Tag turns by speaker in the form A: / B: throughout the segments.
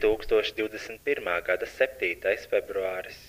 A: 2021. gada 7. februāris.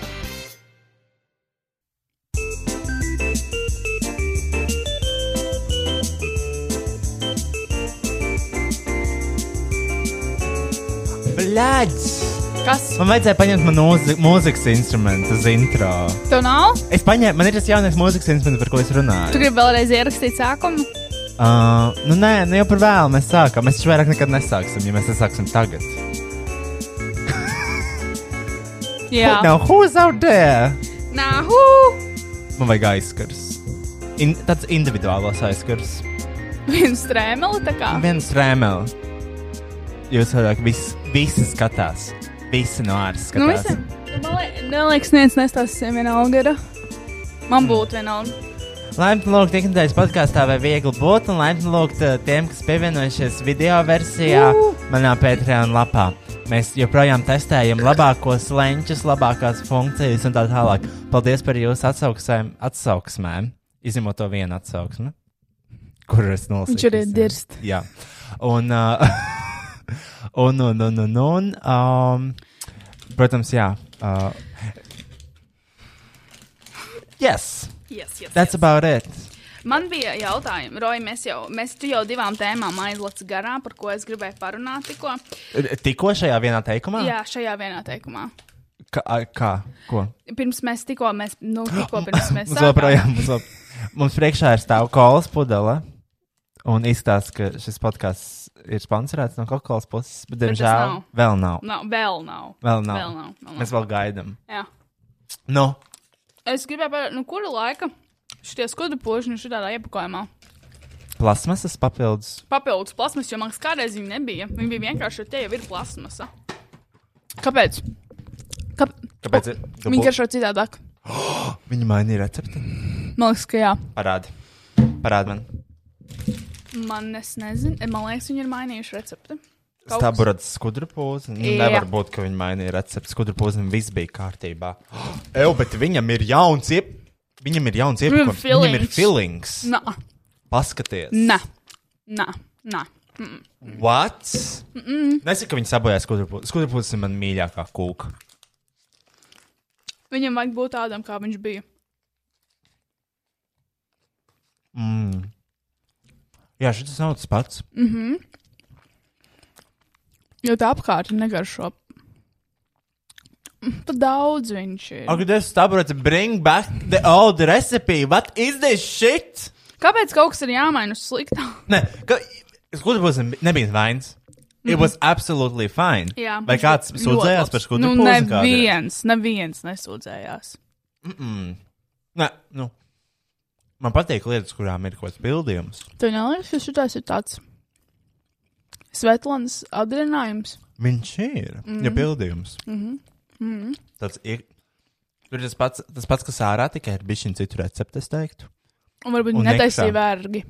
B: Bļaģis!
C: Kas?
B: Man vajadzēja paņemt manu mūzi- mūzikas instrumentu uz intro.
C: Tu nav?
B: Es paņēmu, man ir tas jaunais mūzikas instruments, par ko es runāju.
C: Tu gribi vēlreiz ierakstīt sākumu?
B: Uh, nu, nē, nu jau par vēlu mēs sākām. Mēs taču vairāk nekad nesāksim, ja mēs nesāksim tagad.
C: Jā.
B: Now, who's out there?
C: Nahu!
B: Man vajag aizskars. In, tāds individuāls aizskars.
C: Viens strēmeli tā kā.
B: Viens rēmels. Jūs vairāk visi, visi skatās. Visi no ārsta
C: Nu,
B: skatās.
C: visiem. Man lie- liekas, neviens nestāstīs vienalga.
B: Mm.
C: Man būtu vienalga.
B: Laimīgi lūgt ikdienas podkāstā, vai viegli būt, un laimīgi lūgt eh, tiem, kas pievienojušies video versijā
C: Jū!
B: manā Patreon lapā. Mēs joprojām testējam labākos leņķus, labākās funkcijas un tā tālāk. Paldies par jūsu atsauksmēm, atsauksmēm. izņemot to vienu atsauksmi, kur es nolasīju.
C: Viņš arī
B: visiem.
C: dirst.
B: Jā, un, uh, un, un, un, un, un um, protams, jā. Uh, yes,
C: Yes, yes,
B: that's about it.
C: Man bija jautājumi, Roja, mēs jau, mēs tu jau divām tēmām aizlaci garām, par ko es gribēju parunāt tikko.
B: Tikko šajā vienā teikumā?
C: Jā, šajā vienā teikumā.
B: Kā? a- kā? Ko?
C: Pirms mēs tikko, mēs, nu, tikko pirms mēs
B: Mums
C: sākām.
B: joprojām, mums, lab... mums priekšā ir stāv kolas pudele. Un izstāsta, ka šis podkāsts ir sponsorēts no Coca-Cola puses, bet,
C: tas
B: diemžēl,
C: nav.
B: vēl nav.
C: Nav, vēl nav.
B: Vēl nav.
C: Vēl nav, vēl nav.
B: Mēs vēl gaidām.
C: Jā.
B: Nu,
C: Es gribēju, par, nu, kura laika šitie skudru požiņi šādā iepakojumā.
B: plasmasas papildus.
C: Papildus plasmas, jo man liekas, kādreiz viņa nebija. Viņa bija vienkārši, jo te jau ir plasmasa. Kāpēc? Kāp... Oh,
B: Kāpēc?
C: Viņa garšo citādāk.
B: Viņa mainīja recepti.
C: Man liekas, ka jā.
B: Parādi. Parādi man.
C: Man, es nezinu, eh, man liekas, viņi ir mainījuši recepti. Kaut kas-
B: Staburāts skudra pūzis.
C: Jā.
B: Nu, Nevar būt, ka viņi mainīja recepti. Skudra pūzim viss bija kārtībā. Eju, bet viņam ir jauns iep... Viņam ir jauns iepakojums. Viņam ir
C: fillings.
B: filings.
C: Nā,
B: Paskaties.
C: nā, nā. nā.
B: What? Mm -mm. Nesaku, ka viņi sabojāja skudra pūzi. Skudra pūzis ir man mīļākā kūka.
C: Viņam vajag būt tādam, kā viņš bija.
B: Jā, šis nav tas pats.
C: Jo tā apkārtne negaršo. Tu daudz viņš ir.
B: Okay, stubborn to bring back the old recipe. What is this shit?
C: Kāpēc kaut kas ir jāmaina uz sliktā?
B: Ne, ka, skudri būs nebija vains. It was absolutely fine.
C: Jā,
B: Vai
C: viņš
B: kāds
C: ļoti
B: sūdzējās
C: labs.
B: par skudri
C: Nu,
B: pūzi kādreiz?
C: neviens, neviens nesūdzējās.
B: Nē, nu. Man patīk lietas, kurām ir kaut kāds pildījums.
C: Tu neliekas, ka šitais ir tāds Svetlāns atrinājums.
B: Viņš ir. Mm. Ja pildījums. Mm
C: Mm-hmm.
B: -hmm. Tāds ir. Tur ir tas pats, tas pats, kas ārā tikai ir bijis šis citu recepti, es teiktu.
C: Un varbūt
B: Un
C: netaisīja
B: nekšā.
C: vergi.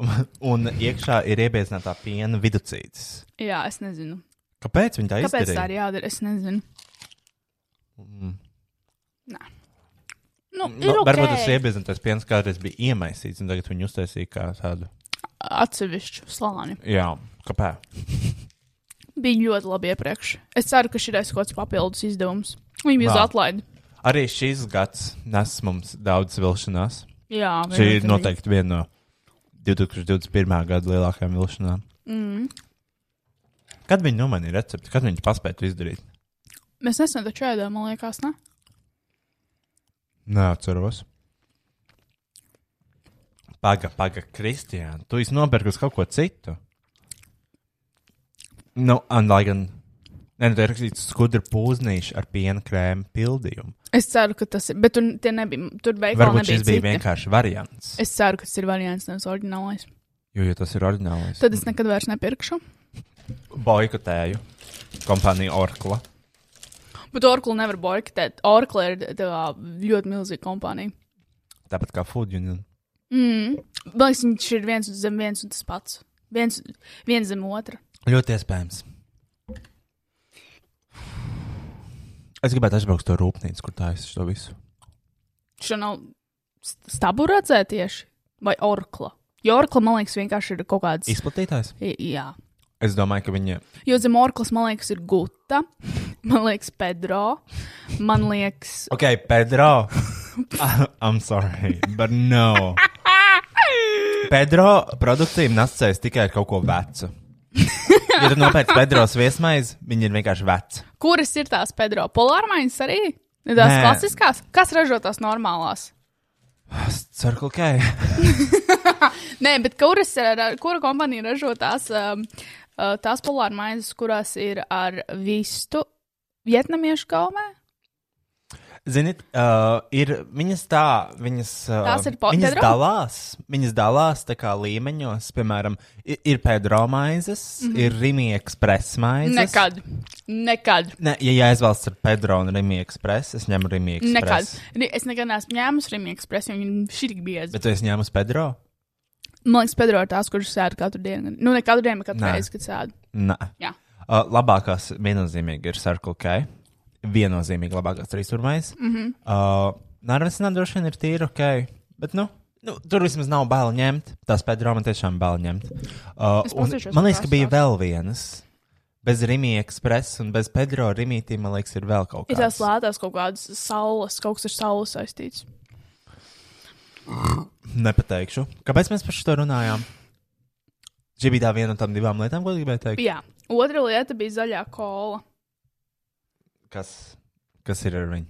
B: Un, un iekšā ir iebiezināta piena viducītis.
C: Jā, es nezinu.
B: Kāpēc viņi tā
C: Kāpēc tā
B: izdarīja?
C: ir jādara? Es nezinu. Nā. Nu, ir
B: Mm. Nu,
C: okay.
B: varbūt tas iebiezinātais piens kādreiz bija iemaisīts, un tagad viņi uztaisīja kā tādu.
C: atsevišķu slāni.
B: Jā, kāpēc?
C: Bija ļoti labi iepriekš. Es ceru, ka šī ir kaut kāds papildus izdevums. Viņi bija uz
B: Vā.
C: atlaidi.
B: Arī šis gads nes mums daudz vilšanās.
C: Jā,
B: Šī
C: viennozīmīgi.
B: ir noteikti viena no 2021. gada lielākajām vilšanām. Mm. Kad viņi nomainīja recepti, kad viņi paspēja to izdarīt?
C: Mēs nesen taču ēdām, man liekas, ne?
B: Neatceros. Paga, paga, Kristija, tu esi nopirkusi kaut ko citu. Nu, un lai gan. Nē, nu, tā ir rakstīts skudra pūznīša ar piena krēmu pildījumu.
C: Es ceru, ka tas ir. Bet tur tie nebija. Tur beigās
B: Varbūt
C: nebija.
B: šis bija
C: citi.
B: vienkārši variants.
C: Es ceru, ka tas ir variants, nevis oriģinālais.
B: Jo, ja tas ir oriģinālais,
C: Tad es nekad vairs nepirkšu.
B: boikotēju kompāniju Orkla.
C: Bet Oracle nevar boikotēt. Oracle ir tā, ļoti milzīga kompānija.
B: Tāpat kā Food Union.
C: Mm. Man liekas, viņš ir viens un zem viens un tas pats. Viens, viens zem otra.
B: Ļoti iespējams. Es gribētu aizbraukt uz to rūpnīcu, kur tā es to visu.
C: Šo nav st- stabu redzēt tieši vai orkla. Jo orkla, man liekas, vienkārši ir kaut kāds.
B: Izplatītājs?
C: I- Jā.
B: Es domāju, ka viņi.
C: Jo zem orklas, man liekas, ir guta. Man liekas, Pedro. Man liekas,
B: Ok, Pedro. I'm sorry, but no. Pedro produkcija nesēs tikai ar kaut ko vecu. Ja tu nopērci Pedro sviesmaizi, viņi ir vienkārši veci.
C: kuras ir tās Pedro? Polārmaiņas arī? Ir Tās
B: Nē.
C: Nē. klasiskās? Kas ražo tās normālās?
B: Circle K.
C: Nē, bet kuras ir, ar- kura kompānija ražo tās, um, uh, tās polārmaiņas, kurās ir ar vistu vietnamiešu gaumē?
B: Ziniet, uh, ir viņas tā, viņas, uh,
C: Tās ir po-
B: viņas
C: Pedro?
B: dalās, viņas dalās tā kā līmeņos, piemēram, ir, ir Pedro maizes, mm -hmm. ir Rimi Express maizes.
C: Mhm. Nekad. Nekad.
B: Ne, ja jāizvēlas ar Pedro un Rimi Express, es ņemu Rimi Express.
C: Nekad. Ri- Es nekad neesmu ņēmusi Rīgas ekspresu, jo viņi ir šitīgi biezi. Bet...
B: Bet tu esi ņēmis Pedro?
C: Man liekas, Pedro ir tās, kurš sēž katru dienu. Nu, ne katru dienu, bet katru
B: Nē.
C: reizi, kad sēž.
B: Nē.
C: Jā.
B: Uh, labākās viennozīmīgi ir Circle K. Viennozīmīgi labākās trīs turmais. Mm
C: Mhm.
B: -hmm. uh, Nārvesinā droši vien ir tīri ok, bet nu. Nu, tur vismaz nav bail ņemt. Tās pēdējā man tiešām bail ņemt. Uh,
C: Es
B: un,
C: paskatīšos,
B: man liekas, ka
C: kas
B: bija
C: tās.
B: vēl vienas. Bez Rīgas ekspresa un bez Pedro Rīgas, man liekas, ir vēl kaut
C: Ir
B: kas.
C: tās lētās kaut kādas saules, kaut kas ar saules saistīts.
B: Nepateikšu. Kāpēc mēs par šo runājām? Šī bija tā viena no tām divām lietām, ko gribēju teikt.
C: Jā. Otra lieta bija zaļā kola.
B: Kas, kas ir ar viņu?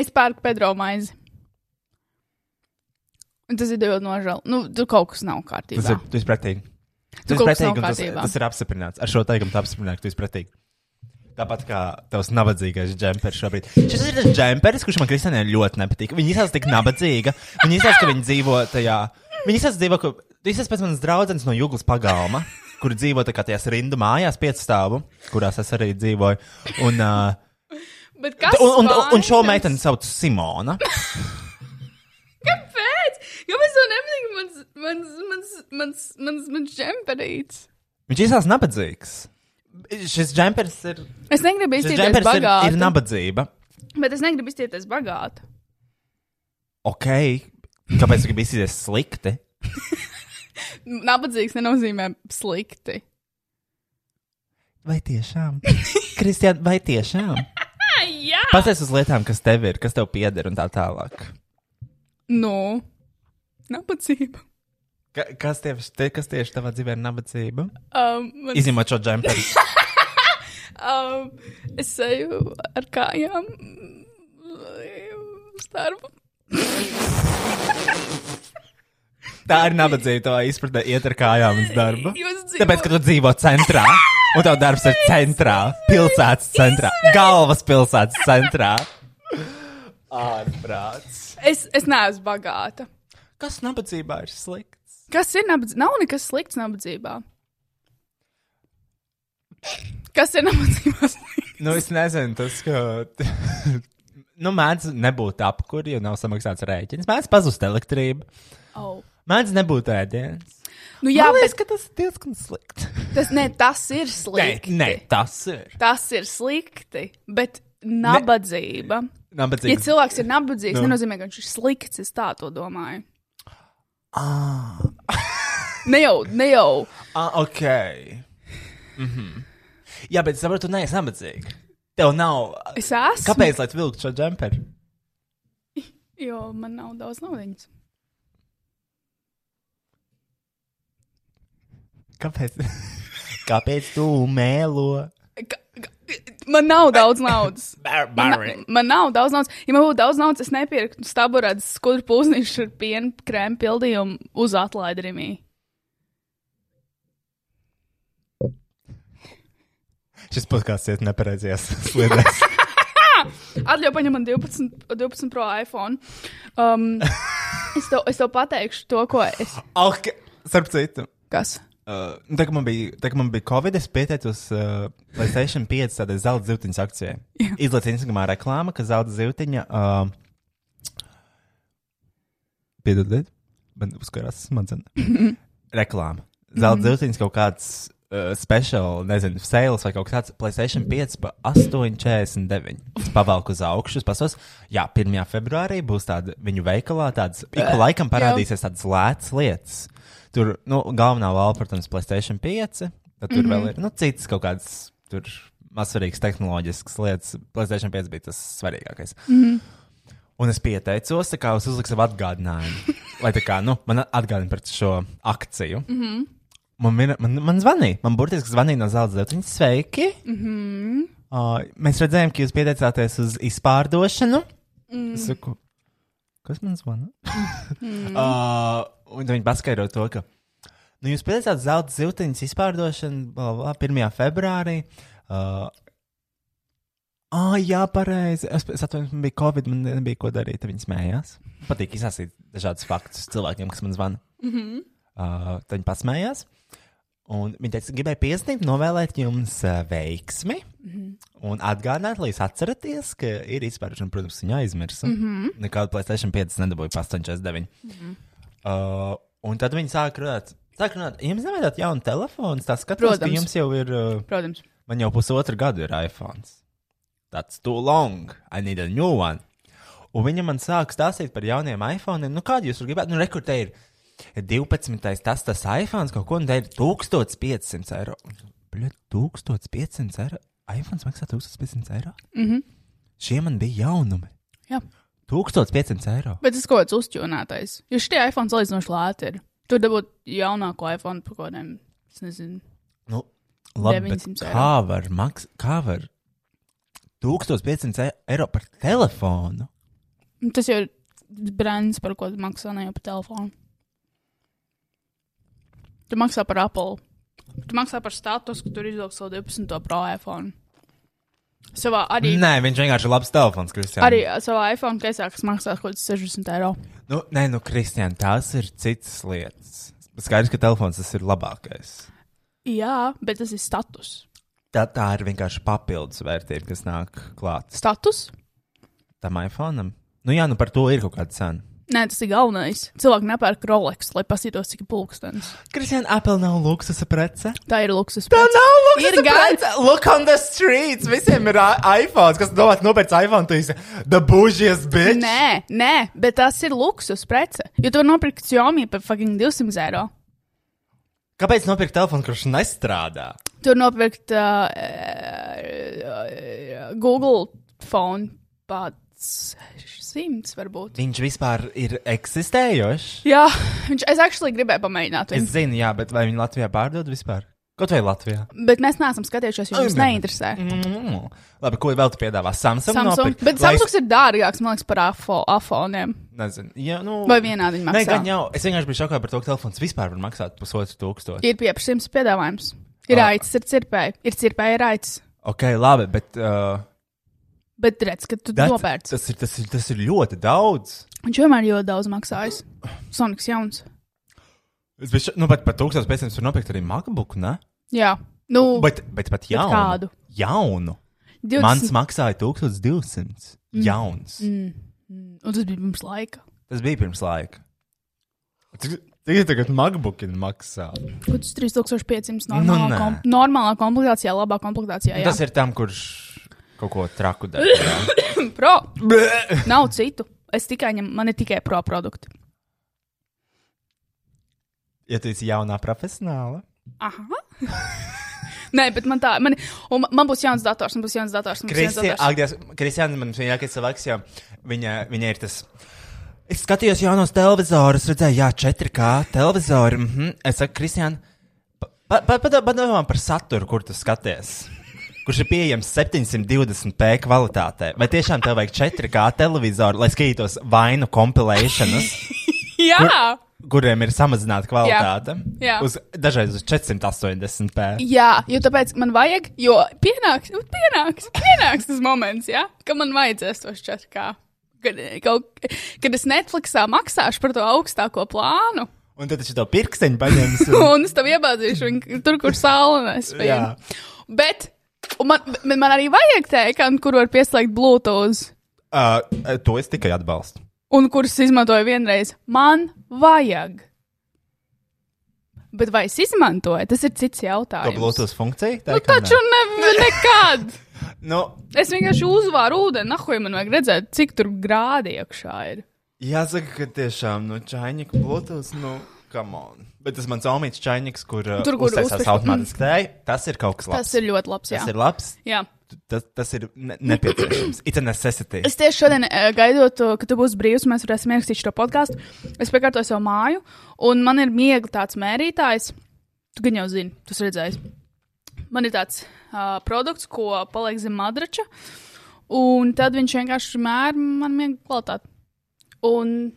C: Es pērku Pedro maizi. Un Tas ir ļoti nožēl. Nu, tur kaut kas nav kārtībā.
B: Tas ir, tu esi pretīgi. Tu esi
C: kaut kas nav
B: pretīgi, un tas,
C: kārtībā.
B: tas ir apstiprināts. Ar šo teikumu tu apstiprināts, tu esi pretīgi. Tāpat kā tavs nabadzīgais džempers šobrīd. Šis ir tas džempers, kurš man Kristianai ļoti nepatīk. Viņa izsaka tik nabadzīga. Viņa izsaka, ka viņa dzīvo tajā. Viņa izsaka, dzīvo, ka tu izsaka pēc manas draudzenes no Jūglas pagalma, kur dzīvo tā kā tajās rindu mājās, piecu stāvu, kurās es arī dzīvoju. Un, uh,
C: Bet kas
B: un, un, un, un šo
C: vainas?
B: meiteni sauc Simona.
C: Kāpēc? Kāpēc tev nepatīk mans, mans, mans, mans, mans, mans džemperīts?
B: Viņš izsaka nabadzīgs. Šis džempers ir.
C: Es negribu
B: Šis
C: izteikties
B: džempers ir,
C: bagāti.
B: ir nabadzība.
C: Bet es negribu izteikties bagāti.
B: ok, kāpēc gribi izsīties slikti?
C: Nabadzīgs nenozīmē slikti.
B: Vai tiešām? Kristija, vai tiešām?
C: Jā,
B: Pastāsti uz lietām, kas tev ir, kas tev pieder un tā tālāk.
C: nu, nabadzība.
B: Ka, kas, tieši, te, kas tieši tavā dzīvē ir nabadzība?
C: Um, man,
B: Izņemot šo džemperi.
C: Um, es eju ar kājām uz darbu.
B: Tā ir nabadzība, tā izpratne iet ar kājām uz darbu.
C: Jūs dzīvojat-
B: Tāpēc, ka tu dzīvo centrā, un tev darbs ir centrā, pilsētas centrā, galvaspilsētas centrā. Ārprāts.
C: Es, es neesmu bagāta.
B: Kas nabadzībā ir slikts?
C: Kas ir nabadzība? Nav nekas slikts nabadzībā. Kas ir nabadzībā?
B: Nu, es nezinu, tas, ka. nu, mēdz nebūt apkuri, jo nav samaksāts rēķins. Mēdz pazust elektrība.
C: oh.
B: Mēdz nebūt ēdienas.
C: Nu jā,
B: Man liekas,
C: bet
B: ka tas ir diezgan slikti.
C: tas, ne, tas ir
B: Nē,
C: slikti.
B: nē, tas ir.
C: Tas ir slikti, bet nabadzība. Ne. Ja
B: Nabadzīgs.
C: cilvēks ir nabadzīgs,
B: Nu.
C: nu. nenozīmē, ka viņš ir slikts. Es tā to domāju.
B: Ah,
C: Ne jau, ne jau.
B: ah, ok. Mhm. Jā, bet saprotu, nē, es nabadzīgi. Tev nav.
C: Es esmu.
B: Kāpēc, lai tu vilktu šo džemperi?
C: Jo man nav daudz naudas.
B: Kāpēc? Kāpēc tu mēlo?
C: Man nav daudz naudas.
B: Bar
C: Man, na- man nav daudz naudas. Ja man būtu daudz naudas, es nepirktu staburādu skudru pūznišu ar pienu krēmu pildījumu uz atlaidi rimī.
B: Šis podkāsts iet nepareizajās sliedēs.
C: Atļauj paņem man 12, 12 pro iPhone. Um, es, tev, es tev pateikšu to, ko es.
B: ok, starp citu.
C: Kas?
B: Uh, nu, tā kā man bija, tā kā man bija Covid, es pieteicos uh, PlayStation 5 tādai zelta zīmeņa akcijai.
C: Jā.
B: Izlaiž Instagramā reklāma, ka zelta zīmeņa. Uh, Piedodiet, man uzkarās smadzenes. reklāma. Zelta zīmeņa kaut kāds uh, speciāls, nezinu, sales vai kaut kas tāds. PlayStation 5 pa 8,49. Es pavelku uz augšu, es pasos. Jā, 1. februārī būs tāda viņu veikalā, tādas ik pa laikam parādīsies tādas lētas lietas. Tur nu, galvenā valda, protams, Placēta 5. Tad tur mm -hmm. vēl ir nu, citas kaut kādas tur mazsvarīgas tehnoloģiskas lietas. Placēta 5 bija tas svarīgākais. Mm -hmm. Un es pieteicos, tā kā es uzliku sev atgādinājumu. lai tā kā nu, man atgādina par šo akciju. Mm -hmm. Man, vien- man, man zvanīja, man burtiski zvanīja no zelta zelta. Viņi sveiki! Mm -hmm. uh, mēs redzējām, ka jūs pieteicāties uz izpārdošanu. Mm. Es saku, kas man zvana? Uh, un viņi paskaidro to, ka nu, jūs pieteicāt zelta zīmeņa izpārdošanu bla, bla, 1. februārī. Uh, Ah, jā, pareizi. Es, es atvainojos, man bija Covid, man nebija ko darīt. tad Viņi smējās. Patīk izsākt dažādas faktus cilvēkiem, kas man zvana. Mm -hmm. uh, tad viņi pasmējās. Un viņi teica, gribēju piesniegt, novēlēt jums uh, veiksmi. Mm -hmm. Un atgādināt, lai jūs atceraties, ka ir izpēršana, protams, viņa aizmirsa. Mm -hmm. Nekādu Placēta 5 nedabūju pa 8,49. Uh, un tad viņi sāk runāt. Sāk runāt, jums nevajadzētu jaunu telefonu. Tas skatos, ka
C: Protams.
B: jums jau ir. Uh,
C: Protams.
B: Man jau pusotru gadu ir iPhone. That's too long. I need a new one. Un viņa man sāk stāstīt par jauniem iPhone. Nu, kādu jūs tur gribētu? Nu, rekurte ir 12. tas tas iPhone kaut ko, un tā ir 1500 eiro. Bļa, 1500 eiro. iPhone maksā 1500 eiro. Mm -hmm. Šie man bija jaunumi.
C: Mhm. Jā.
B: 1500 eiro.
C: Bet tas kaut kāds uzķūnātais. Jo šitie iPhone salīdzinoši lēti ir. Tur dabūt jaunāko iPhone par kaut kādiem, es nezinu.
B: Nu, labi, bet
C: 900 eiro.
B: kā var maksāt? Kā var 1500 e- eiro par telefonu?
C: Nu, Tas jau ir brands, par ko tu maksā ne jau par telefonu. Tu maksā par Apple. Tu maksā par status, ka tur izvilks savu 12. pro iPhone. Savā arī.
B: Nē, viņš vienkārši ir labs telefons, Kristija.
C: Arī savā iPhone kaisā, kas maksā kaut kāds 60 eiro.
B: Nu, nē, nu, Kristija, tās ir citas lietas. Skaidrs, ka telefons tas ir labākais.
C: Jā, bet tas ir status.
B: Tā, tā ir vienkārši papildus vērtība, kas nāk klāt
C: Status?
B: tam iPhone. Nu, jā, nu par to ir kaut kāda cena.
C: Nē, tas ir galvenais. Cilvēki nepērk Rolex, lai pasītos, cik ir pulkstenis.
B: Kristija, Apple nav luksusa prece.
C: Tā ir luksus.
B: Tā
C: prece.
B: nav luksusa
C: Ir gan-
B: prece. Look on the streets. Visiem ir i- iPhones, kas domā, nopērts iPhone, tu esi the bužies bitch.
C: Nē, nē, bet tas ir luksus prece. Jo tu vari nopirkt Xiaomi par fucking 200 eiro.
B: Kāpēc nopirkt telefonu, kurš nestrādā?
C: Tu vari nopirkt uh, uh, Google phone pats 100 varbūt.
B: Viņš vispār ir eksistējošs.
C: Jā, viņš, es actually gribēju pamēģināt
B: Es
C: viņu.
B: zinu, jā, bet vai viņi Latvijā pārdod vispār? Kaut vai Latvijā.
C: Bet mēs neesam skatījušies, jo
B: Ai,
C: mums
B: gan.
C: neinteresē.
B: Mm. Labi, ko vēl tu piedāvā? Samsung.
C: Mhm. Samsung,
B: nopirkt,
C: bet
B: lai-
C: Samsungs ir dārgāks, man liekas, par afo- afoniem.
B: Nezinu. Ja, nu,
C: Vai vienādi viņi
B: Nē,
C: maksā?
B: gan jau. Es vienkārši biju šokā par to, ka telefons vispār var maksāt pusotru tūkstošu.
C: Ir pieprasījums piedāvājums. Ir
B: Ah.
C: aicis, ir cirpēji, ir cirpēji, ir aicis.
B: Ok, labi, bet. Uh,
C: Bet redz, ka tu
B: that's-
C: nopērci.
B: tas, ir, tas, ir, tas ir ļoti daudz.
C: Viņš vienmēr ļoti daudz maksājis. Sonics jauns.
B: Es biju, šo- nu, bet par 1500 var nopirkt arī MacBook, ne?
C: Jā, nu,
B: Bet, bet pat jaunu.
C: kādu?
B: Jaunu.
C: 20.
B: Mans maksāja 1200. Mm. Jauns. Mm.
C: Un tas bija pirms laika.
B: Tas bija pirms laika. Tikai tagad MacBook maksā.
C: Kaut kas 3500
B: Nu, nē.
C: normālā, kom normālā komplektācijā, labā komplektācijā.
B: Jā.
C: Jā,
B: Tas ir tam, kurš kaut ko traku dara.
C: ir pro. Nav citu. Es tikai ņemu, man ir tikai pro produkti.
B: ja tu esi jaunā profesionāla.
C: Aha. Nē, bet man tā, man, un man būs jauns dators, man būs jauns dators. Man būs jauns
B: Kristiāna,
C: dators.
B: Kristiāna, man vienīgais cilvēks, jo viņa, viņa ir tas. Es skatījos jaunos televizorus, redzēju, jā, 4K televizori. Mm -hmm. Es saku, Kristiāna, pa- pa- pa- padomā par saturu, kur tu skaties. Kurš ir pieejams 720p kvalitātē? Vai tiešām tev vajag 4K televizoru, lai skatītos vainu kompilēšanas,
C: Jā,
B: kuriem ir samazināta kvalitāte?
C: Jā.
B: Uz, dažreiz uz 480p.
C: jā, jo tāpēc man vajag, jo pienāks, nu, pienāks, pienāks tas moments, jā, ka man vajadzēs tos četri kā. Kad, kaut, kad es Netflixā maksāšu par to augstāko plānu,
B: Un tad tu to pirksteņu paņemsi. un-
C: un es tam iebāzīšu viņu tur, kur saulēs bija.
B: Jā.
C: Bet un man, bet man arī vajag tēkanu, kur var pieslēgt Bluetooth,
B: Uh, to es tikai atbalstu.
C: un kurus izmantoju vienreiz. Man vajag. Bet vai es izmantoju, tas ir cits
B: To
C: jautājums.
B: Bluetooth funkciju? Tā
C: Nu,
B: kā
C: taču
B: nē.
C: ne, nekad.
B: Nu,
C: Es vienkārši uzvāru ūdeni, nahuj, man vajag redzēt, cik tur grādi iekšā ir.
B: jāsaka, ka tiešām no čaņika Bluetooth, nu, come on. Bet tas mans omīts čaņiks, kur,
C: Tur, kur
B: uztaisās
C: uztaisās-
B: automātiski tēji, tas ir kaut kas labs.
C: Tas ir ļoti labs. Jā.
B: tas ir labs.
C: jā.
B: Tu- Tas, tas ir ne nepieciešams. It's a necessity.
C: Es tieši šodien eh, gaidot, to, ka tu būsi brīvs, mēs varēsim ierakstīt šo podkāstu. Es piekārtoju savu māju, un man ir miega tāds mērītājs. Tu gan jau zini, tu esi redzējis. Man ir tāds uh, produkts, ko paliek zem madrača, un tad viņš vienkārši mēra man miega kvalitāti. Un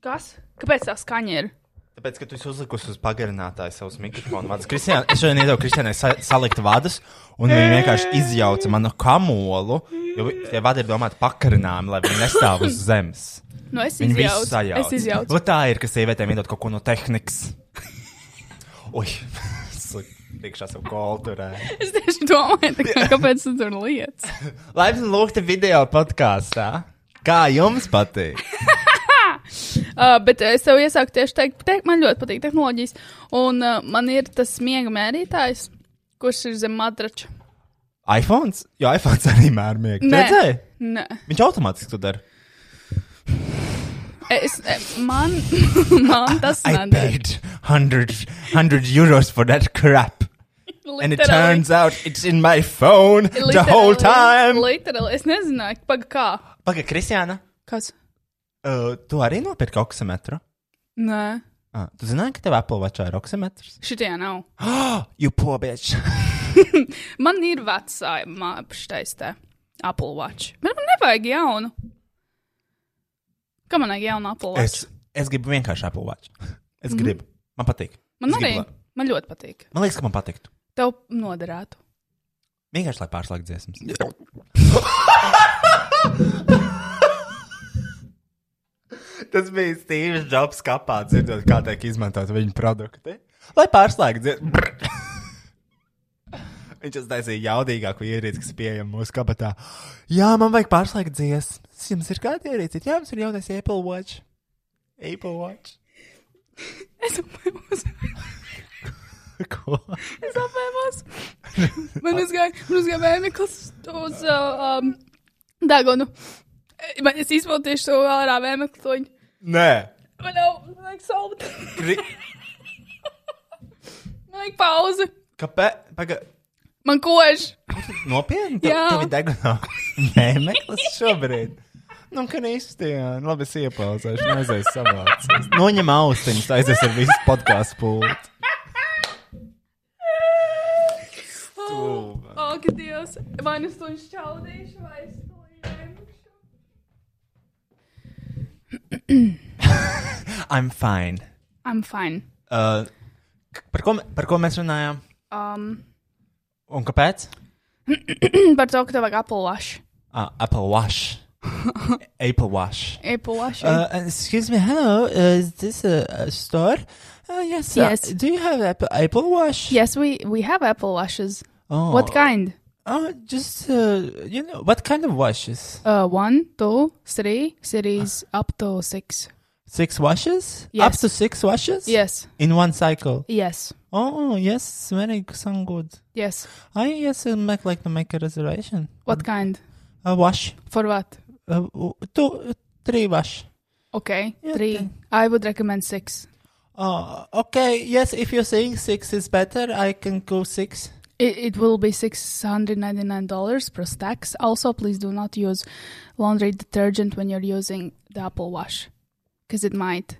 C: kas? Kāpēc tā skaņa ir?
B: Tāpēc, ka tu esi uzlikusi uz pagarinātāju savus mikrofonu vadus. Kristiāna, es šodien iedevu Kristiānai sa salikt vadus, un viņa vienkārši izjauca manu kamolu, jo vi- tie vadi ir domāti pakarināmi, lai viņi nestāv uz zemes.
C: Nu, es
B: Viņa bija
C: izjaucu. Es
B: sajauta.
C: izjaucu.
B: Nu, tā ir, ka sievietēm iedod kaut ko no tehnikas. Ui, slik- priekšā savu kolturē.
C: Es tieši domāju, tā kā, kāpēc tu tur lietas.
B: Laipni lūgti video podkāstā. Kā jums patīk?
C: Uh, bet es tev iesaku tieši teikt, te, man ļoti patīk tehnoloģijas. Un uh, man ir tas miega mērītājs, kurš ir zem matrača.
B: iPhone? Jo iPhone arī mērmīgi. Redzēji?
C: nē.
B: Viņš automātiski to dara.
C: Es, eh, man, man tas
B: I
C: neder.
B: paid 100, 100 euros for that crap. And it
C: Literally.
B: turns out it's in my phone the whole
C: Literally.
B: time.
C: Literally. Es nezināju, paga kā.
B: Pagaid, Kristiāna,
C: Kas?
B: uh, tu arī nopirki oksimetru?
C: Nē,
B: Ah, tu zināji, ka tev Apple Watchā ir oksimetrs?
C: šitie nav.
B: You poor bitch.
C: Man ir vecā apštaistē Apple Watch. Bet man nevajag jaunu. Kā man vajag jaunu Apple Watch?
B: Es, es gribu vienkārši Apple Watch. Es mm -hmm. gribu. Man patīk.
C: Mhm. Man
B: Es
C: arī.
B: gribu, lai-
C: Man ļoti patīk.
B: Man liekas, ka man patiktu.
C: Tev noderētu.
B: Vienkārši, lai pārslēgtu dziesmas. Tas bija Steve's jobs, kā dzirdot, kā tiek izmantot viņa produkti. Lai pārslēgtu dziesmas. Viņš uztaisīja jaudīgāku ierīci, kas ir pieejama mūsu kabatā. Jā, man vajag pārslēgt dziesmas. Jums ir kāda ierīce? Jā, jums ir jaunais Apple Watch. Apple Watch.
C: Es apēmos.
B: Ko?
C: Es apēmos. Man uzgāja, man uzgāja vēmeklis uz uh, um, dagonu. Eh, Man es izpildīšu to ārā vēmekliņu.
B: Nē.
C: Man nav, man vajag saldu.
B: Kri...
C: Man vajag pauzi.
B: Kāpēc? Paga...
C: Man kož.
B: Nopietni,
C: Jā.
B: tev ir degunā mēmeklis šobrīd. Nu, ka Kristiāna, labi, es iepauzēšu, neaizies savācās. Noņem austiņas, aizies ar visu podkāstu pultu.
C: Ugh. Ak, Dievs, vai nu es to šķaudīšu, vai es to ņemšu?
B: I'm fine.
C: I'm fine.
B: Uh, k- par, ko, m- par ko mēs runājām?
C: Um,
B: Un kāpēc?
C: par to, ka tev vajag apulašu.
B: Ah, Apple Watch. Apple Watch.
C: Apulašu.
B: Uh, excuse me, hello. Uh, is this a, a store? Uh, yes. uh,
C: Yes.
B: do you have Apple, Apple Watch?
C: yes, we, we have apple lashes.
B: Oh.
C: What kind?
B: Oh, just uh, you know, what kind of watches?
C: Uh, one, two, three, series
B: Ah.
C: up to six.
B: Six watches?
C: Yes.
B: Up to six watches?
C: Yes,
B: In one cycle.
C: yes,
B: Oh yes, very sound good.
C: yes.
B: I yes, I'd make, like to make a reservation.
C: What kind?
B: A wash.
C: For what?
B: Uh, w- two, uh, three wash.
C: Okay,
B: Yeah,
C: three.
B: okay.
C: I would recommend six.
B: Oh, okay. Yes, if you're saying six is better, I can go six.
C: It, it will be $699 plus tax. Also, please do not use laundry detergent when you're using the Apple Wash because it might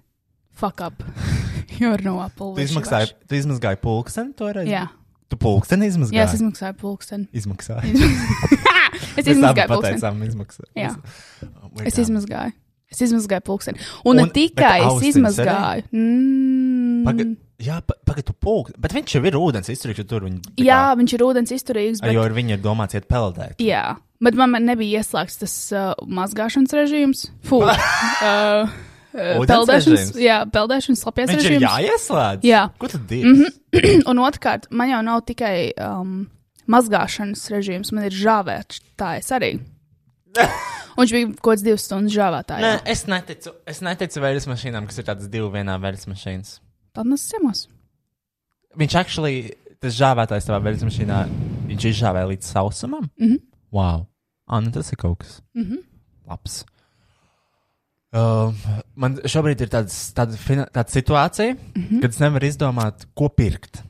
C: fuck up your no Apple
B: Tu
C: Wash.
B: izmaksāji, tu izmazgāji pulksteni toreiz?
C: Jā,
B: Tu pulksteni izmazgāji?
C: jā es izmaksāju pulksteni.
B: izmaksāju.
C: Es izmaksāju pulksteni.
B: pateicām, izmaksāju.
C: Jā.
B: Oh, we're
C: Es
B: done.
C: izmazgāju. Es izmazgāju pulksteni. Un, Un
B: Un-
C: ne tikai
B: bet
C: es
B: austiņas
C: izmazgāju. Mm.
B: Paga, jā, pa- pagaidu, pūk. Bet viņš jau ir ūdens izturīgs, jo tur viņi. tā
C: Jā, viņš ir ūdens izturīgs,
B: Kā,
C: bet
B: jo ar viņu ir domāts iet peldēt.
C: Jā, bet man man nebija ieslēgts tas uh, mazgāšanas režīms. Fū, uh,
B: Ūdens
C: peldēšanas,
B: režīms?
C: jā, peldēšanas slapjas
B: Viņš ir
C: režīms.
B: jāieslēdz.
C: Jā.
B: Ko tu dīvi? Mm -hmm.
C: Un otrkārt, man jau nav tikai um, mazgāšanas režīms, man ir žāvētājs arī. Un viņš bija kaut kāds divas stundas žāvētājs.
B: Nē, es neticu, es neticu vēļas mašīnām, kas ir tādas divas vienā vēļas mašīnas.
C: Tad mēs ciemos.
B: Viņš actually, tas žāvētājs tavā vēļas mašīnā, viņš izžāvēja līdz sausumam.
C: Mm -hmm.
B: Wow. Ah, nu tas ir kaut kas
C: Mm -hmm.
B: labs. Um, man šobrīd ir tāds, tāda, fina- tāda situācija, mm -hmm. kad es nevaru izdomāt, ko pirkt.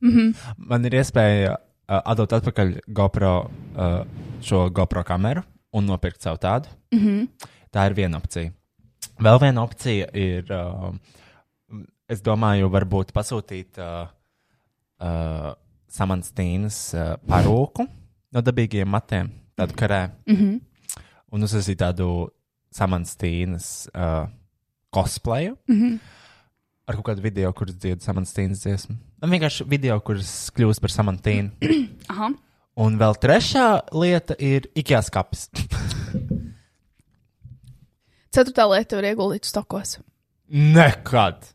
B: mm -hmm. Man ir iespēja uh, atdot atpakaļ GoPro, uh, šo GoPro kameru un nopirkt sev tādu. Mm -hmm. Tā ir viena opcija. Vēl viena opcija ir, uh, es domāju, varbūt pasūtīt uh, uh, samanstīnas uh, parūku no dabīgiem matiem, tādu karē
C: Mm -hmm.
B: un uzsākt tādu samanstīnas uh, cosplayu.
C: Mm -hmm.
B: Ar kaut kādu video, kurš dziedā samantīnas dziesmu. Man vienkārši video, kurš kļūst par samantīnu.
C: Aha.
B: Un vēl trešā lieta ir ikjā skats.
C: Ceturtā lieta ir ieguldīt stokos.
B: Nekad!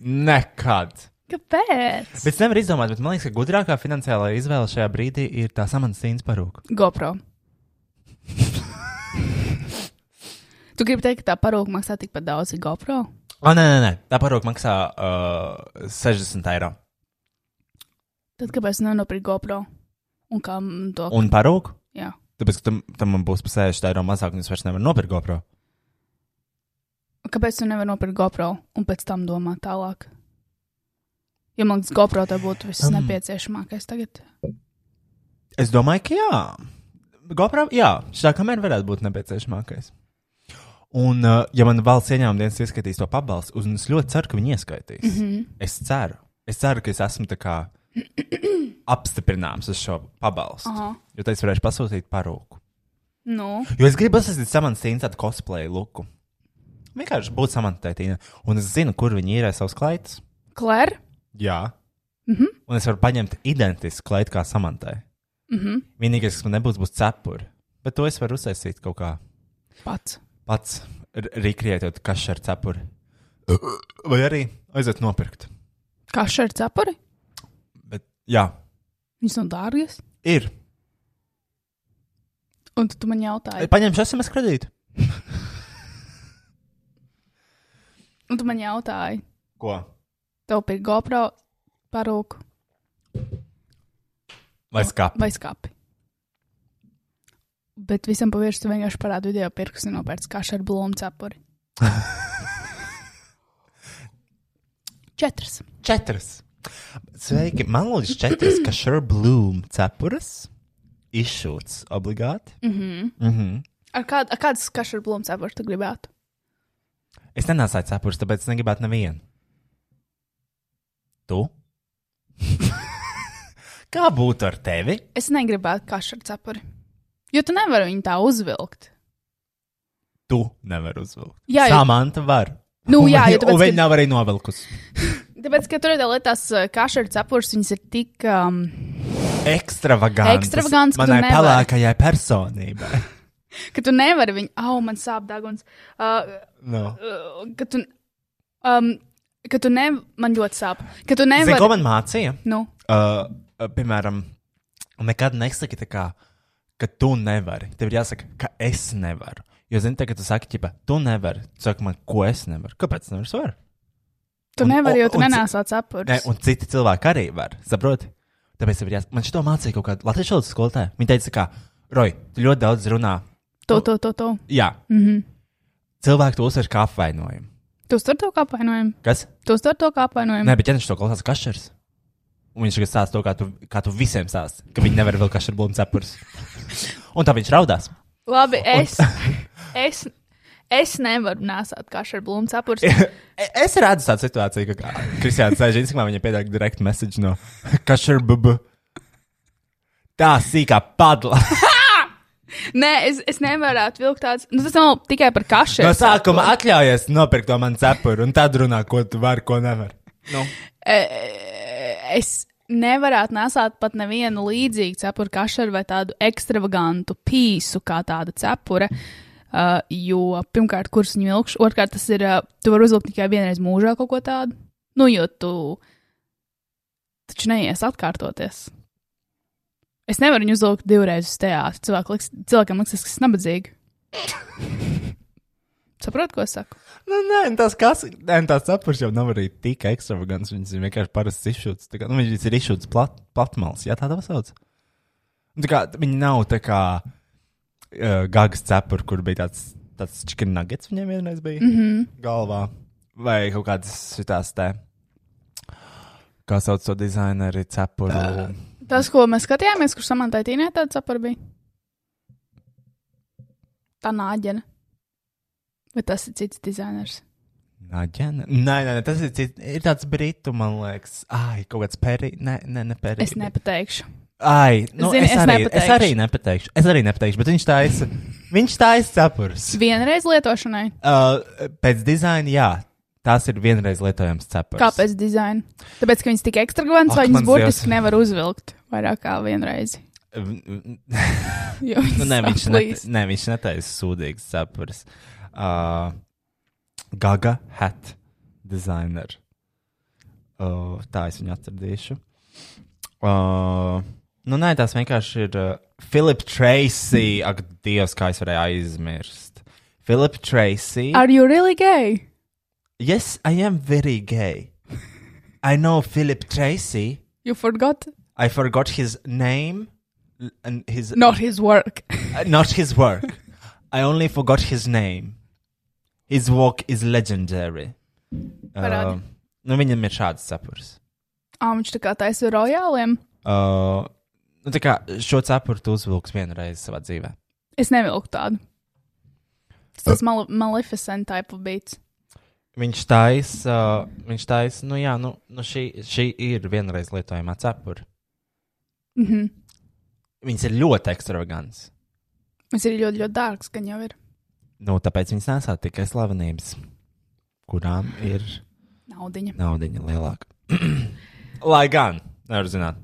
B: Nekad!
C: Kāpēc?
B: Bet es nevaru izdomāt, bet man liekas, ka gudrākā finansiālā izvēle šajā brīdī ir tā samantīnas parūka.
C: GoPro. tu gribi teikt, ka tā parūka maksā tikpat daudz kā GoPro?
B: O, nē, nē, nē. tā parūka maksā uh, 60 eiro.
C: Tad kāpēc nenopirkt GoPro? Un kā man to?
B: Un parūka?
C: Jā.
B: Tāpēc, ka tam, tam man būs pa 60 eiro mazāk, un es vairs nevaru nopirkt GoPro.
C: Kāpēc tu nevari nopirkt GoPro un pēc tam domāt tālāk? Ja man liekas, GoPro tā būtu viss
B: Mm.
C: nepieciešamākais tagad.
B: Es domāju, ka jā. GoPro, jā, šā kamera varētu būt nepieciešamākais. Un, uh, ja man valsts ieņēmuma dienas ieskaitīs to pabalstu, un es ļoti ceru, ka viņi ieskaitīs. Mm -hmm. Es ceru, es ceru, ka es esmu tā kā apstiprināms uz šo pabalstu.
C: Aha.
B: Jo tad es varēšu pasūtīt parūku.
C: Nu,
B: Jo es gribu sasprāstīt samantīnu tādu cosplay luku. Vienkārši būt samantīnai, un es zinu, kur viņi īrē savus klaitas.
C: Klēr,
B: Jā. Mm -hmm. Un es varu paņemt identisku klaitu kā samantai.
C: mm -hmm.
B: Vienīgais, kas man nebūs, būs cepuri. Bet to es varu uzsākt kaut kā
C: pats.
B: pats, rīkrietot, kas ar cepuri. Vai arī aiziet nopirkt.
C: Kā šeit ir cepuri?
B: Bet, jā,
C: Viņas nav dārgas.
B: ir.
C: Un tu, tu man jautāji,
B: Paņemšu SMS kredītu.
C: un tu man jautāji,
B: Ko?
C: tev pirkt GoPro parūku
B: Vai skāp?
C: vai skāpi. Bet visam pavirši tu vienkārši parādi video pirkstu un nopērts kašu ar blūmu cepuri. Četras.
B: Četras. Sveiki, man lūdzu, četras, ka šur blūm cepuras izšūts obligāti. Mm -hmm. Mm -hmm.
C: Ar, kād, ar kādas kašu ar blūmu cepuri tu gribētu?
B: Es nenācu cepures, tāpēc es negribētu nevienu. Tu? Kā būtu ar tevi?
C: Es negribētu kašu ar cepuri. Jo tu nevari viņu tā uzvilkt.
B: Tu nevari uzvilkt.
C: Jā, jo-
B: Samanta var.
C: Nu,
B: Un
C: jā,
B: vi-
C: jo tāpēc,
B: un viņa
C: ka-
B: nav arī novilkusi.
C: Tāpēc, ka tur ir tā lieta, tās eh, kašu ar cepuri, viņas ir tik. Um,
B: Ekstravagants.
C: Ekstravagants, ka tu
B: Manai
C: nevari.
B: pelēkajai personībai.
C: ka tu nevari viņu. Au, man sāp dārguns. Uh,
B: Nu.
C: uh, ka tu. Um, ka tu ne. Man ļoti sāp. Ka tu
B: Zini, ko
C: nevari.
B: man mācīja?
C: Nu,
B: Uh, uh, piemēram, nekad nesaki, tā kā, ka tu nevari. Tev ir jāsaka, ka es nevaru. Jo, zini, tagad tu saki, ka tu nevari. Tu saki, man, ko es nevaru? Kāpēc nevaru? Es varu.
C: tu
B: Un-
C: nevari, jo
B: un-
C: tu
B: un-
C: nenāsāt cepuri.
B: Ne, un citi cilvēki arī var. Saproti? Tāpēc tev ir jāsaka, man šito mācīja kaut kāda latviešu valodas skolotāja. Viņa teica, ka, Roj, tu ļoti daudz runā.
C: To, to, to, to.
B: Jā,
C: Mm -hmm.
B: cilvēki to uzsver kā apvainojumu.
C: Tu uztver to kā apvainojumu.
B: Kas?
C: Tu uztver to kā apvainojumu.
B: Nē, bet ķēniņš to klausās kašers. Un viņš tagad stāsta to, kā tu, kā tu visiem stāsti, ka viņi nevar vēl kašeru blūmu cepures. Un tā viņš raudās.
C: Labi, es. es Es nevaru nesāt kašu ar blūmu cepuri.
B: E- Es redzu tādu situāciju, ka kā Kristiāna sēž Instagramā, viņa piedāvā direkt message no kašeru bubu. Tā sīkā padla.
C: Nē, es, es nevaru atvilkt tādas. Nu, tas nav tikai par kašu.
B: No sākuma atļaujies nopirkt to man cepuri, un tad runā, ko tu vari, ko nevar. Nu.
C: Eh, es nevarētu nesāt pat nevienu līdzīgu cepuru kašaru vai tādu ekstravagantu pīsu kā tāda cepura. Uh, jo pirmkārt, kurš viņu ilgšu, otrkārt, tas ir. Uh, tu vari uzlikt tikai vienreiz mūžā kaut ko tādu. Nu, jo tu taču neies atkārtoties. Es nevaru viņu uzlikt divreiz uz teātru. Cilvēku liks- Cilvēkam liekas, tas ir nabadzīgi. Saprotu, ko es saku?
B: Nu, nē, un tas kas, nē, un tās cepures jau nav arī tik ekstravagants. Viņas ir vienkārši parasts izšūts. tā kā- Nu, viņas ir izšūts plat, platmals, jā, tādā sauc. Un Tā kā viņi nav tā kā uh, gagas cepuri, kur bija tāds, tāds chicken nuggets viņiem vienreiz bija mm -hmm. galvā. Vai kaut kādas šitās te. Kā sauc to dizaineru cepuru? Uh.
C: Tas, ko mēs skatījāmies, kurš samantai tīnē tāda sapra bija. Tā nāģena. Vai tas ir cits dizainers?
B: Naģena? Nē, nē, nē, tas ir, cits- ir tāds britu, man liekas. Ai, kaut kāds peri. Nē, nē, ne peri.
C: Es nepateikšu.
B: Ai, nu,
C: Zini,
B: Zini, es,
C: es
B: arī, es
C: nepateikšu.
B: arī nepateikšu. Es arī nepateikšu, bet viņš taisa, viņš taisa cepures.
C: Vienreiz lietošanai.
B: Uh, pēc dizaina, jā, tās ir vienreiz lietojams cepures.
C: Kāpēc dizaina? Tāpēc, ka viņas tik ekstravagants,
B: Ak,
C: vai viņas
B: mans
C: burtiski
B: Dievs.
C: nevar uzvilkt vairāk kā vienreiz.
B: nu,
C: Jo viņas
B: nē, viņš, ne,
C: saplīs.
B: nē, viņš netaisa sūdīgas cepures. Uh, Gaga hat designer. Uh, tā es viņu atradīšu. Uh, nu, nē, tās vienkārši ir uh, Philip Tracy. Ak, Dievs, kā es varēju aizmirst. Philip Tracy.
C: Are you really gay?
B: Yes, I am very gay. I know Philip Tracy.
C: You forgot?
B: I forgot his name l- and his
C: Not his work.
B: uh, not his work. I only forgot his name. His work is legendary.
C: Parādi.
B: Uh, nu, viņam ir šāds sapurs.
C: Ā, viņš tā kā taisa rojāliem.
B: Uh, nu, tā kā šo sapuru tu uzvilks vienreiz savā dzīvē.
C: Es nevilku tādu. Tas tas mal maleficent type of beats.
B: Viņš taisa, uh, viņš taisa, nu jā, nu, nu šī, šī ir vienreiz lietojama cepura.
C: Mhm. Mm
B: Viņas ir ļoti ekstravagants.
C: Mums ir ļoti, ļoti dārgs, gan jau ir.
B: Nu, tāpēc viņas nesā tikai slavenības, kurām ir
C: Naudiņa.
B: naudiņa lielāka. Lai gan, nevar zināt.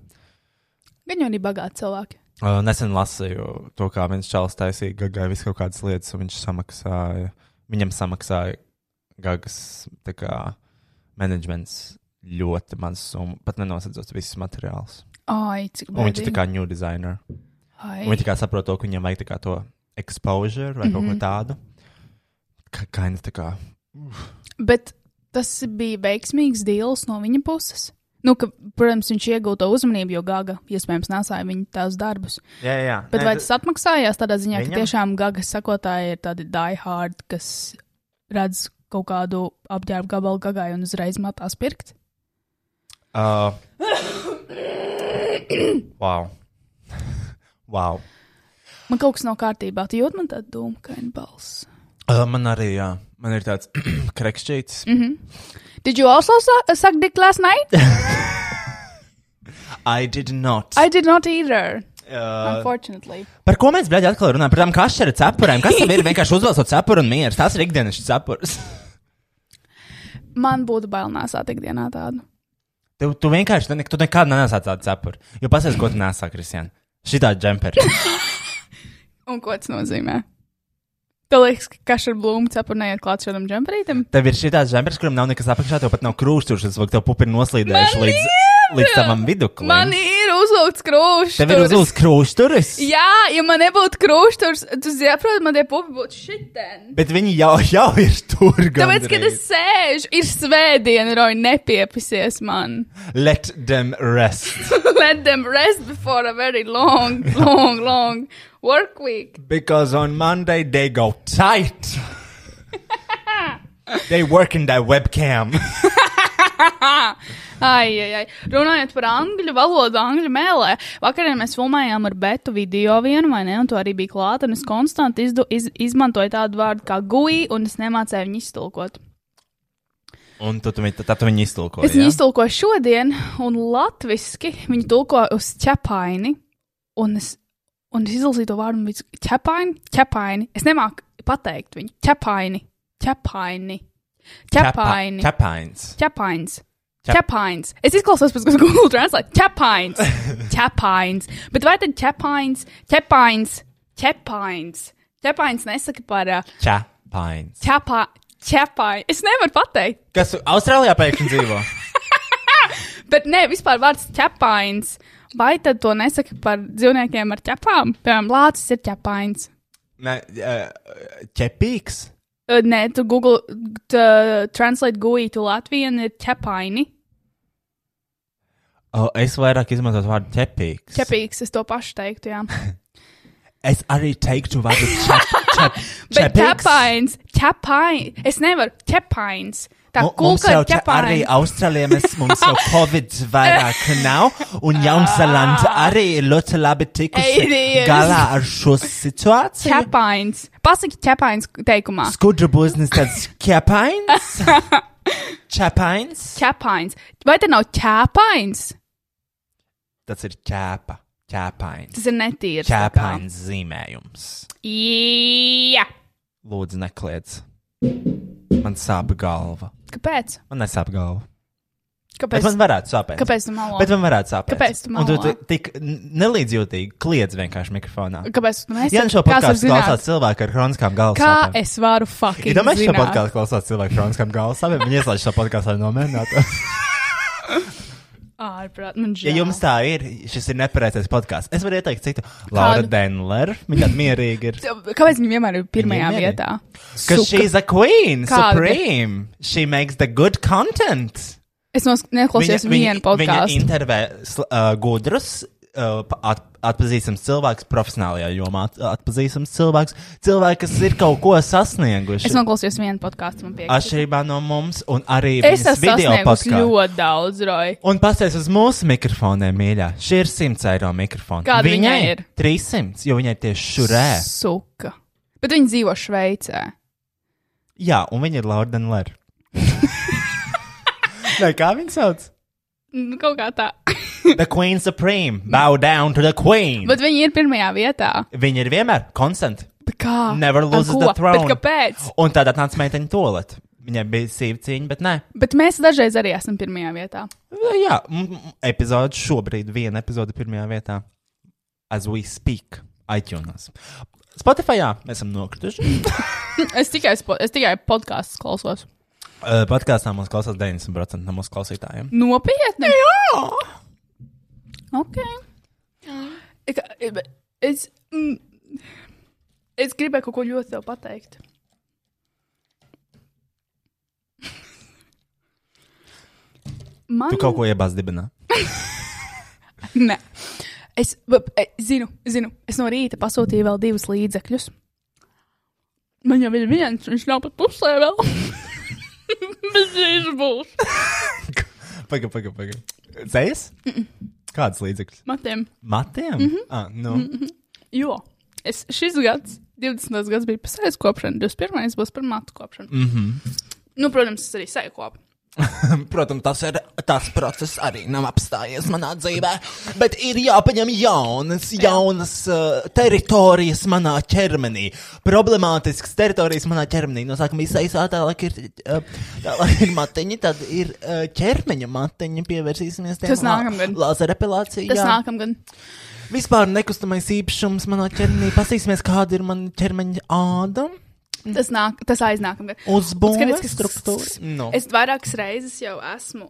C: Gan jau ir bagāti cilvēki.
B: Uh, nesen lasīju to, kā viens čels taisīja gagai visu kaut kādas lietas, un viņš samaksāja, viņam samaksāja gagas tā kā menedžments ļoti maz summu, pat nenosedzot visus materiālus.
C: Ai, cik
B: Un viņš ir
C: bēdīgi.
B: tā kā new designer.
C: Ai.
B: Un Viņi tā kā saprot to, ka viņam vajag tā kā to exposure vai mm -hmm. kaut ko
C: Mhm.
B: tādu. Kā kaina tā kā.
C: Bet tas bija veiksmīgs deals no viņa puses. Nu, ka, protams, viņš iegūta uzmanību, jo Gaga iespējams nesāja viņa tās darbus.
B: Jā, jā, jā.
C: Bet
B: Nē,
C: Nē, vai
B: tu-
C: tas atmaksājās tādā ziņā, viņam?
B: Viņam?
C: ka tiešām Gaga sakotāji ir tādi diehard, kas redz kaut kādu apģērbu gabalu Gagai un uzreiz matās pirkt?
B: Uh, wow. wow.
C: Man kaut kas nav kārtībā. Tu jūt man tādu dūmu, ka viņa balss.
B: Uh, man arī, jā, man ir tāds krekšķīts.
C: Did you also su- suck dick last night?
B: I did not.
C: I did not either,
B: Uh,
C: unfortunately.
B: Par ko mēs bļaigi atkal runājam? Par tām kašķeru cepurēm. Kas tam ir vienkārši uzvelcot cepuru un mieru? Tas ir ikdienas cepurs.
C: Man būtu bail nāsāt ikdienā tādu.
B: Tu, tu vienkārši tu, ne, tu nekad nesāc tādu cepuri. Jo pasies, ko tu nesāc, Kristian. Šitā džemperi.
C: Un ko tas nozīmē? Tev liekas, ka kaša ar blūmu cepuri neiet klāt šādam džemperītam?
B: Tev ir šitā džempers, kuram nav nekas apakšā, tev pat nav krūšķūšas, vai tev pupi ir noslīdējuši
C: Man
B: līdz,
C: ir!
B: līdz tavam viduklim.
C: Man ir uzvilkts krūšs.
B: Tev ir uzlūks krūšķūris.
C: Jā, ja man nebūtu krūšs, tad tu saproti, man tie pupi būtu šitien.
B: Bet viņi jau, jau ir tur.
C: Tāpēc, kad es
B: gandrīz.
C: sēžu, ir svētdiena, Roja, nepiepisies man.
B: Let them rest.
C: Let them rest before a very long, long, long work week.
B: Because on Monday they go tight. they work in their webcam.
C: Ai, ai, ai. Runājot par angļu valodu, angļu mēlē. Vakarā mēs filmējām ar Betu video vienu, vai ne? Un to arī bija klāta. Un es konstanti izdu, iz, izmantoju tādu vārdu kā gui, un es nemācēju viņu iztulkot.
B: Un tu, tu, viņu- tad tu viņu iztulko.
C: Es viņu iztulkoju šodien, un latviešu viņu tulko uz ķepaini. Un es, un es izlasīju to vārdu, un viņš ir ķepaini, ķepaini. Es nemāku pateikt viņu. Ķepaini, ķepaini, ķepaini,
B: Čepains.
C: ķepains.
B: Ķep-
C: Ķepains. Es izklausos pēc Google Translate. Ķepains. Ķepains. Bet vai tad ķepains, ķepains, ķepains? Ķepains nesaka par ā,
B: Čepains.
C: ķepā, ķepaini. Es nevaru pateikt.
B: Kas Austrālijā pēkšņi dzīvo?
C: Bet nē, vispār vārds ķepains. Vai tad to nesaka par dzīvniekiem ar ķepām? Piemēram, lācis ir ķepains.
B: Nē, e, ē, ķepīgs.
C: Ö, Nē, tu Google tu, translate guī, tu latvienu ir ķepaini.
B: O, es vairāk izmantotu vārdu ķepīgs.
C: Ķepīgs, es to pašu teiktu, jā.
B: Es arī teiktu vārdu čep, čep,
C: Bet
B: ķepīgs.
C: ķepains, ķepains, es nevaru, ķepains. Tā
B: Mu- mums
C: kulka
B: jau
C: ir
B: te arī
C: ķepains.
B: Austrālijā mēs, mums jau Covid vairāk nav, un Jaunzēlanda arī ir ļoti labi tikusi
C: Ei, Dievs.
B: galā ar šo situāciju.
C: Ķepains. Pasaki ķepains teikumā.
B: Skudra būznis tāds ķepains. Čepains.
C: Ķepains. Vai te nav ķepains?
B: Tas ir ķēpa. Ķēpains.
C: Tas ir netīrs. tā kā.
B: Ķēpains zīmējums.
C: Jā.
B: Lūdzu, nekliedz. Man sāp galva.
C: Kāpēc?
B: Man nesāp galva. Bet
C: Kāpēc?
B: man varētu sāpēt.
C: Kāpēc tu malo?
B: Bet man varētu sāpēt.
C: Kāpēc tu
B: Un tu
C: melo?
B: tu tik n- nelīdzjūtīgi kliedz vienkārši mikrofonā.
C: Kāpēc? tu Mēs
B: Ja nu šo podkāstu klausās cilvēki ar kroniskām galvas
C: Kā
B: sāpēm.
C: es varu fucking.
B: Ja domāju, šo
C: zināt?
B: podkāstu klausās cilvēki ar kroniskām galvas sāpēm, viņi ieslēdz šo podkāstu, lai nomierinātu.
C: Ārprāt, man žēl.
B: ja jums tā ir, šis ir nepareizais podkāsts. Es varu ieteikt citu. Laura
C: Kādu?
B: Denler, viņa tāda mierīga ir.
C: Kāpēc viņi vienmēr ir pirmajā
B: Viņiem ir.
C: vietā?
B: Because
C: Suka.
B: she's a queen,
C: Kāda?
B: supreme. She makes the good content.
C: Es nos- neklausījos
B: viņa,
C: vienu
B: viņa
C: podkāstu.
B: intervē sl- uh, gudrus, uh, pa- at, atpazīstams cilvēks, profesionālajā jomā at, atpazīstams cilvēks, cilvēki, kas ir kaut ko sasnieguši.
C: Es noklausījos vienu podkāstu, man piekrīt.
B: Atšķirībā no mums, un arī viņas
C: Es esmu
B: video
C: sasniegusi
B: podkāstā.
C: ļoti daudz, Roy.
B: Un pasties uz mūsu mikrofoniem, mīļā. Šī ir 100 eiro mikrofona.
C: Kāda viņai ir?
B: 300, jo viņai tieši šurē.
C: Suka. Bet viņi dzīvo Šveicē.
B: Jā, un viņa ir Laura Denler. Nē, kā viņa sauc?
C: Nu, Kaut kā tā.
B: The Queen Supreme. Bow down to the Queen.
C: Bet viņi ir pirmajā vietā.
B: Viņa ir vienmēr konstanta.
C: Bet kā?
B: Never
C: Ar
B: loses
C: Ah, ko?
B: the throne.
C: Bet kāpēc?
B: Un tad atnāca meitene toalet. Viņai bija sīva cīņa, bet nē.
C: Bet mēs dažreiz arī esam pirmajā vietā.
B: Jā, mm, mm, epizode šobrīd, viena epizode pirmajā vietā. As we speak, iTunes. Spotify mēs esam nokrituši.
C: Es tikai, spo- es tikai podkāstus klausos.
B: Eh, Podkāstā mums klausās 90% no mūsu klausītājiem.
C: Nopietni! Jā! Ok. Ik- bet Es, mm, es gribēju kaut ko ļoti tev pateikt. Man
B: Tu kaut ko iebāz dibinā.
C: Nē. Es b- e, zinu, zinu, es no rīta pasūtīju vēl divus līdzekļus. Man jau ir viens, viņš nav pat pusē vēl. Bet viņš būs.
B: Pagaid, pagaid, pagaid. Zējas? Kāds līdzekļs?
C: Matiem.
B: Matiem? Mm -hmm. ah, nu. mm -hmm.
C: Jo es šis gads, 20. gads, bija pasēdus kopšana, 21. būs par matu kopšanu. Mm -hmm. Nu, protams, es arī sēju kopu.
D: Protams, tas ir tas process, arī nav apstājies manā dzīvē, bet ir jāpaņem jaunas, jaunas uh, teritorijas manā ķermenī. Problemātisks teritorijas manā ķermenī. No sākuma izsmeļā, tālāk ir, uh, tālāk ir matiņa, tad ir uh, ķermeņa matiņa. Pievērsīsimies tiem
C: Tas nākamgad.
D: Lāzera apelācijai.
C: Tas nākamgad.
D: Vispār nekustamais īpašums manā ķermenī. Pasīsimies, kāda ir mana ķermeņa āda.
C: Tas, nāk, tas aiznākamgad.
D: Uzbūvēta
C: Skatieties, kas-
D: struktūra. No.
C: Es vairākas reizes jau esmu,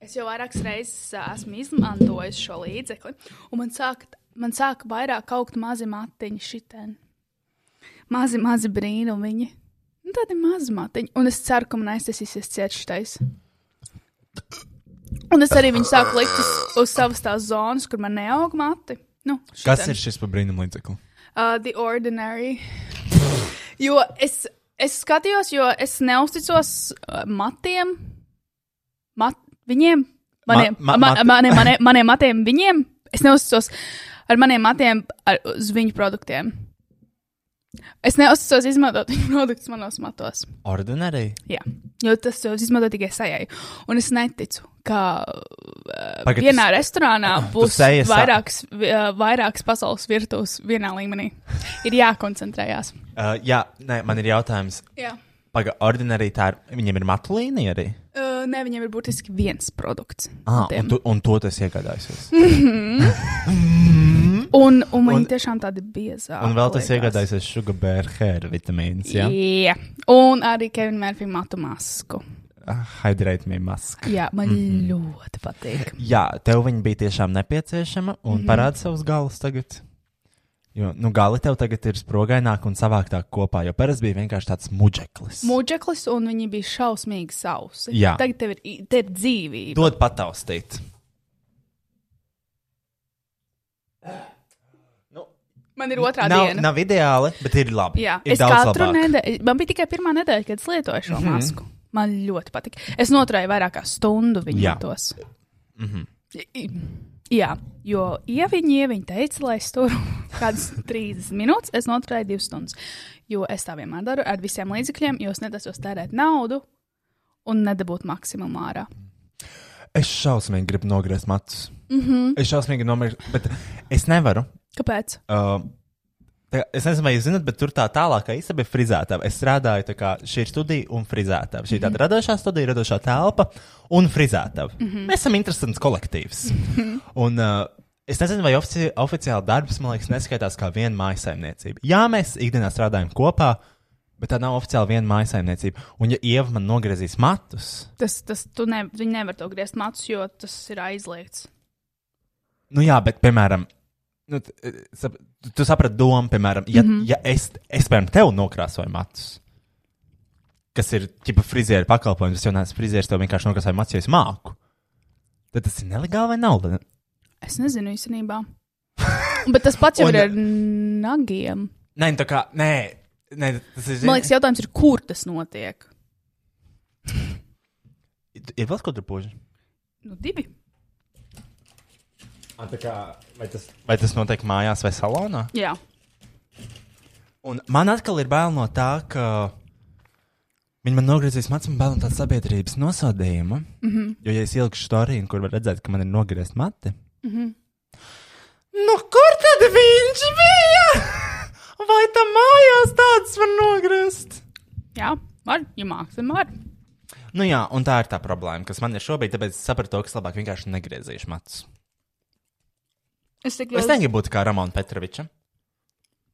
C: es jau vairākas reizes ā, esmu izmantojis šo līdzekli, un man sāk, man sāk vairāk augt mazi matiņi šitien. Mazi, mazi brīnumiņi. Nu, tādi mazi matiņi, un es ceru, ka man aizsēsīsies cietais. Un es arī viņu sāku likt uz, uz savas tās zonas, kur man neaug mati. Nu,
B: Kas
C: šiten.
B: ir šis par brīnumu līdzekli?
C: Uh, the Ordinary. jo es, es skatījos, jo es neusticos uh, matiem. Mat, viņiem, maniem,
B: ma-
C: ma, ma,
B: mat-
C: ma, maniem, maniem, maniem matiem, viņiem. Es neusticos ar maniem matiem, ar, uz viņu produktiem. Es neuzticos izmantot viņu produktus manos matos.
B: Ordinārī.
C: Jā, jo tas jau izmanto tikai sajai. Un es neticu, ka uh,
B: Pagad,
C: vienā restorānā būs
B: sejas sa-
C: vairākas, vi- uh, vairākas pasaules virtuves vienā līmenī. Ir jākoncentrējās.
B: Uh, jā, nē, man ir jautājums.
C: Jā.
B: Pagaidām, ordinārī tā ir. Viņiem ir matu līnija arī.
C: Uh, ne, viņiem ir būtiski viens produkts.
B: Ah,
C: no tiem.
B: un, tu, un to tas iegādājos.
C: un, un viņi
B: un-
C: tiešām tādi biezāki.
B: Un vēl tas
C: Mm, liekas.
B: iegādājos sugar bear hair vitamīns. Jā,
C: Jā, un arī Kevina Mārfija matu masku.
B: Ah, hydrate me mask.
C: Jā, man
B: Mhm.
C: mm. ļoti patīk.
B: Jā, tev viņa bija tiešām nepieciešama un mm
C: Mhm.
B: -hmm. parāda savus galus tagad. Jo, nu, gali tev tagad ir sprogaināk un savāktāk kopā, jo parasti bija vienkārši tāds muģeklis.
C: Mūģeklis un viņi bija šausmīgi sausi.
B: Jā.
C: Tagad tev ir, i- te ir dzīvība.
B: Dod pataustīt.
C: Man ir otrā
B: Nav,
C: diena.
B: nav ideāli, bet ir labi.
C: Jā,
B: ir Mhm.
C: es katru nedēļu, man bija tikai pirmā nedēļa, kad es lietoju šo mm -hmm. masku. Man ļoti patika. Es noturēju vairākā stundu
B: Jā. Mhm.
C: viņu tos. Jā, jo ja viņi, ja viņi teica, lai es turu kādas 30 minūtes, es noturēju 2 stundas. Jo es tā vienmēr daru ar visiem līdzekļiem, jo es netaisos tērēt naudu un nedabūt maksimumu ārā.
B: Es šausmīgi gribu nogriezt matus. Mm -hmm. Es šausmīgi nomirstu, bet es nevaru.
C: Kāpēc?
B: Uh, tā- Es nezinu, vai jūs zināt, bet tur tā tālākā īstenībā ir frizētava. Es strādāju, tā kā šī ir studija un frizētava. Šī ir tāda radošā studija, radošā telpa un frizētava. Mm -hmm. Mēs esam interesants kolektīvs. un, uh, es nezinu, vai ofici oficiāli darbs, man liekas, neskaitās kā viena mājsaimniecība. Jā, mēs ikdienā strādājam kopā, bet tā nav oficiāli viena mājsaimniecība. Un, ja Ieva man nogriezīs matus,
C: Tas, tas tu ne, viņi nevar to griezt matus, jo tas ir aizliegts.
B: Nu, jā, bet, piemēram, nu, t- e, sap, tu- tu saprati domu, piemēram, ja, mm
C: Mhm.
B: -hmm. ja es, es, piemēram, tev nokrāsoju matus, kas ir tipa frizieru pakalpojums, es jau neesmu frizieris, tev vienkārši nokrāsoju matus, jo es māku. Tad tas ir nelegāli vai nav? Le-
C: Es nezinu īstenībā. Bet tas pats jau
B: Un-
C: ir ar nagiem.
B: Nē, nu, tā kā, nē, nē tas ir.
C: Man liekas, jautājums ir, kur tas notiek?
B: ir vēl kaut kur poži.
C: Nu, divi.
B: Vai tas, vai tas notiek mājās vai salonā?
C: Jā,
B: Un man atkal ir bail no tā, ka viņi man nogriezīs matus, man bail no tādas sabiedrības nosodījuma. Mm -hmm. Jo, ja es ielikšu storiju, kur var redzēt, ka man ir nogriezt mati, mm -hmm. nu kur tad viņš bija? Vai tam mājās tāds var nogriezt?
C: jā var, ja mākslinieks var.
B: Nu jā, un tā ir tā problēma, kas man ir šobrīd, tāpēc es sapratu, ka es labāk vienkārši negriezīšu matus.
C: Es tikai
B: Es negribu būt kā Ramona Petroviča.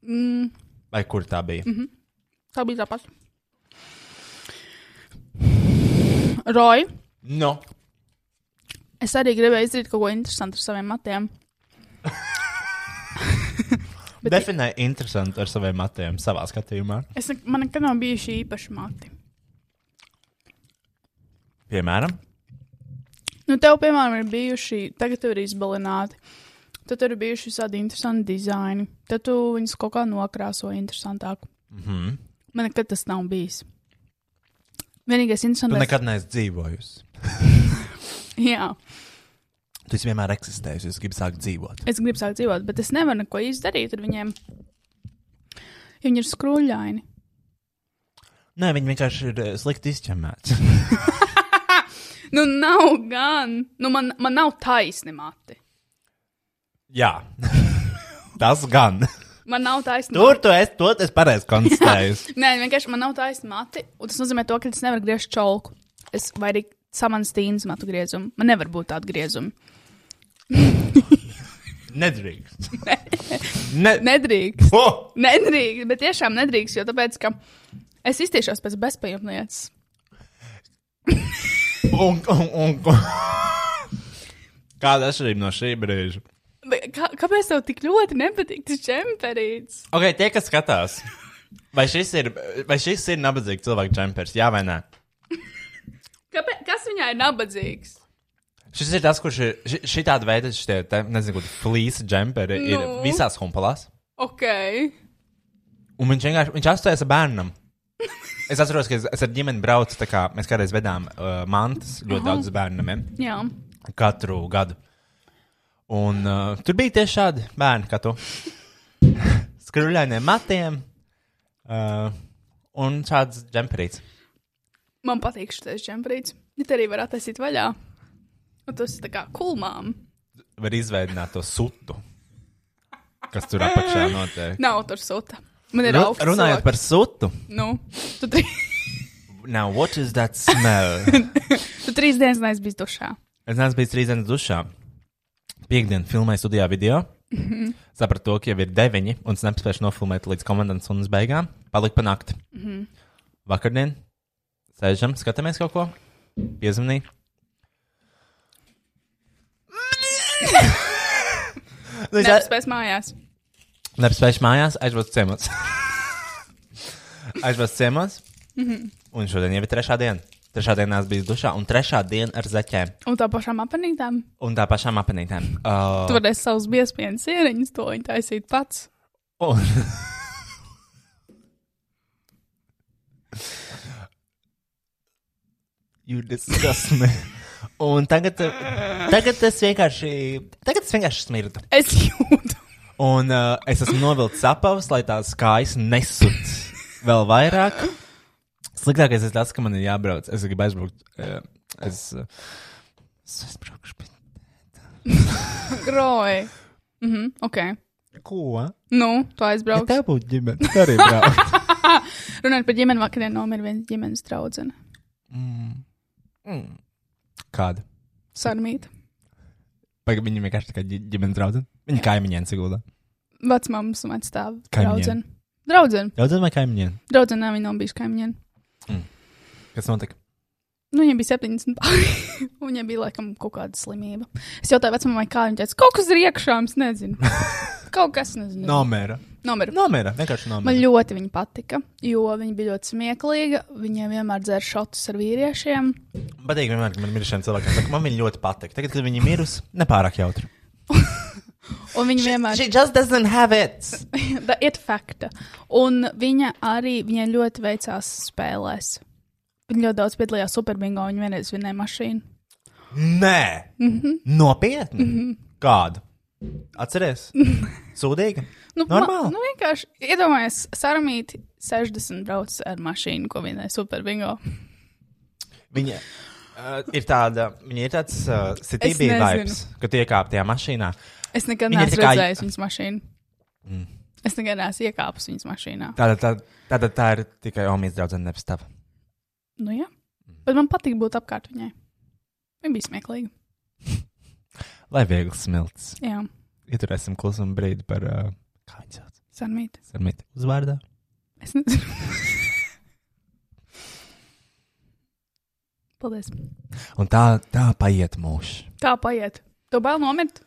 C: Mm.
B: Vai kur tā bija? Mm -hmm.
C: Tā bija tā pati. Roja,
B: No.
C: es arī gribēju izdarīt kaut ko interesantu ar saviem matiem. Bet-
B: Definēja interesanti ar saviem matiem, savā skatījumā.
C: Es ne, man nekad nav bijuši īpaši mati.
B: Piemēram,
C: Nu, tev, piemēram, ir bijuši, tagad tev ir izbalināti. Tad tur ir bijuši visādi interesanti dizaini. Tad tu viņus kaut kā nokrāsoji interesantāk. Mm
B: Mhm.
C: -hmm. Man nekad tas nav bijis. Vienīgais
B: tu
C: interesants.
B: nekad neesi dzīvojusi.
C: Jā,
B: Tu esi vienmēr eksistējis, es gribu sākt dzīvot.
C: es gribu sākt dzīvot, bet es nevaru neko izdarīt ar viņiem. Ja viņi ir skrūļaini.
B: Nē, viņi vienkārši ir eh, slikti izķemmēti.
C: Nu, nav gan. Nu, man, man nav taisni mati.
B: Jā, tas gan.
C: Man nav taisni
B: Tur tu esi, to es pareizi konstatēju.
C: Nē, vienkārši man nav taisni mati. un Tas nozīmē, to, ka es nevaru griezt čolku. Es vai arī samanstīnu matu griezumu. Man nevar būt tāda griezuma.
B: Nedrīkst. Ne. Ne.
C: Nedrīkst.
B: Oh!
C: Nedrīkst, bet tiešām nedrīkst, jo tāpēc, ka es iztiešos pēc bezpajumtnieces.
B: Un, un, un, un. Kāda atšķirība no šī brīža?
C: Bet Kā, kāpēc tev tik ļoti nepatīk tas čemperīts?
B: Ok, tie, kas skatās, vai šis ir, vai šis ir nabadzīgs cilvēks čempers, jā vai nē?
C: Kāpēc, kas viņai ir nabadzīgs?
B: Šis ir tas, kurš ir ši- šitāda veida, šitie, te, nezinu, kur flīsa džemperi nu. ir
C: Nu.
B: visās humpalās.
C: Ok.
B: Un viņš vienkārši, viņš atstājas ar bērnam. Es atceros, ka es, es ar ģimeni braucu, tā kā mēs kādreiz vedām uh, mantas ļoti daudz bērniem.
C: Jā.
B: katru gadu. Un uh, tur bija tieši šādi bērni, kā tu. Skruļainiem matiem uh, un šāds džemperīts.
C: Man patīk šis čemperīts. Ja te arī var attaisīt vaļā. Un tas ir tā kā kulmām.
B: Var izveidot to sutu, kas tur apakšā notiek.
C: Nav tur sūta. Man ir
B: Ru-
C: augsts.
B: Runājot
C: cilvēks.
B: par sutu,
C: Nu, tu, tri...
B: now what is that smell?
C: tu trīs dienas neesi bijis dušā.
B: es neesmu bijis trīs dienas dušā. Piektdien filmēju studijā video. Sapratu, to, ka jau ir deviņi, un es nespēju nofilmēt līdz komandas sunas beigām. Palika pa nakti. Mm -hmm. Vakardien sēžam, skatāmies kaut ko, piezvanīju.
C: Nē,
B: jā-
C: es pēc mājās.
B: Nepspēju mājās, aizbraucu ciemos. aizbraucu ciemos, un šodien jau ir trešā diena. Trešā dienā es biju dušā, un trešā diena ar zaķēm
C: Un tā pašām apanītām.
B: un tā pašām apanītēm. Uh,
C: Tu varēsi savus biespienas ieriņus, to viņa taisīt pats.
B: Un... You disgust me. Un tagad, tagad es vienkārši, tagad es vienkārši smirdu.
C: Es jūtu.
B: Un uh, es esmu novilcis apavus, lai tās kājas nesut vēl vairāk. Sliktākais ir tas, ka man ir jābrauc. Es gribu aizbraukt. Uh, es, uh, es aizbraukšu. pie-
C: Groji. Mhm, ok.
B: Ko?
C: Nu, tu aizbrauc.
B: Tā būtu ģimene. Tā arī braukt.
C: Runājot par ģimeni, vakarā nomira viena ģimenes draudzene.
B: Mm. Kāda?
C: Sarmīta.
B: Pagaidām, viņa vienkārši tā kā ģi- ģimenes draudzene. Viņa kaimiņiem sagulda.
C: Vecmāmas un vecstāva
B: Kaimiņiem.
C: draudzene. Draudzene.
B: Draudzene vai kaimiņiem?
C: Draudzene viņa nav bijusi kaimiņiem.
B: Kas notika?
C: Nu, viņai bija 70 pāri. un viņai bija laikam kaut kāda slimība. Es jautāju vecmāmai, kā viņa teica, kaut kas ir iekšā, es nezinu. Kaut kas
D: Mm.
C: nezinu.
B: Nomēra.
C: Nomira.
B: Nomēra. Vienkārši
C: Man
B: nomēra.
C: ļoti viņa patika, jo viņa bija ļoti smieklīga. Viņa vienmēr dzēra šotus ar vīriešiem.
B: Man patīk, vienmēr, ka man mirušiem cilvēkiem saka, man viņa ļoti patīk. Tagad, kad viņi mirus, nepārāk jautri.
C: Un viņa vienmēr
D: She just doesn't have it.
C: Da- it fakta. Un viņa arī viņai ļoti veicās spēlēs. Viņa ļoti daudz piedalījās superbingo, viņa vienreiz vinēja mašīnu.
B: Nē, mm
C: Mhm.
B: -hmm. nopietni. Mm -hmm. Kādu? Atceries? Sūdīgi.
C: Nu,
B: Normāli.
C: Ma, nu vienkārši iedomājieties, Saramīti 60 brauc ar mašīnu, ko vinēja superbingo.
B: Viņa uh, ir tāda, viņa ir tāds uh,
C: Es
B: sitība
C: nezinu.
B: vibes, ka tu iekāp tajā mašīnā.
C: Es nekad
B: Viņa ir
C: neesmu
B: tā kā-
C: redzējis viņas mašīnu. Es nekad neesmu iekāpis viņas mašīnā.
B: Tāda, tāda, tāda tā ir tikai omijas draudzene, nevis tava.
C: Nu, jā.
B: Mhm.
C: Bet man patīk būt apkārt viņai. Viņa bija smieklīga.
B: Lai viegli smilts.
C: Jā,
B: Ieturēsim klusumu brīdi par, uh, kā viņa sauc,
C: Saramīti.
B: sarmīti uzvārdā.
C: Es nezinu. Paldies.
B: Un tā, tā paiet mūžs.
C: Kā paiet? Tu bail nomirt?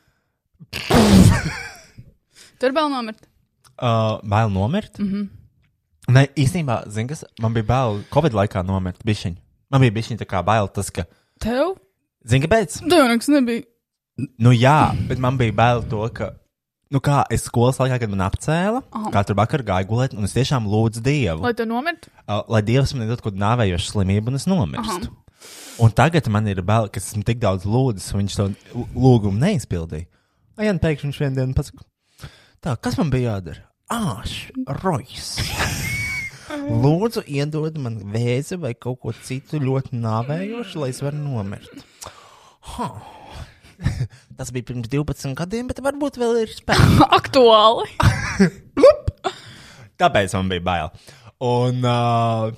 C: Tur bail nomirt. Mhm.
B: Uh, bail nomirt? Mm -hmm. Nē, īstenībā, zini, kas man bija bail Covid laikā nomirt. Bišķiņ. Man bija bišķiņ tā kā bail tas, ka,
C: Tev?
B: zini, kāpēc?
C: Tev nekas nebija.
B: Nu jā, bet man bija bail to, ka, nu kā es skolas laikā, kad man apcēla, oh. katru vakaru gāju gulēt, un es tiešām lūdzu Dievu,
C: Lai tu nomirtu?
B: uh, lai Dievs man nedod kaut kādu nāvējošu slimību, un es nomirstu. Aha. Un tagad man ir bail, ka esmu tik daudz lūdzis, un viņš to l- lūgumu neizpildīja. Ai, un pēkšņi viņš vienā dienā pasakīja, tā, kas man bija jādara? Āš, rojas.
D: Lūdzu, iedod man vēzi vai kaut ko citu ļoti nāvējošu, lai es varu nomirt. Huh. Tas bija pirms 12 gadiem, bet varbūt vēl ir spēks.
C: Aktuāli.
B: Tāpēc man bija bail. Un, uh,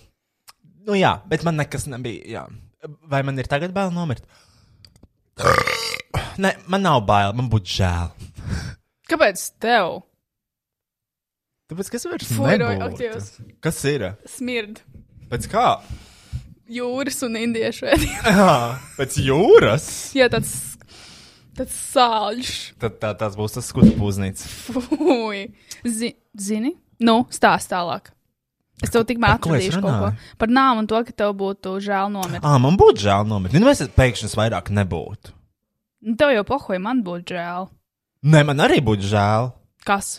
B: nu jā, bet man nekas nebija. Jā. Vai man ir tagad bail nomirt? Nē, man nav bail, man būtu žēl.
C: Kāpēc tev?
B: Tāpēc kas vairs
C: Fuiroj, ak,
B: nebūtu?
C: Dievs.
B: Kas ir?
C: Smird.
B: Pēc kā?
C: Jūras un indiešu ēdienu.
B: Jā, pēc jūras.
C: Jā, tāds, tāds sāļš.
B: Tad tā, tas būs tas skudrs pūznīts.
C: Fui. Zi, zini? Nu, stāst tālāk. Es tev tikmēr
B: par ko es
C: atradīšu kaut ko par nāmu un to, ka tev būtu žēl nomirt.
B: Ā, man būtu žēl nomirt. Nu, vai es pēkšņi vairāk nebūtu?
C: Nu, Tev jau pohoja, man būtu žēl.
B: Nē, man arī būtu žēl.
C: Kas?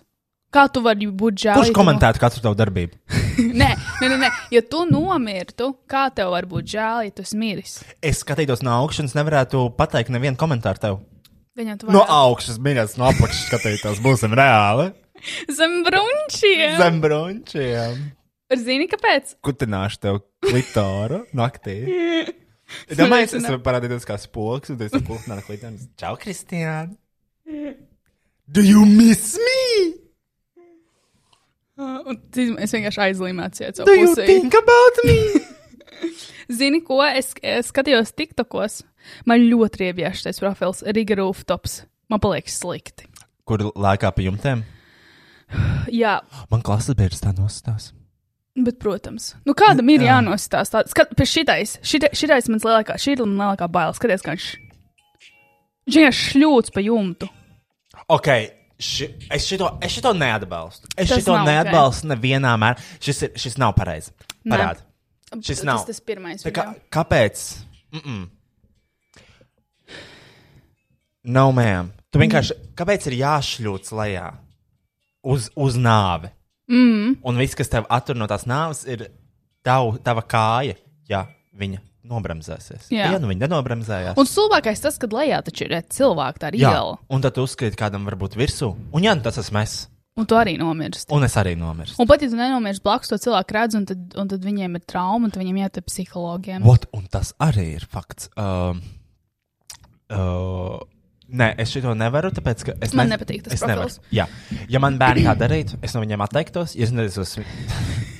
C: Kā tu vari būt žēl?
B: Kurš
C: ja tu
B: komentētu katru tavu darbību?
C: no- Nē, nē, nē, nē, ja tu nomirtu, kā tev var būt žēl, ja tu esi miris?
B: Es skatītos no augšas, nevarētu pateikt nevienu komentāru tev.
C: Viņam tu
B: No
C: vari
B: augšas, minēts, no apakšas skatīties, būsim reāli.
C: zem brunčiem. Zem...
B: Zem brunčiem.
C: Zini, kāpēc?
B: Kutināšu tev klitoru naktī. Es domāju, es varu parādīties kā spoks, un tu esi kutināts klitoram. Čau, Kristiāna! Do you miss me?
C: Ah, Un, zini, es vienkārši aizlīmēju ciet savu
B: Do you
C: pusē.
B: think about me?
C: Zini, ko es, es skatījos TikTokos? Man ļoti riebjās šis profils, Riga Rooftops. Man paliek slikti.
B: Kur lēkā pa jumtēm?
C: Jā,
B: Man klases bērns tā nostās.
C: bet, protams, nu kādam ir jānostāsta. tā- Skat, pie šitais, šita- šitais mans lielākā, šī ir man lielākā baila. Skaties, kā viņš. Viņš vienkārši šļūts pa jumtu.
B: Ok, ši, es, šito, es šito neatbalstu. Es
C: Tas
B: šito
C: nav ok.
B: neatbalstu okay. nevienā mērā. Šis, ir, šis nav pareizi.
C: Nē.
B: Parādi. Šis nav.
C: Tas, tas pirmais.
B: Tā Kā,
C: Kā...
B: kāpēc? Mm -mm. Nav no, mēm. Tu vienkārši. Kāpēc ir jāšļūts lejā uz, uz nāvi? Mm. Un viss, kas tev attur no tās nāves, ir tav, tava kāja. Jā, viņa nobramzēsies.
C: Jā.
B: ja nu viņa nenobremzējās.
C: Un stulbākais tas, kad lejā taču ir cilvēks, tā ir iela.
B: un tad tu uzkrīt kādam varbūt virsū. Un jā, nu tas esmu es.
C: Un tu arī nomirsti.
B: Un es arī nomirstu.
C: Un pat ja tu nenomirsti blakus, to cilvēku redz, un tad, un tad viņiem ir trauma, un tad viņiem jātiek psihologiem.
B: What, un tas arī ir fakts. Um, uh, nē, es šo nevaru, tāpēc ka es
C: Man nepatīk tas
B: Es nevaru.
C: profils.
B: Jā. Ja man bērni tā darītu, es no viņiem atteiktos. ja Es netaisos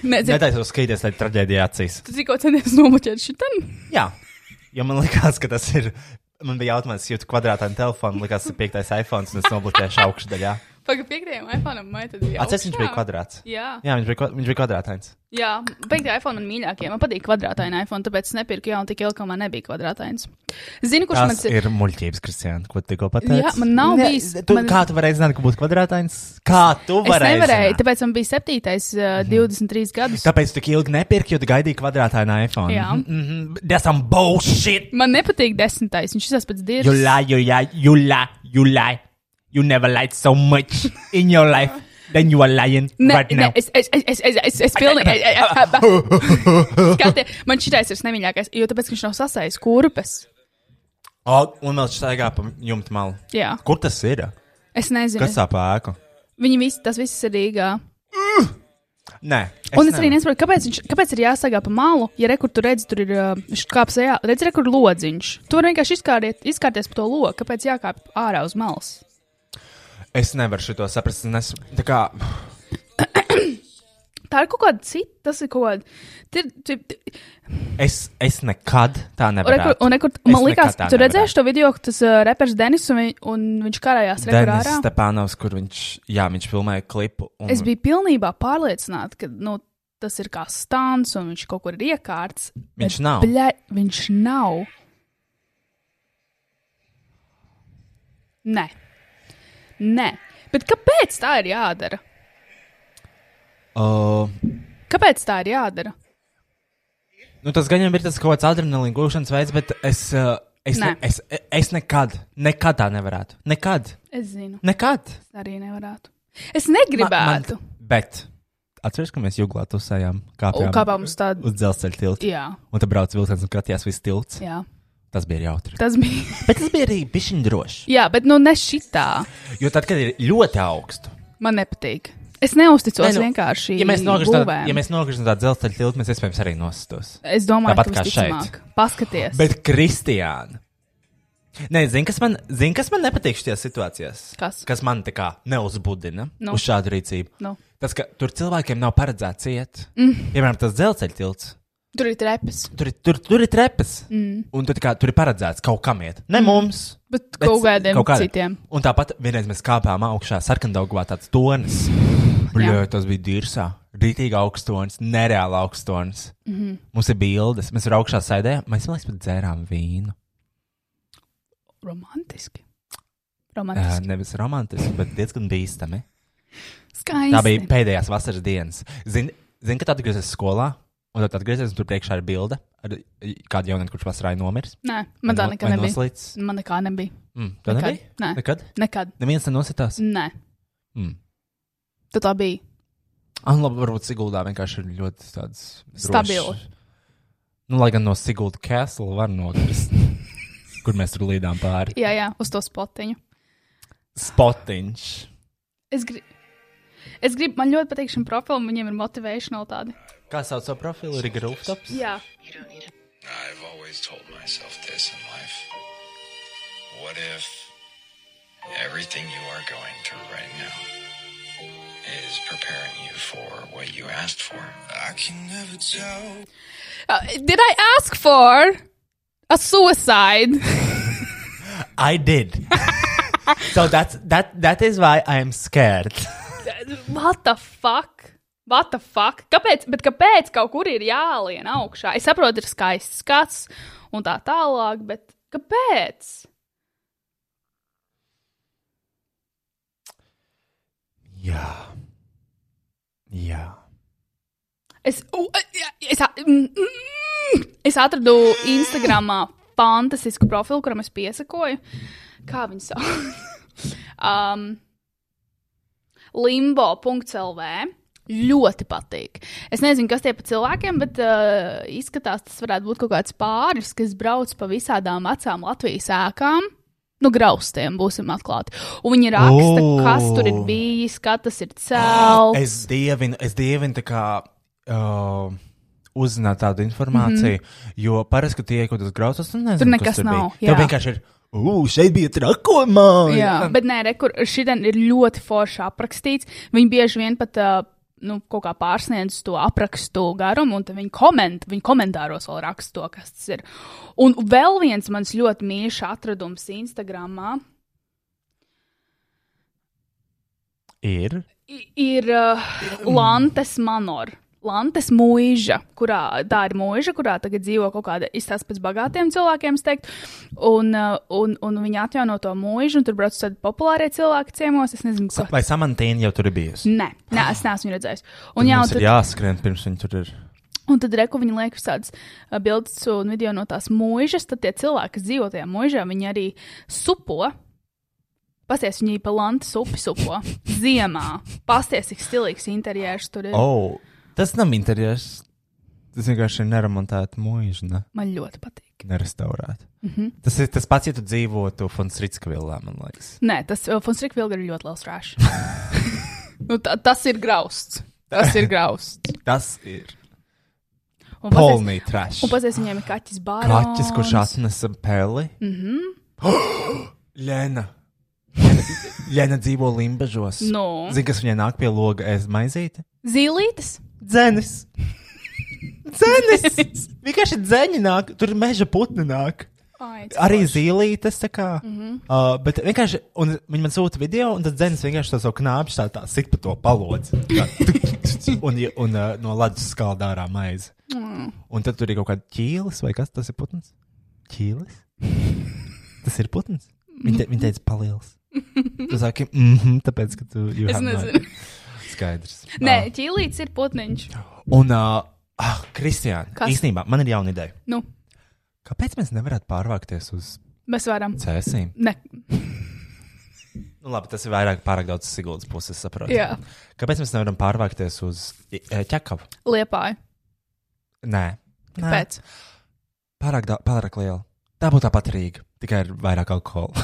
C: Nē, zini,
B: netaisos skatīties, lai traģēdija acīs.
C: tu tikko centies nomuķēt šitam.
B: Jā, jo man likās, ka tas ir. Man bija jautājums, kas jūtas kvadrātā telefonā, likās, ka piektais iPhone un es noblokēju augšdaļā.
C: Pagaidām, piektajam iPhone vai tad bija?
B: Atcerieties, viņš bija
C: augšā?
B: kvadrāts.
C: Jā,
B: Jā, viņš bija, kva- viņš bija kvadrātains.
C: jā. piektajā iPhone man mīļākie. Man patīk kvadrātaini iPhone, tāpēc es nepirku jau tik ilgi, kamēr nebija kvadrātains. Zini, kurš
B: Tas
C: man
B: ir muļķības, Kristiāna, ko tu tikko pateici.
C: Jā, man nav
B: Ne,
C: bijis-
B: Tu,
C: man-
B: man... Kā tu vari zināt, ka būs kvadrātains? Kā tu
C: Es
B: vari?
C: nevarēju, tāpēc man bija 7, uh,
B: Mhm.
C: 23 gadus.
B: Tāpēc tu tik ilgi nepirki, jo tu gaidīji kvadrātainu iPhone.
C: Jā.
B: Mhm, mhm. That's some bullshit!
C: Man nepatīk 10. Viņš izsaka pēc
B: You
C: dievs.
B: lie, you lie, you lie, you lie. You never lied so much in your life. Then you are lying
C: Nē,
B: right
C: nē,
B: now.
C: es, es, es, es, es, es, es pilnīgi. Skaties, man šitais ir nemīļākais, jo tāpēc, ka viņš nav sasējis kurpes.
B: Oh, un vēl staigā pa jumta malu.
C: Jā,
B: Kur tas ir?
C: es nezinu.
B: Kas apēku?
C: Viņi visi, tas viss ir Rīgā.
B: Nē.
C: Un es arī nesaprotu, kāpēc, viņš, kāpēc ir jāsagā pa malu, ja rekur tur redz, tur ir kāpsa, jā, redz, rekur lodziņš. Tur vienkārši izkāriet, izkārties pa to loku, kāpēc jākāp ārā uz malas.
B: es nevaru šo saprast. es Nes... Tā kā.
C: Tā ir kaut kāda cita, tas ir kaut kāda. Tur, tur, tur,
B: Es, es nekad tā nevaru.
C: rekur, un rekur, man
B: Es
C: liekas,
B: nekad tā
C: tu
B: nevarētu.
C: redzēji to video, ka tas uh, reperis Denis un, vi- un viņš karājās rekur
B: Denis
C: ārā.
B: Stepānovs, kur viņš, jā, viņš filmēja klipu. Un...
C: Es biju pilnībā pārliecināta, ka nu, tas ir kā stāns un viņš kaut kur ir iekārts.
B: Viņš nav.
C: Bļa, viņš nav. Nē. Nē. Bet kāpēc tā ir jādara?
B: Uh,
C: Kāpēc tā ir jādara?
B: nu, tas gan jau ir tas kaut kāds adrenalīna gūšanas veids, bet es, uh, es, ne,
C: Nē.
B: es, es nekad, nekad tā nevarētu. Nekad.
C: Es zinu,
B: Nekad.
C: es arī nevarētu. Es negribētu.
B: Man, bet. Atceries, ka mēs jūglā tusējām
C: Un
B: kāpjām
C: kāpā mums tāda?
B: uz dzelzceļa tiltu.
C: Jā,
B: Un tad brauc vilciens un skatījās viss tilts.
C: jā.
B: Tas bija jautri.
C: Tas bija.
B: Bet tas bija arī bišķiņ droši.
C: Jā, bet nu ne šitā.
B: Jo tad, kad ir ļoti augstu,
C: Man nepatīk. Es neusticos
B: Nē, nu,
C: vienkārši.
B: Ja mēs nokristu tādā,
C: būvēm.
B: ja mēs nokristu tādā dzelzceļa tiltā, mēs iespējams arī nostos.
C: Es domāju,
B: Tāpat
C: ka
B: kā
C: tas ir
B: šeit.
C: visticamāk. Paskaties, Bet...
B: Bet Kristiāna. Nē, zini, kas man, zin, kas man nepatīk šajās situācijās?
C: Kas?
B: kas man tā kā neuzbudina
C: Nu.
B: nu. uz šādu rīcību?
C: Nu.
B: Tas, ka tur cilvēkiem nav paredzēts iet. Mm. Piemēram, tas dzelzceļa tilts.
C: tur ir trepas.
B: Tur, ir- tur, tur ir trepas. Mm. Un tur, kā, tur ir paredzēts kaut kam iet. Ne mm. mums.
C: Bet kaut kādiem citiem.
B: Un tāpat vienreiz mēs kāpām augšā sarkandaugumā tāds tonis. Bļauj, tas bija dirsā. Rītīgi augstons, nereāli augstons. Mm
C: Mhm.
B: -hmm. Mums ir bildes, mēs tur augšā sēdējām, mēs vienlaikus pat dzērām vīnu.
C: Romantiski.
B: Uh,
C: Romantiski.
B: nevis romantiski, bet diezgan bīstami.
C: Skaisti.
B: Tā bija pēdējās vasaras dienas. Zini, zin, kad atgriezies skolā, un tad atgriezies, un tur priekšā ir bilde ar kādu jaunu, kurš vasarā ir nomiris.
C: Nē, man tā nekad nebija.
B: Noslīdis.
C: Man nekā nebija.
B: Mm, tā
C: Nekad.
B: nebija.
C: Nē.
B: Nekad.
C: Nekad.
B: Neviens nenositās.
C: Nē.
B: Mm.
C: Tad tā bija.
B: Ah, labi, varbūt Siguldā vienkārši ir ļoti tāds drošs.
C: Stabili.
B: Nu, lai gan no Sigulda Castle var nokrist. kur mēs tur līdām pāri.
C: Jā, jā, uz to spotiņu.
B: Spotiņš.
C: Es gribu. Es gribu, man ļoti patīk šim profilam, viņiem ir motivational tādi.
B: Kā sauc savu profilu? Ir grūti.
C: Jā,
E: I've always told myself this in life. What if everything you are going through right now is preparing you for what you asked for? I can never tell.
C: Uh, did I ask for a suicide?
B: I did. so that's, that, that is why I am scared.
C: What the fuck? What the fuck? Kāpēc? Bet kāpēc kaut kur ir jālien augšā? Es saprotu, ir skaists skats un tā tālāk, bet kāpēc?
B: Jā. Jā.
C: Es, u, e, es, a- mm, mm, es atradu Instagramā fantastisku profilu, kuram es piesakoju. Kā viņi sauc? um, limbo.clv. Ļoti patīk. Es nezinu, kas tie pa cilvēkiem, bet uh, izskatās, tas varētu būt kaut kāds pāris, kas brauc pa visādām vecām Latvijas ēkām. Nu, graustiem būsim atklāti. Un viņi raksta,
B: Ooh.
C: kas tur ir bijis, kā tas ir cēlts.
B: Es dievinu, es dievinu tā kā. Uh, Uzzināt tādu informāciju, mm -hmm. jo parasti, kad ienāk uz grauzes, tad nezinu,
C: Mm-hmm. Tur
B: kas
C: nekas
B: tur
C: nav,
B: Bija. Tev
C: jā.
B: vienkārši ir, ugh, šeit bija trakumā.
C: Jā, bet nē, rekur, šodien ir ļoti forši aprakstīts. Viņi bieži vien pat ā, nu, kaut kā pārsniedz to aprakstu garumu, un tad viņi, koment, viņi komentāros vēl raksta to, kas tas ir. Un vēl viens mans ļoti mīļš atradums Instagramā
B: Ir.
C: i- ir uh, Lantes Manor. Lantes mūža, kurā tā ir mūža, kurā tagad dzīvo kaut kāda izstāsta pēc bagātiem cilvēkiem, es teiktu. Un, uh, un, un viņi atjauno to mūžu, un tur brauc tādi populārie cilvēki ciemos. Es nezinu, kas
B: Vai samantīna jau tur ir bijusi?
C: Nē, nē es neesmu viņu redzējis. Un,
B: Tad
C: jā,
B: mums
C: un,
B: ir
C: tad,
B: jāskrien pirms viņi tur ir.
C: un tad reku viņi liek visādas ā, bildes un video no tās mūžas. Tad tie cilvēki, kas dzīvo tajā mūžā, viņi arī supo. Pasties viņai pa lantu upi supo. Ziemā. Pasties, cik stilīgs interjers tur ir. Oh.
B: Oh, tas nav interjers. Tas vienkārši ir neremontēta mūža, ne?
C: Man ļoti patīk.
B: nerestaurēta. Mm -hmm.
C: Mhm.
B: Tas ir tas pats, ja tu dzīvotu Fonseca vilā, man liekas.
C: Nē, tas uh, Fonseca Vilga ir ļoti liels rāšs. nu, tā, tas ir grausts. Tas ir grausts.
B: Tas ir
C: Un pasties,
B: polnī trash.
C: un pasties viņiem ir kaķis bārā.
B: Kaķis, kurš atnesa peli. Mm -hmm.
C: Mhm.
B: Lena. Lena- Lena dzīvo limbažos.
C: Nu.
B: Zini, kas viņai nāk pie loga ēst maizīti?
C: Zīlītes.
B: Dzenis. Dzenis. Vienkārši dzēni nāk, tur meža putni nāk.
C: Ai, cik
B: Arī
C: forši.
B: zīlītes, tā kā.
C: Mhm.
B: Mm -hmm. uh, bet vienkārši, un viņi man sūta video, un tad dzēnis vienkārši to savu knāpšu tā, tā sit pa to palodzi. Tā, tuk, tuk, tuk, un ja- un uh, no ledus skalda ārā maizi.
C: Mm.
B: Un tad tur ir kaut kāda ķīlis, vai kas tas ir putns? Ķīlis? Tas ir putns. Viņa, te, viņa teica, paliels. Tu saki, mhm, tāpēc, ka tu jau
C: Es nezinu.
B: Skaidrs.
C: Nē, ķīlītis ir putniņš.
B: Un, uh, ah, Kristiāna,
C: Kas?
B: īstenībā man ir jauna ideja.
C: Nu,
B: Kāpēc mēs nevarētu pārvākties uz
C: mēs varam.
B: cēsīm?
C: Ne.
B: Nu, labi, tas ir vairāk pārāk daudz Siguldas puses, saprotu.
C: Jā.
B: Kāpēc mēs nevaram pārvākties uz e, ķekavu?
C: Liepāju.
B: Nē, Nē.
C: Pēc.
B: Pārāk, da- pārāk liela. Tā būtu tāpat Rīga, tikai ar vairāk alkohola.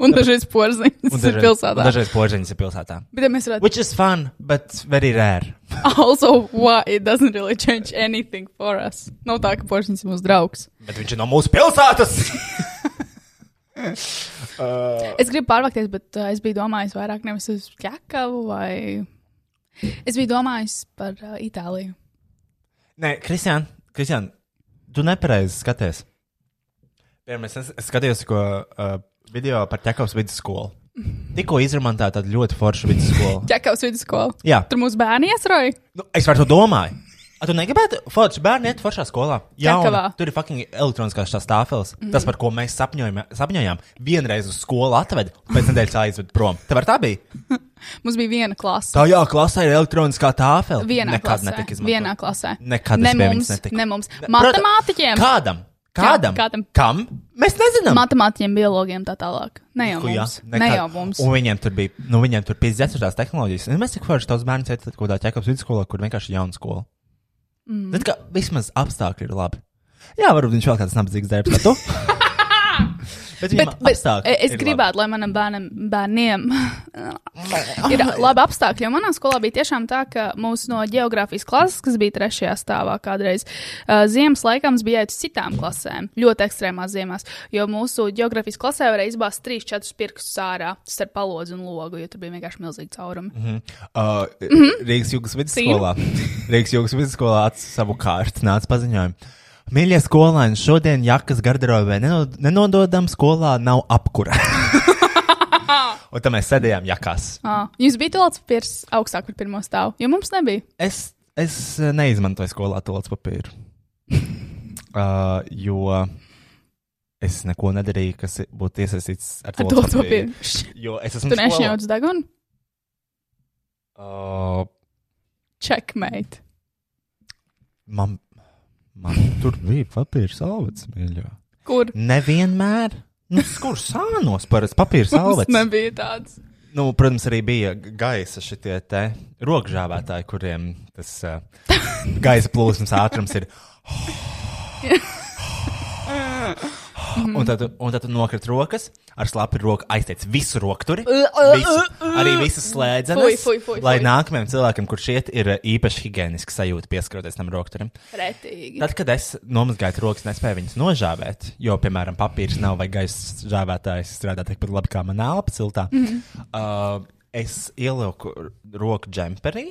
C: Un dažreiz porziņas ir pilsētā.
B: un Dažreiz požiņas ir pilsētā.
C: Bet ja mēs redzam,
B: Which is fun, but very rare.
C: also why it doesn't really change anything for us. Nav tā, ka porziņas ir mūsu draugs.
B: Bet viņš ir no mūsu pilsētas! Ah.
C: Es gribu pārvākties, bet uh, es biju domājis vairāk nevis uz Čakavu vai. Es biju domājis par uh, Itāliju.
B: Nē, Kristian, Kristian, tu nepareizi skaties. Piemēram, es es skatījos ko, uh, video par Čekavas vidusskolu. Tikko izrunāta tāda ļoti forša vidusskola.
C: Čakavas vidusskola.
B: Jā.
C: Tur mūsu bērni iesroja.
B: Nu, es par to domāju. A, tu negribētu, Falks, bērni iet foršā skolā. Jā,
C: Čekavā.
B: tur ir fucking elektroniskās tās tāfeles. Mm. Tas, par ko mēs sapņojam, sapņojām, vienreiz uz skolu atved, un pēc nedēļas aizved prom. Tev ar tā bija?
C: Mums bija viena klase.
B: Tā jā, klasē ir elektroniskā tāfele.
C: Vienā
B: Nekad
C: klasē.
B: netika izmantota.
C: Vienā klasē.
B: Nekad
C: ne
B: es pie viņas
C: mums.
B: netiku.
C: Ne mums.
B: Ne-
C: Matemātiķiem.
B: Kādam? Kādam?
C: Jā, kādam.
B: Kam? Mēs nezinām.
C: Matemātiķiem, biologiem tā tālāk. Ne jau
B: Ku, jā,
C: mums. Ne
B: nekad.
C: jau mums.
B: Un viņiem tur bija, nu, viņiem tur bija 54. tehnoloģijas. Un Mēs tik forši tos bērnus ieteicat kaut kādā ķekaps vidusskolā, kur vienkārši ir jauna skola. Mm. Tad, kā vismaz apstākļi ir labi. Jā, varbūt viņš vēl kāds nabadzīgs darbs, kā tu. bet viņam
C: Bet, bet
B: apstākļi.
C: es
B: ir
C: gribētu, lai manam bērnam, bērniem ir labi apstākļi. Jo manā skolā bija tiešām tā, ka mūsu no geogrāfijas klases, kas bija trešajā stāvā kādreiz, uh, ziemas laikā mums bija jāiet uz citām klasēm, ļoti ekstrēmās ziemās. Jo mūsu geogrāfijas klasē varēja izbāzt 3-4 pirkstus ārā starp palodzi un logu, jo tur bija vienkārši milzīgi caurumi. Mm -hmm.
B: Uh,
C: Mhm.
B: Rīgas jūgas vidusskolā. Rīgas jūgas vidusskolā atsauca savu kārtu nāca paziņojumu. Mīļie skolēni, šodien jakas garderobē nenod- nenododam, skolā nav apkura. Un tam mēs sēdējām jakās.
C: Uh, jums bija tāds papīrs augstāk par pirmo stāvu, jo mums nebija.
B: Es, es eh, neizmantoju skolā tolas papīru. Uh, jo es neko nedarīju, kas i- būtu iesaistīts ar
C: Ar
B: to
C: to papīru. Šš,
B: Jo es esmu
C: Tu
B: skolā.
C: nešņauc degunu?
B: Uh,
C: Checkmate.
B: man, man tur bija papīra salvets, mīļā.
C: Kur?
B: Nevienmēr. Nu, kur sānos parasti papīra
C: Mums
B: salvets?
C: nebija tāds.
B: Nu, protams, arī bija g- gaisa šitie te rokžāvētāji, kuriem tas uh, gaisa plūsmas ātrums ir. Un tad, tu- un tad tu nokrit rokas, ar slapju roku aizteic visu rokturi. Visu, arī visas
C: Fuj,
B: slēdzenes.
C: fuj, fuj,
B: Lai
C: fuj.
B: nākamajam cilvēkam, kurš iet, ir uh, īpaši higiēniski sajūta pieskaroties tam rokturim.
C: Pretīgi.
B: Tad, kad es nomazgāju rokas, nespēju viņas nožāvēt, jo, piemēram, papīrs nav vai gaisa žāvētājs strādā tikpat labi kā manā elpa ciltā. Mm -hmm. uh, es ielieku r- roku džemperī.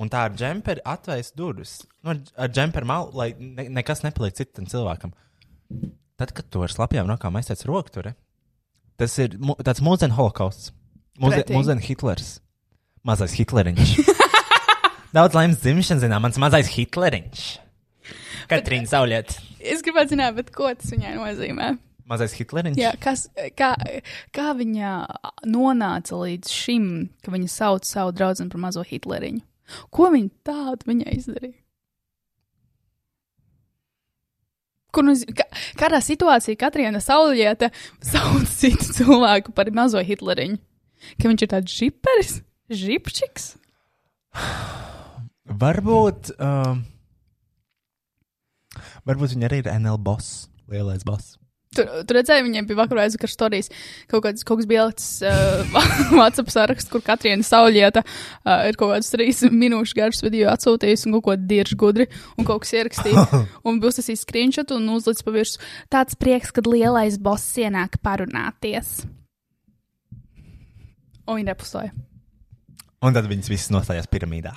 B: Un tā ar džemperi atvērs durvis. Nu, ar- ar džemperi malu, lai ne, nekas nepaliek citam cilvēkam. Tad, kad to ar slapjām rokām aizsēdz rokturi, tas ir mu, tāds mūzika holokausts.
C: Pretīgi.
B: Mūzika Hitlers. Mazais Hitleriņš. Daudz laimes dzimšanas dienā, mans mazais Hitleriņš. Katrīna Zauliet.
C: Es gribētu zināt, bet ko tas viņai nozīmē.
B: Mazais Hitleriņš.
C: Jā, kas, kā, kā viņa nonāca līdz šim, ka viņa sauc savu draugu par mazo Hitleriņu? Ko viņa tādu viņai izdarīja? Kur, nu, ka, kādā situācijā Katrīna Saulieta sauc citu cilvēku par mazo Hitleriņu? Ka viņš ir tāds žiperis, žipčiks?
B: Varbūt, uh, varbūt viņa arī ir NL boss, lielais boss.
C: Tur, tur redzēju, viņiem bija vakarā aizvakar stāstījis, kaut kāds kaut kas bija lietas, uh, WhatsApp saraksts, kur Katrīna Saulieta uh, ir kaut kāds trīs minūšu garš video atsūtījis un kaut ko dirž gudri un kaut kas ierakstījis. un būs tas screenshot un uzlicis pa virsmu. Tāds prieks, kad lielais boss ienāk parunāties. Un viņa repusēja.
B: Un tad viņas visas nostājās piramīdā.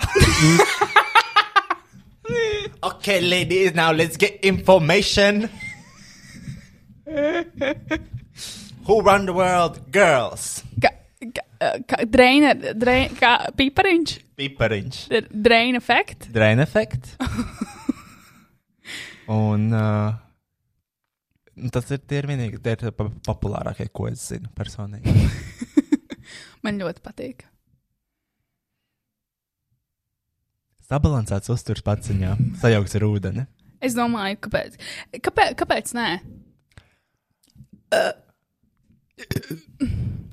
B: ok, ladies, now let's get information. Who run the world? Girls.
C: Kā, kā, uh, kā dreina, dreina, kā pipariņš,
B: Pipariņš.
C: dreina efekts.
B: Drain effect. Un uh, tas ir tie ir vienīgi, tie ir pa- populārākie, ko es zinu personīgi.
C: Man ļoti patīk.
B: Sabalansēts uzturs paciņā, sajaukts ar ūdeni.
C: Es domāju, kāpēc? Kāpēc, kāpēc nē?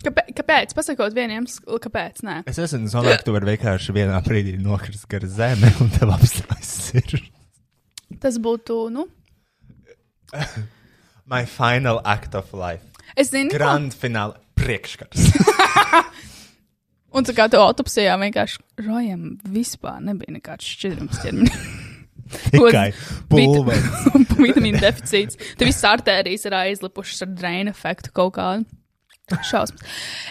C: Kāpēc? kāpēc? Pasakot, vieniem, kāpēc nē?
B: Es esmu domājis, ka tu vari vienkārši vienā brīdī nokrist gar zemi un tev apstājas sirds.
C: Tas būtu, nu,
B: My final act of life.
C: es zinu, Nu,
B: Grand fināla. priekškars.
C: Un tā kā to autopsijā vienkārši rojam, vispār nebija nekāds šķidrums ķermenī.
B: Tikai pulveris.
C: Vitamīna deficīts. Tev viss artērijas ir aizlipušas ar drēnu efektu kaut kādu. Šausmas.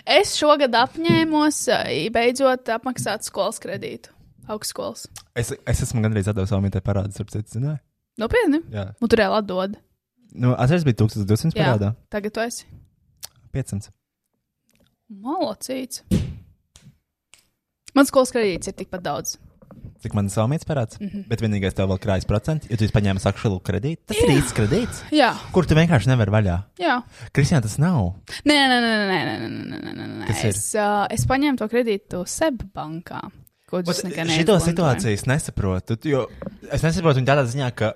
C: Es šogad apņēmos eh, beidzot apmaksāt skolas kredītu. Augstskolas.
B: Es, es esmu gandrīz atdevis savam mītai parādu, starp citu, zināju.
C: Nopietni?
B: Jā.
C: Nu, tur reāli atdod.
B: Nu, atceries, bija 1200
C: Jā.
B: parādā.
C: Tagad tu esi
B: 500.
C: malocīts. Man skolas kredīts ir tikpat daudz.
B: Cik man ir savamīts parāds? Mm -hmm. Bet vienīgais tev vēl krājas procenti, jo tu esi paņēmis akšalu kredītu. Tas ir īsts kredīts,
C: Jā,
B: kur tu vienkārši nevari vaļā.
C: jā.
B: Kristija, tas nav.
C: Nē, nē, nē, nē, nē, nē, nē, nē, nē, nē.
B: Kas ir?
C: Es, uh, es paņēmu to kredītu SEB bankā. Ko
B: Ot,
C: tas nekad
B: Šito situāciju es nesaprotu. tu- Jo es nesaprotu viņu tādā ziņā, ka,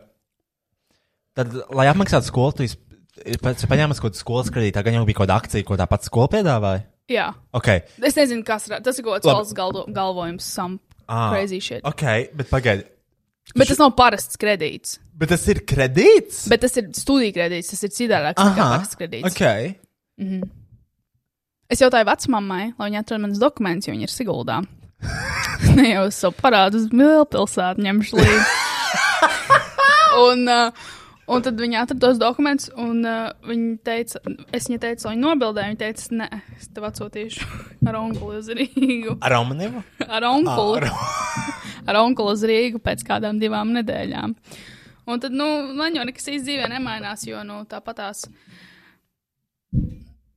B: tad, lai apmaksātu skolu, tu esi ir pa- esi paņēmis kaut kādu skolas kredītu, tā gan jau bija kaut kāda akcija, ko tā pati skola piedāvāja.
C: Jā,
B: Okay.
C: es nezinu, kas ra- tas ir. Kaut kāds
B: Labi.
C: valsts galdo, galvojums, some
B: Ah,
C: crazy shit. Okay.
B: ok, bet pagaidi.
C: Bet tas nav parasts kredīts.
B: Bet tas ir kredīts?
C: Bet tas ir studiju kredīts, tas ir citādāks nekā parasts kredīts. Okay.
B: ok.
C: Es jautāju vecmāmai, lai viņa atrod manas dokumentus, jo viņa ir Siguldā. ne jau es savu parādu uz Milpilsētu ņemšu līdzi. un, uh, un tad viņa atrada tos dokumentus, un uh, viņa teica, es viņai teicu, lai viņa nobildē. Viņa teica, nē, es tev atsūtīšu ar onkuli uz Rīgu.
B: Ar Romanīvu?
C: Ar onkuli. Ar onkuli uz Rīgu pēc kādām divām nedēļām. Un tad, nu, man jau nekas īsti dzīvē nemainās, jo, nu, tāpatās.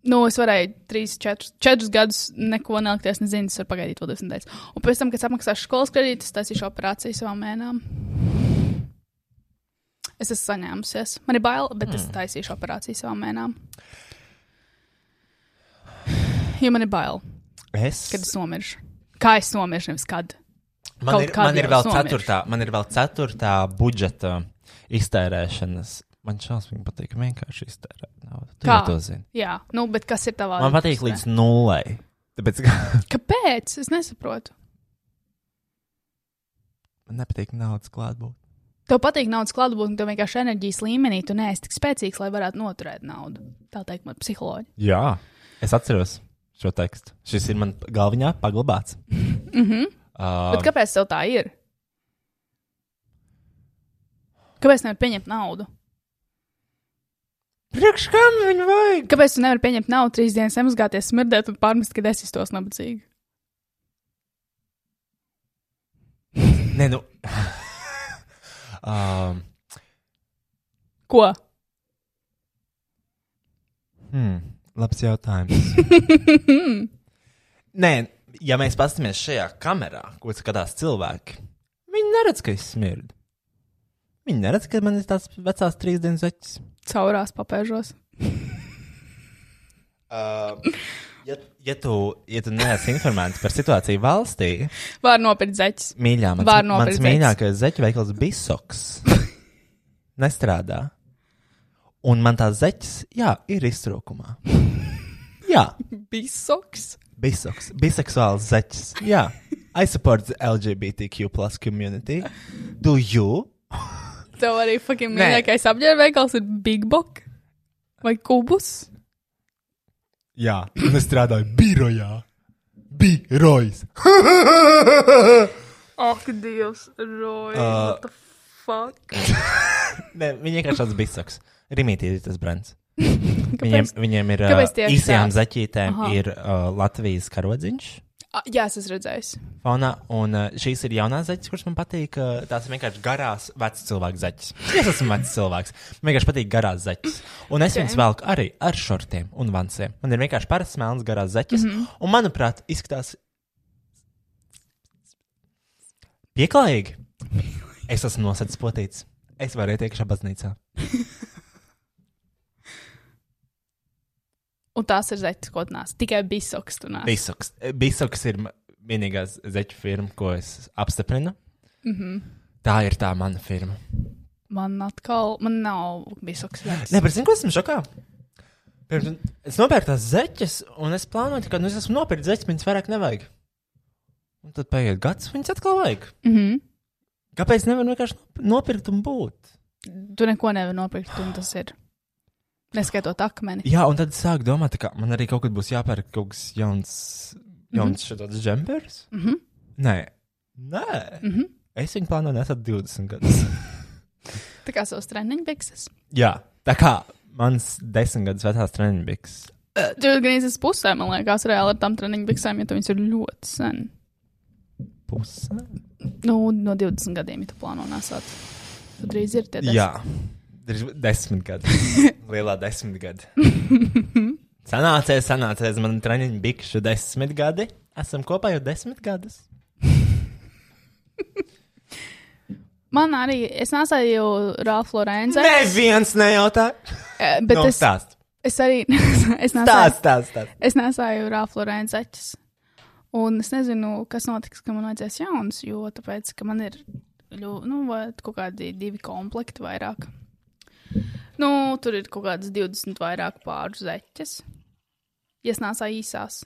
C: Nu, es varēju trīs, četrus, četrus gadus neko nelikties, nezinu, es varu pagaidīt vēl 20 dienas. Un pēc tam, kad es apmaksāšu skolas kredītu, es taisīšu operāciju savām mēnām. Es esmu saņēmusies. Man ir bail, bet es taisīšu operāciju savām mēnām. Jo man ir bail,
B: Es.
C: kad es nomiršu. Kā es nomiršu, nevis kad.
B: Man
C: Kaut
B: ir,
C: kādi
B: man, ir
C: jau
B: vēl
C: somiešs.
B: ceturtā, man ir vēl ceturtā budžeta iztērēšanas. Man šausmīgi patīk vienkārši iztērēt naudu. Tu
C: Kā?
B: jau to zini.
C: Jā, nu, bet kas ir tavā?
B: Man patīk līdz nulai. Tāpēc ka-
C: Kāpēc? Es nesaprotu.
B: man nepatīk naudas klātbūt.
C: Tev patīk naudas klātbūtne, tev vienkārši enerģijas līmenī tu neesi tik spēcīgs, lai varētu noturēt naudu. Tā teikt, man psiholoģija.
B: Jā, es atceros šo tekstu. Šis ir man galvā paglabāts. mm -hmm.
C: Bet kāpēc tev tā ir? Kāpēc nevar pieņemt naudu?
B: Priekš kam viņa vajag?
C: Kāpēc tu nevari pieņemt naudu trīs dienas, apgāzties, smirdēt un pārmest, ka es iztos nabadzīgi?
B: Nē, nu. um,
C: Ko?
B: Hmm, labs jautājums. Nē, ja mēs paskatāmies šajā kamerā, ko skatās cilvēki, viņi neredz, ka es smirdu. Viņi neredz, ka man ir tās vecās trīs dienas vecs.
C: Caurās papēžos.
B: Uh, Ja, ja tu, ja tu neesi informēts par situāciju valstī,
C: Var nopirkt zeķes.
B: mīļā, mans,
C: Var
B: mans
C: nopirkt zeķes.
B: mīļākais zeķu veikals Bisoks nestrādā. Un man tās zeķes, jā, ir iztrūkumā. Jā.
C: Bisoks.
B: Bisoks, biseksuāls zeķis. Jā, I support the LGBTQ plus community. Do you?
C: Tev arī fucking
B: Nē.
C: mīļākais apģērbveikals ir Big Book vai Kubus.
B: Jā, un es strādāju birojā. Birojas.
C: Ak, Dievs, Roy,
B: Uh,
C: what the fuck?
B: Nē, viņi vienkārši tāds bisoks. Rimītī ir tas brands. Viņiem, viņiem ir
C: Kāpēc
B: ā,
C: tieši
B: īsajām
C: tāds?
B: zaķītēm
C: Aha.
B: ir uh, Latvijas karodziņš.
C: Ah, jā, es esmu redzējis.
B: Fauna, un uh, šīs ir jaunās zeķes, kuras man patīk. Uh, tās ir vienkārši garās, vecas cilvēku zeķes. Es esmu vecs cilvēks. Man vienkārši patīk garās zeķes. Un es viņas velku arī ar šortiem un vansiem. Man ir vienkārši parasts melns garās zeķes.
C: Mhm.
B: Mm -hmm. Un, manuprāt, izskatās pieklājīgi. Es esmu nosacījis potīts. Es varu iet iekšā baznīcā.
C: Un tās ir zeķis, ko nāc. Tikai bisoks tu nāc.
B: Bisoks. Bisoks ir ma- vienīgā zeķu firma, ko es apstiprinu. Mm -hmm.
C: Mhm.
B: Tā ir tā mana firma.
C: Man atkal, man nav bisoks. zeķes.
B: Nē, bet zinu, ko esmu šokā. Pirms, es nopērku tās zeķes, un es plānoju, ka, nu, es esmu nopircis zeķes, viņas vairāk nevajag. Un tad paiet gads, viņas atkal vajag.
C: Mm -hmm.
B: Kāpēc nevar vienkārši nop- nopirkt un būt?
C: Tu neko nevari nopirkt, un tas ir. Neskaitot akmeni.
B: Jā, un tad es sāku domāt, ka man arī kaut kad būs jāpērk kaut kas jauns, jauns mm -hmm. džempers. Mm
C: Mhm.
B: -hmm. Nē, nē. Mm -hmm. Es viņu plānoju nesat 20 gadus.
C: Tā kā savas treniņbikses.
B: Jā, tā kā mans 10 gadus vecās treniņbiks.
C: Tur Eh, gan es pusē, man liekas, reāli ar tām treniņbiksēm, ja tu viņas ir ļoti sen.
B: Puse.
C: Nu, no 20 gadiem, ja tu plāno nesāt. Tu drīz ir tie. desmit.
B: Jā, ir desmit gadi. Lielā desmit gadi. Sanācēs, sanācēs, man treniņš bikšu desmit gadi. Esam kopā jau desmit gadus.
C: Man arī, es nesēju Rāfa Lorenza.
B: Neviens nejautā.
C: Eh, Bet
B: No,
C: es,
B: stāst.
C: es arī es nesēju,
B: Nu, Stāst, stāst, stāst.
C: es nesēju Rāfa Lorenzaķis. Un es nezinu, kas notiks, ka man vajadzēs jauns, jo tāpēc, ka man ir ļu, nu, vai kaut kādi divi komplekti vairāk. Nu, tur ir kaut kādas 20 vairāk pāru zeķes. Ja es nesēju īsās.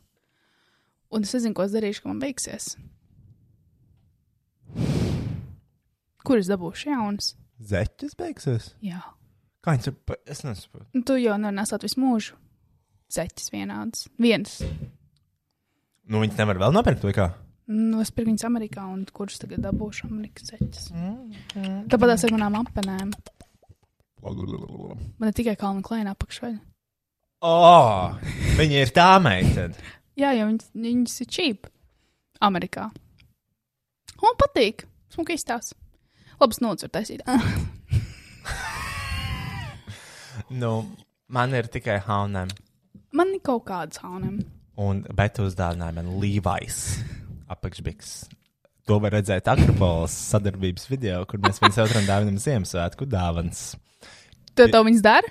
C: Un es nezinu, ko es darīšu, ka man beigsies. Kur es dabūšu jaunas?
B: Zeķis beigsies.
C: Jā.
B: Kā viņš ir? pa- Es nesaprotu.
C: Nu, Tu jau nesat visu mūžu. Zeķis vienāds. Viens.
B: Nu, viņš nevar vēl nopirkt to kā.
C: Nu, es pirku viņus Amerikā, un kurš tagad dabūšu Amerikas zeķis? Tāpat tās ir manām apgabalām. Man ir tikai kalna klāna apakšveļa.
B: Oh, viņa ir tā meitene.
C: Jā, jo viņas, viņas ir čīp. Amerikā. Un man patīk. Smuki izstāsta. Labs nodeļas var taisīt.
B: Nu, man ir tikai haunēm.
C: Man ir kaut kāds haunam.
B: Un bet uzdāvināja man Levi's apakšbiks. To var redzēt Akropolis sadarbības video, kur mēs viens otram dāvinam Ziemassvētku dāvāns.
C: Tu to viņas dari?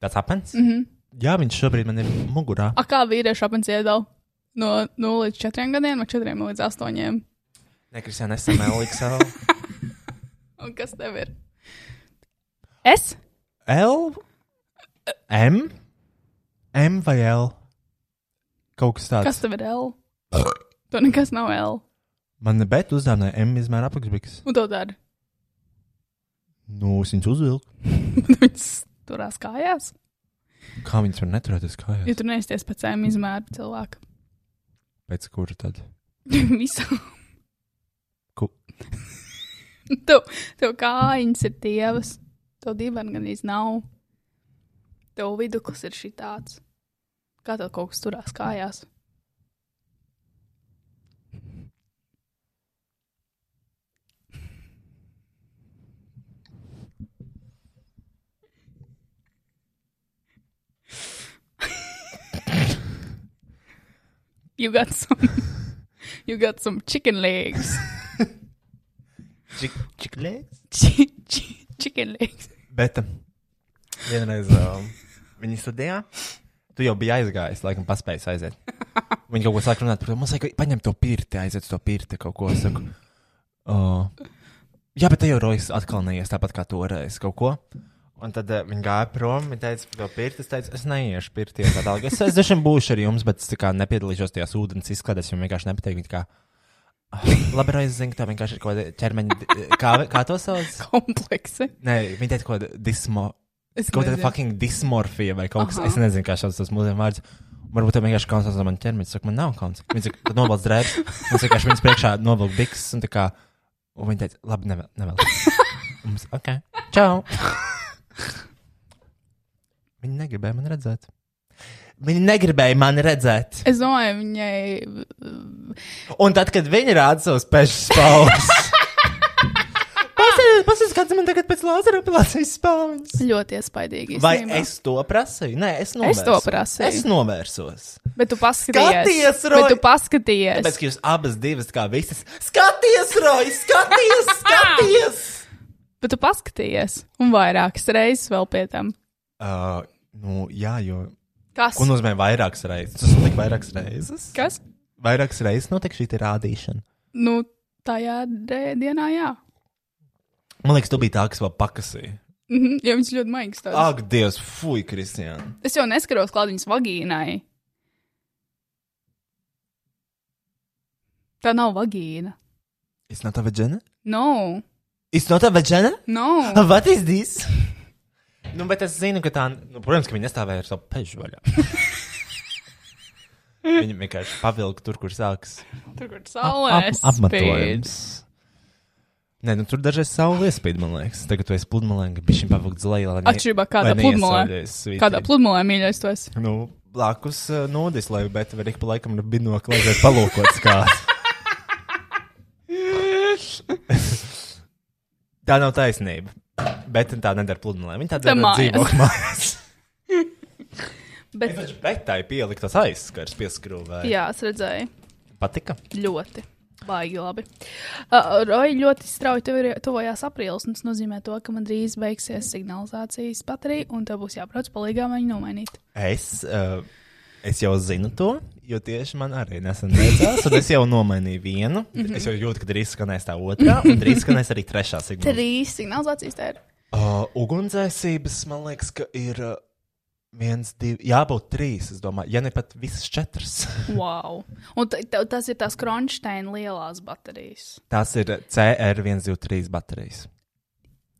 B: Tas apens? Mm -hmm. Jā, viņš šobrīd man ir mugurā.
C: A kā vīrieši apmēram iedala? No 0 līdz 4 gadiem, no 4 līdz 8.
B: Nē, Kristija, nesam LXL.
C: Un kas tev ir? Es?
B: L? M? M vai L? Kaut kas tāds.
C: Kas tev ir L? Tur nekas nav L.
B: Man bet uzdāvināja M izmēra apakšbiks.
C: Un to dara.
B: Nu, es viņus uzvilku.
C: Viņas turās kājās.
B: Kā viņas var neturēties kājās?
C: Jo tur neesties pēc cēm izmēru cilvēku.
B: Pēc kura tad?
C: Visā.
B: Ko?
C: tev, tev kājiņas ir tievas. Tev divan gan īsti nav. Tev viduklis ir šitāds. Kā tev kaut kas turās kājās? You got some. You got some chicken legs.
B: Čiklēks?
C: Chi- chi- chicken legs.
B: Bet um, vienreiz um, viņa studijā, tu jau biji aizgājis, laikam, paspējis aiziet. Viņa kaut ko sāk runāt par to, mums vajag paņemt to pirti, aiziet uz to pirti kaut ko. Es Saku, uh, jā, bet te jau rojas atkal neies tāpat kā toreiz kaut ko. Un tad uh, viņa gāja prom, viņa teica, ka to pirti. Es teicu, es neiešu pirti. un Tā tālāk. es es droši vien būšu ar jums, bet es tā kā nepiedalīšos tajās ūdens izkladēs, jo man vienkārši nepatīk. Viņa kā, "Ah, Labi, reiz zinu, ka tā vienkārši ir kaut kāda ķermeņa. Kā, kā to sauc?
C: Kompleksi.
B: Nē, viņi teica, ka dismo.
C: Es
B: Kaut kāda
C: nezinu.
B: fucking dismorfija vai kaut kas
C: Aha.
B: tāds. Es nezinu, kā šāds tas mūzikas vārds. Varbūt tam vienkārši kauns no manas ķermeņa. Saka, man nav kauns. Viņš saka, tad nobalst drēbes. Viņš vienkārši viņas priekšā novilka bikses. Un, tā kā, un viņi teica, labi, nevēl. nevēl. Mums, ok, čau. Viņi negribēja mani redzēt. Viņi negribēja mani redzēt.
C: Es domāju, viņai. eh,
B: Un tad, kad viņi rāda savus pešus spēlus. Paskatās, kāds man tagad pēc lāzera apelācijas spēlēs.
C: Ļoti iespaidīgi.
B: Vai
C: īstenībā.
B: es to prasīju? Nē, es novērsos.
C: Es to prasīju.
B: Es novērsos.
C: Bet tu paskatījies.
B: Skaties, Roj!
C: Bet tu paskatījies.
B: Tāpēc, ka jūs abas divas, kā visas, skaties, Roja, skaties, skaties!
C: Bet tu paskatījies. Un vairākas reizes vēl pie tam.
B: uh, nu, jā, jo.
C: Kas?
B: Ko nozīmē vairākas reizes? Tas notiek vairākas reizes.
C: Kas?
B: Vairākas reizes notiek šī te rādīšana.
C: Nu, tajā dē- dienā, jā.
B: Man liekas, tu biji tā, kas vēl pakasīja.
C: Mhm, Jo viņš ļoti maigs. tāds.
B: Ak, Dievs, fuj, Kristija.
C: Es jau neskaros klāt viņas vagīnai. Tā nav vagīna.
B: It's not a vagina?
C: No, Nu,
B: It's not a vagina?
C: no.
B: What is this? Nu, bet es zinu, ka tā, nu, protams, ka viņi nestāvēja ar savu peļu vaļā. Viņi vienkārši pavilka tur, kur sākas
C: Tur, kur
B: ap-
C: saulē spīd.
B: apmetojums. Nē, nu tur dažreiz saule iespīd, man liekas. Tagad tu esi pludmalē, ka bišķiņ pavilkt zlejā, lai ne-
C: Atšķirībā kādā
B: lai
C: pludmalē.
B: neiesauļēs svītī.
C: Kādā pludmalē mīļais tu esi?
B: Nu, blakus uh, nodis, lai, bet var ik pa laikam nu binokli aiziet palūkot kāds. tā nav taisnība. Bet tā nedara pludmalē. Viņa tā
C: Tā
B: dara
C: mājās.
B: dzīvokļu mājās.
C: Bet,
B: Taču betai pieliktas aizskars pieskrūvē.
C: jā, es redzēju.
B: Patika.
C: Ļoti. Baigi labi. Uh, Roja ļoti strauji tuvi- tuvojās aprīlis, un tas nozīmē to, ka man drīz beigsies signalizācijas baterija, un tev būs jābrauc palīgā viņu nomainīt.
B: Es, uh, es jau zinu to, jo tieši man arī nesen beidzās, un es jau nomainīju vienu. es jau jūtu, ka drīz skanēs tā otrā, un drīz skanēs arī trešā signāla.
C: Trīs signalizācijas tā ir.
B: Uh, ugunsdzēsības, man liekas, ka ir uh, viens, divi, jābūt trīs, es domāju, ja ne pat visas četras.
C: Wow. Un t- t- tas ir tās Kronšteina lielās baterijas.
B: Tās ir CR123 baterijas.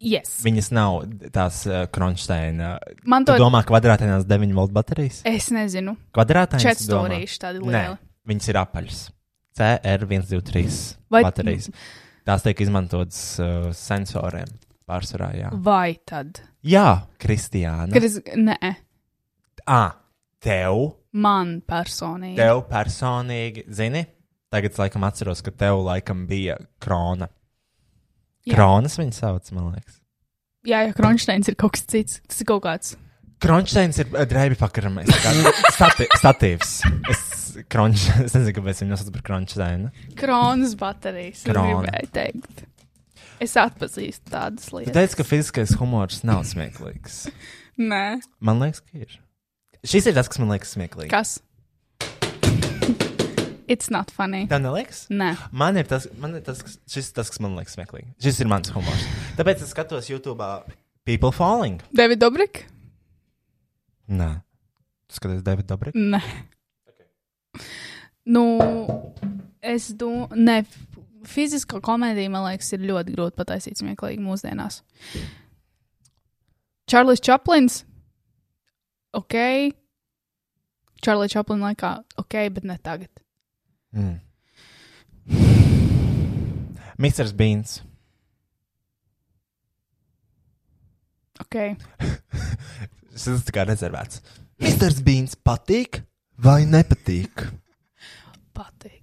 C: Yes.
B: Viņas nav tās uh, Kronšteina.
C: Man
B: Tu
C: to ir.
B: domā, kvadrātainās 9 volt baterijas?
C: Es nezinu.
B: Kvadrātainās
C: Četrstūrīši tādi
B: Nē,
C: lieli.
B: viņas ir apaļas. CR123
C: Vai-
B: baterijas. Tās tiek izmantotas uh, sensoriem pārsvarā. Jā,
C: Vai tad?
B: jā Kristiāna.
C: Kriz... Nē,
B: À, tev,
C: man personīgi.
B: tev personīgi, zini, tagad es laikam atceros, ka tev laikam bija krona.
C: Jā.
B: Kronas viņa sauc, man liekas.
C: Jā, ja Kronšteins ir kaut kas cits, tas ir kaut kāds.
B: Kronšteins ir uh, drēbi pakaramais. Statīvs. Es, kronš, es nezinu, kāpēc viņu nosauc par Kronšteinu.
C: Kronas baterijas. es
B: Krona.
C: Gribēju teikt. Es atpazīstu tādas
B: Tu
C: lietas.
B: teici, ka fiziskais humors nav smieklīgs.
C: Nē,
B: Man liekas, ka ir. Šis ir tas, kas man liekas smieklīgi.
C: kas? It's not funny.
B: Tā neliekas?
C: Nē,
B: Man ir tas, man ir tas, kas- šis, tas, kas man liekas smieklīgi. Šis ir mans humors. Tāpēc es skatos YouTube People Falling.
C: David Dobrik?
B: Nē, tu skaties David Dobrik.
C: Nē. Nu, es domāju, ne. Fizisko komēdiju, man liekas, ir ļoti grūti pataisīt smieklīgi mūsdienās. Čārlis Čaplins. Ok. Čārlis Čaplins laikā. Ok, bet ne tagad.
B: Mm. Mr. Beans.
C: Ok.
B: Šis ir tā kā rezervēts. Mr. Beans patīk vai nepatīk?
C: Patīk.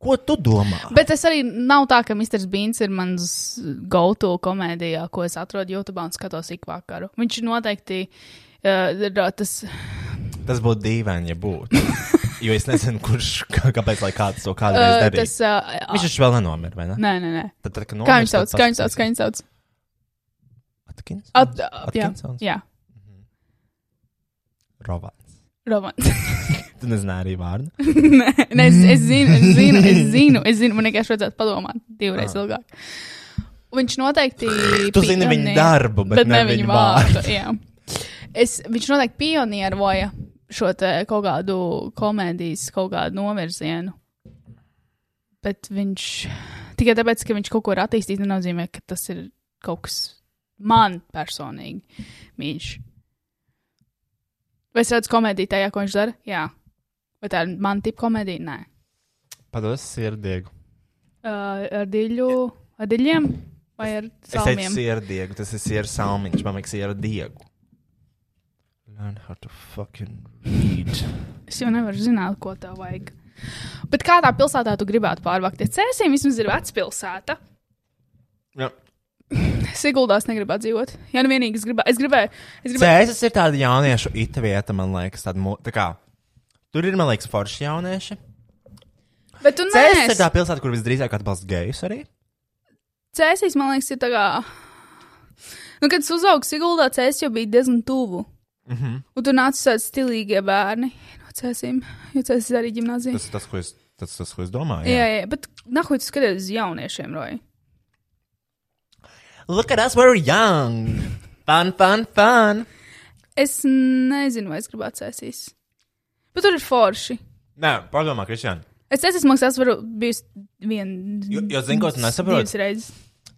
B: Ko tu domā?
C: Bet es arī nav tā, ka Mr. Beans ir mans gauto komēdijā, ko es atrodu YouTube un skatos ik vakaru. Viņš ir noteikti uh, ir, uh, tas.
B: Tas būtu dīvaini, ja būtu. Jo es nezinu, kurš, kā- kāpēc, lai kāds to kādreiz
C: Uh,
B: darītu.
C: tas uh,
B: Viņš taču vēl nenomira, vai ne?
C: Nē, nē, nē.
B: Tad, tad, kad
C: Kā
B: nomirst,
C: viņš sauc?
B: Nu, tad
C: Kā viņš sauc?
B: paskatīsies.
C: Kā viņš sauc?
B: Atkins?
C: At, uh, jā,
B: Atkinsons?
C: jā.
B: Rovans.
C: Romans.
B: Tu nezināji arī vārdu.
C: nē, nē, es, es zinu, es zinu, es zinu, es zinu. Man vienkārši vajadzētu padomāt divreiz ah. ilgāk. Viņš noteikti.
B: Tu zini viņa
C: pionieris.
B: darbu, bet,
C: bet ne viņa
B: vārdu.
C: vārdu. jā. Es, viņš noteikti pionieroja šo te kaut kādu komēdijas, kaut kādu novirzienu. Bet viņš tikai tāpēc, ka viņš kaut ko ir attīstījis, nenozīmē, ka tas ir kaut kas man personīgi mīļš. Vai es redzu komēdiju tajā, ko viņš dara? Jā. Vai tā ir man tipa komēdija? Nē.
B: Pados sirdiegu.
C: Uh, ar diļu, ar diļiem vai ar
B: Es teicu
C: salmiem?
B: sirdiegu, tas ir sieru salmiņš, man liekas, sieru diegu. Learn how to fucking read.
C: Es jau nevaru zināt, ko tev vajag. Bet kādā pilsētā tu gribētu pārvākties? Cēsīm vismaz ir vecpilsēta.
B: Jā.
C: Siguldās negribētu dzīvot. Jā, nu vienīgi es gribēju. Es gribēju, es gribēju.
B: Cēzis ir tāda jauniešu ita vieta, man liekas, tāda, mu- tā kā, tur ir, man liekas, forši jaunieši.
C: Bet tu
B: Cēzis ir
C: neesi.
B: tā pilsēta, kur visdrīzāk atbalsta gejus arī.
C: Cēsīs, man liekas, ir tā kā. Nu, kad es uzaugu Siguldā, cēsīs jau bija diezgan tuvu. Mm
B: Mhm.
C: -hmm. Un tur nāca tādi stilīgie bērni no cēsīm, jo cēsīs arī ģimnāzija.
B: Tas ir tas, ko es, tas, tas, ko es domāju.
C: Jā, jā, bet nahuj tu skaties uz jauniešiem, Roja.
B: Look at us, we're young. Fun, fun, fun.
C: Es nezinu, vai es gribētu cēsīs. Bet tur ir forši.
B: Nē, padomā, Kristian.
C: Es esmu maksājis, varu bijis vienu.
B: Jo- jo zini, ko tu nesaproti?
C: Divas reizes.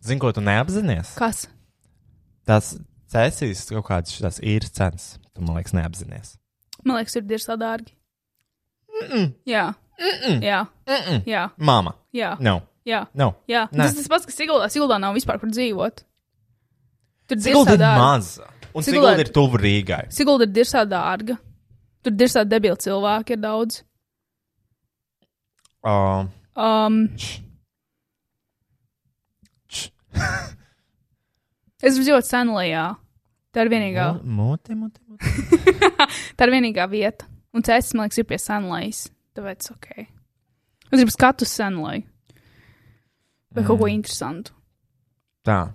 B: Zini, ko tu neapzinājies?
C: Kas?
B: Tas Cēsīs kaut kādas šīs īres cenas. Tu man liekas, neapzinājies.
C: Man liekas, tur ir sadārgi. Jā. Jā. Jā.
B: Māma.
C: Jā.
B: No.
C: Jā.
B: No.
C: Jā.
B: Nē.
C: Tas tas pats, kas Siguldā. Siguldā nav vispār kur dzīvot. Tur
B: Sigulda
C: dirsā
B: ir
C: dārga.
B: maza. Un
C: Sigulda-
B: Sigulda ir tuvu Rīgai.
C: Sigulda ir dirsā dārga. Tur dirsā debili cilvēki ir daudz.
B: Uh,
C: Um, es dzīvoju Senlajā. Tā ir vienīgā,
B: Mūte, mūte, mūte.
C: tā ir vienīgā vieta. Un cēsis, man liekas, ir pie Senlajas. Tāpēc ok. Es gribu skatu Senlaju. Vai kaut ko interesantu.
B: Tā.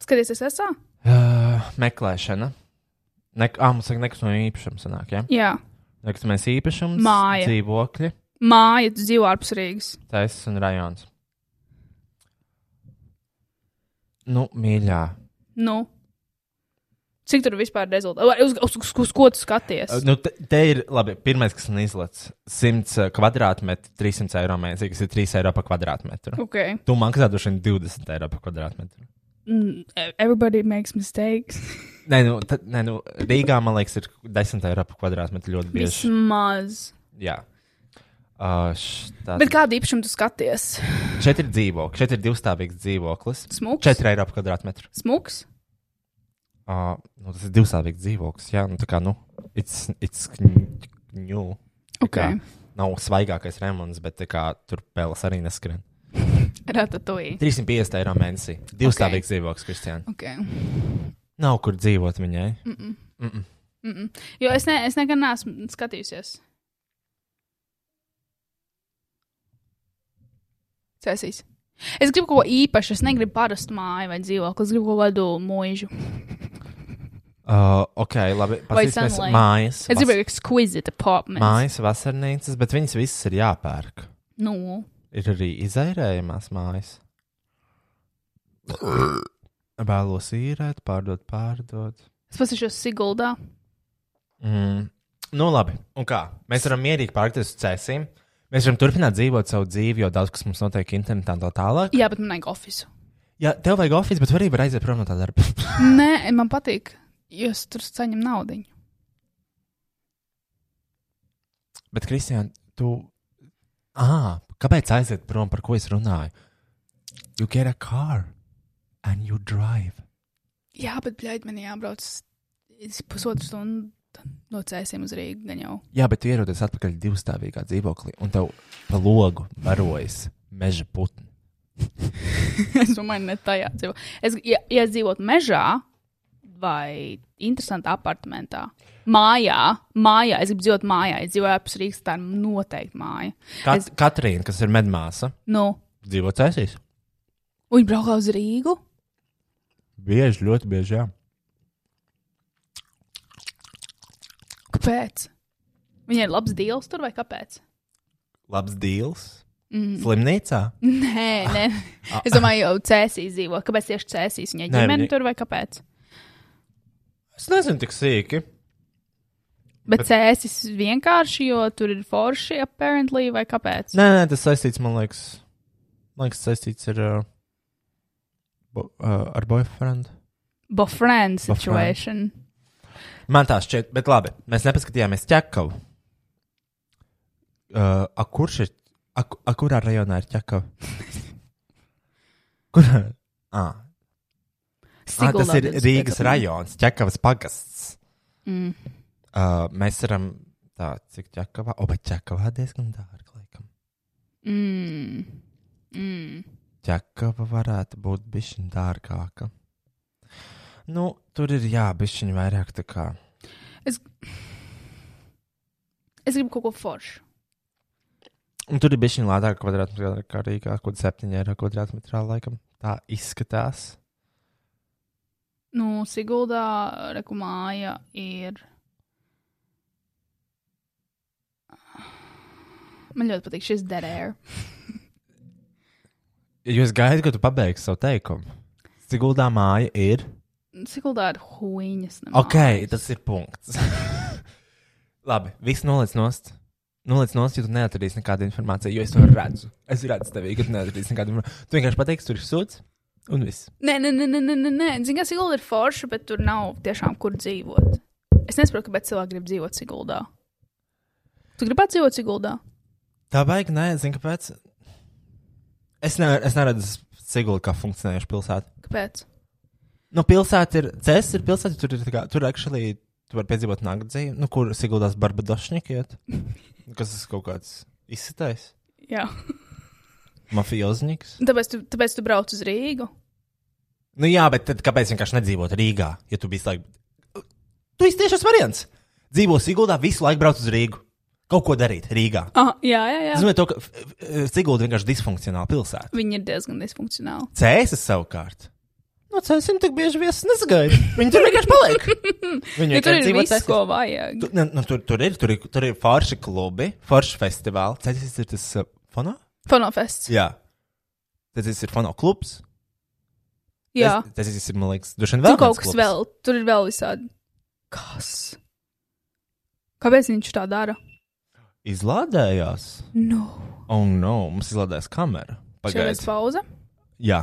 C: Skaties, es esmu?
B: Uh, meklēšana. Nek, ah, mums ir nekustamā īpašuma sanāk, ja?
C: Jā.
B: Nekustamais īpašums.
C: Māja.
B: Dzīvokļi.
C: Māja, tu dzīvo ārpus Rīgas.
B: Taisnība un rajons. Nu, mīļā.
C: Nu. Cik tur vispār ir rezultāti? Uz, uz, uz, uz ko tu skaties?
B: Uh, Nu, te, te ir labi. Pirmais, kas man izlaiž, 100 kvadrātmetru, 300 eiro mēnesī, kas ir 3 eiro par kvadrātmetru.
C: Ok.
B: Tu maksā droši vien 20 eiro par kvadrātmetru.
C: Mm, Everybody makes mistakes.
B: Nē, nu, ta, nē, nu Rīgā man liekas, ir 10 eiro par kvadrātmetru ļoti bieži.
C: Vismaz.
B: Jā. Uh, š- tā-
C: Bet kādu īpašumu tu skaties?
B: Šeit ir dzīvoklis, šeit ir divstāvīgs dzīvoklis.
C: Smuks.
B: 4 eiro par kvadrātmetru.
C: Smuks.
B: Uh, nu, tas ir divstāvīgs dzīvoklis. Jā, nu, tā kā, nu, it's, it's kn- new. Tā
C: Ok.
B: kā Nav svaigākais remonts, bet tā kā, tur pēdas arī neskrien.
C: Ratatouille.
B: 350 eiro mēnesī. Divstāvīgs okay. dzīvoklis, Kristija.
C: Ok.
B: Nav kur dzīvot viņai.
C: Jo es, ne, es nekad neesmu skatījusies. Cēsīs. Es gribu kaut ko īpašu. Es negribu parastu māju vai dzīvokli. Es gribu kaut kādu mūžu.
B: Uh, ok, labi.
C: Vai
B: Paskatīsimies
C: sunlight.
B: mājas.
C: Es
B: vas-
C: gribu exquisite apartment.
B: Mājas, vasarnīcas, bet viņas visas ir jāpērk.
C: Nu.
B: Ir arī izairējumās mājas. Vēlos īrēt, pārdot, pārdot.
C: Es paskatīšos Siguldā.
B: Mm. Nu, labi. Un kā? Mēs varam mierīgi pārkties uz cēsīm. Mēs varam turpināt dzīvot savu dzīvi, jo daudz kas mums notiek internetā un tā tālāk.
C: Jā, bet man vajag oficiālu.
B: Jā, tev vajag oficiāli, bet tu arī var aiziet prom no tā darba.
C: Nē, man patīk, jo es tur saņemu naudu.
B: bet, Kristija, tu. Ah, kāpēc aiziet prom, par ko es runāju? You get a car and you drive.
C: Jā, bet plēķi man jābrauc es pusotru stundu no cēsiem uz Rīgā. Gan jau.
B: Jā, bet tu ierodies atpakaļ divstāvīgā dzīvoklī un tev pa logu barojas meža putni.
C: es domāju, ne tajā dzīvo. Es, ja, ja es dzīvotu mežā vai interesantā apartamentā. Mājā, mājā, es gribu dzīvot mājā. Es dzīvoju ārpus Rīgas, tā ir noteikti māja.
B: Kat
C: Es-
B: es... Katrīna, kas ir medmāsa,
C: Nu,
B: dzīvo cēsīs.
C: un viņi braukā uz Rīgu.
B: Bieži, ļoti bieži, jā.
C: Kāpēc? Viņai ir labs dīls tur vai kāpēc?
B: labs deals. Mm. Slimnīcā?
C: Nē, nē. Es domāju, jau cēsīs dzīvo. Kāpēc tieši cēsīs? Viņai
B: Nē,
C: ģimene
B: viņi-
C: tur vai kāpēc?
B: Es nezinu, tik sīki.
C: Bet cēsīs vienkārši, jo tur ir forši, apparently, vai kāpēc?
B: Nē, nē, tas saistīts, man liekas, man liekas saistīts ar, uh, bo, uh, ar boyfriend.
C: Bofriend
B: Bofriend.
C: situation.
B: Ah, Man tā šķiet, bet labi, mēs nepaskatījāmies ķekavu. Uh, a kurš ir? A, ku- a kurā rajonā ir ķekava? Kurā? Ah, ah, tas
C: Siguldā
B: ir
C: viens
B: Rīgas
C: pēc-
B: rajons, ķekavas pagasts.
C: Mm.
B: Uh, mēs varam tā, cik ķekavā, o, bet ķekavā diezgan dārgi, laikam.
C: Mm. Mm.
B: ķekava varētu būt bišķiņa dārgāka. Nu, tur ir jā, bišķiņa vairāk tā kā.
C: Es gribu kaut ko foršu.
B: Un tur ir bišķiņa lētāk kvadrātmetrā nekā Rīgā, kaut 7 eiro kvadrātmetrā laikam. Tā izskatās.
C: Nu, Siguldā rekumāja ir. Man ļoti patīk šis derēra.
B: Jo es gaidu, ka tu pabeigsi savu teikumu. Siguldā māja ir.
C: Siguldā ir huīņas. ne
B: Ok,
C: mājas.
B: tas ir punkts. Labi, viss noliec nost. Noliec nost, jo tu neatradīsi nekādu informāciju, jo es to redzu. Es redzu tevi, ka tu neatradīsi nekādu informāciju. Tu vienkārši pateiksi, tur ir sūds, Un viss.
C: Nē, nē, nē, nē, nē, nē, nē. Zini, ka Sigulda ir forša, bet tur nav tiešām kur dzīvot. Es nesaprotu, kāpēc cilvēki grib dzīvot Siguldā. Tu gribētu dzīvot Siguldā?
B: Tā baigi, nē, zinu, kāpēc. Es, ne, es neredzu Sigulu kā funkcionējušu pilsētu.
C: Kāpēc?
B: Nu, pilsēta ir cēlis, ir pilsēta, tur ir tā kā, tur actually, tu vari piedzīvot naktas dzīvi, nu, kur Siguldas barbadošņiki iet. Kas tas kaut kāds izsitais?
C: Jā.
B: Mafiozniks?
C: Tāpēc tu, tāpēc tu brauc uz Rīgu.
B: Nu, jā, bet tad kāpēc vienkārši nedzīvot Rīgā? Ja tu biji laikam, tu esi tiešas variants. Dzīvo Siguldā, visu laiku brauc uz Rīgu. Kaut ko darīt Rīgā.
C: Ah, jā, jā,
B: Tas
C: jā.
B: nozīmē, to, ka f- f- Sigulda vienkārši disfunkcionāla pilsēta.
C: Viņi ir diezgan disfunkcionāli.
B: Cēsis savukārt. No cēsim tik bieži viesis nesagaida. Viņi tur vienkārši paliek. Viņi
C: Ja tur ir viss,
B: Cēsis.
C: ko vajag.
B: Tu, ne, nu, tur, tur ir, tur ir, tur ir forši klubi, forši festivāli. Cēsis ir tas uh, fonā?
C: Fonofests.
B: Jā. Cēsis ir fonā klubs.
C: Jā.
B: Cēsis ir, man liekas, droši vien
C: Tur
B: vēl
C: kaut
B: viens
C: kas
B: klubs.
C: vēl, tur ir vēl visādi. Kas? Kāpēc viņš tā dara?
B: Izlādējās.
C: No.
B: Oh, no, mums izlādēs kamera.
C: Šoreiz
B: Pagaidiet.
C: pauze.
B: Jā.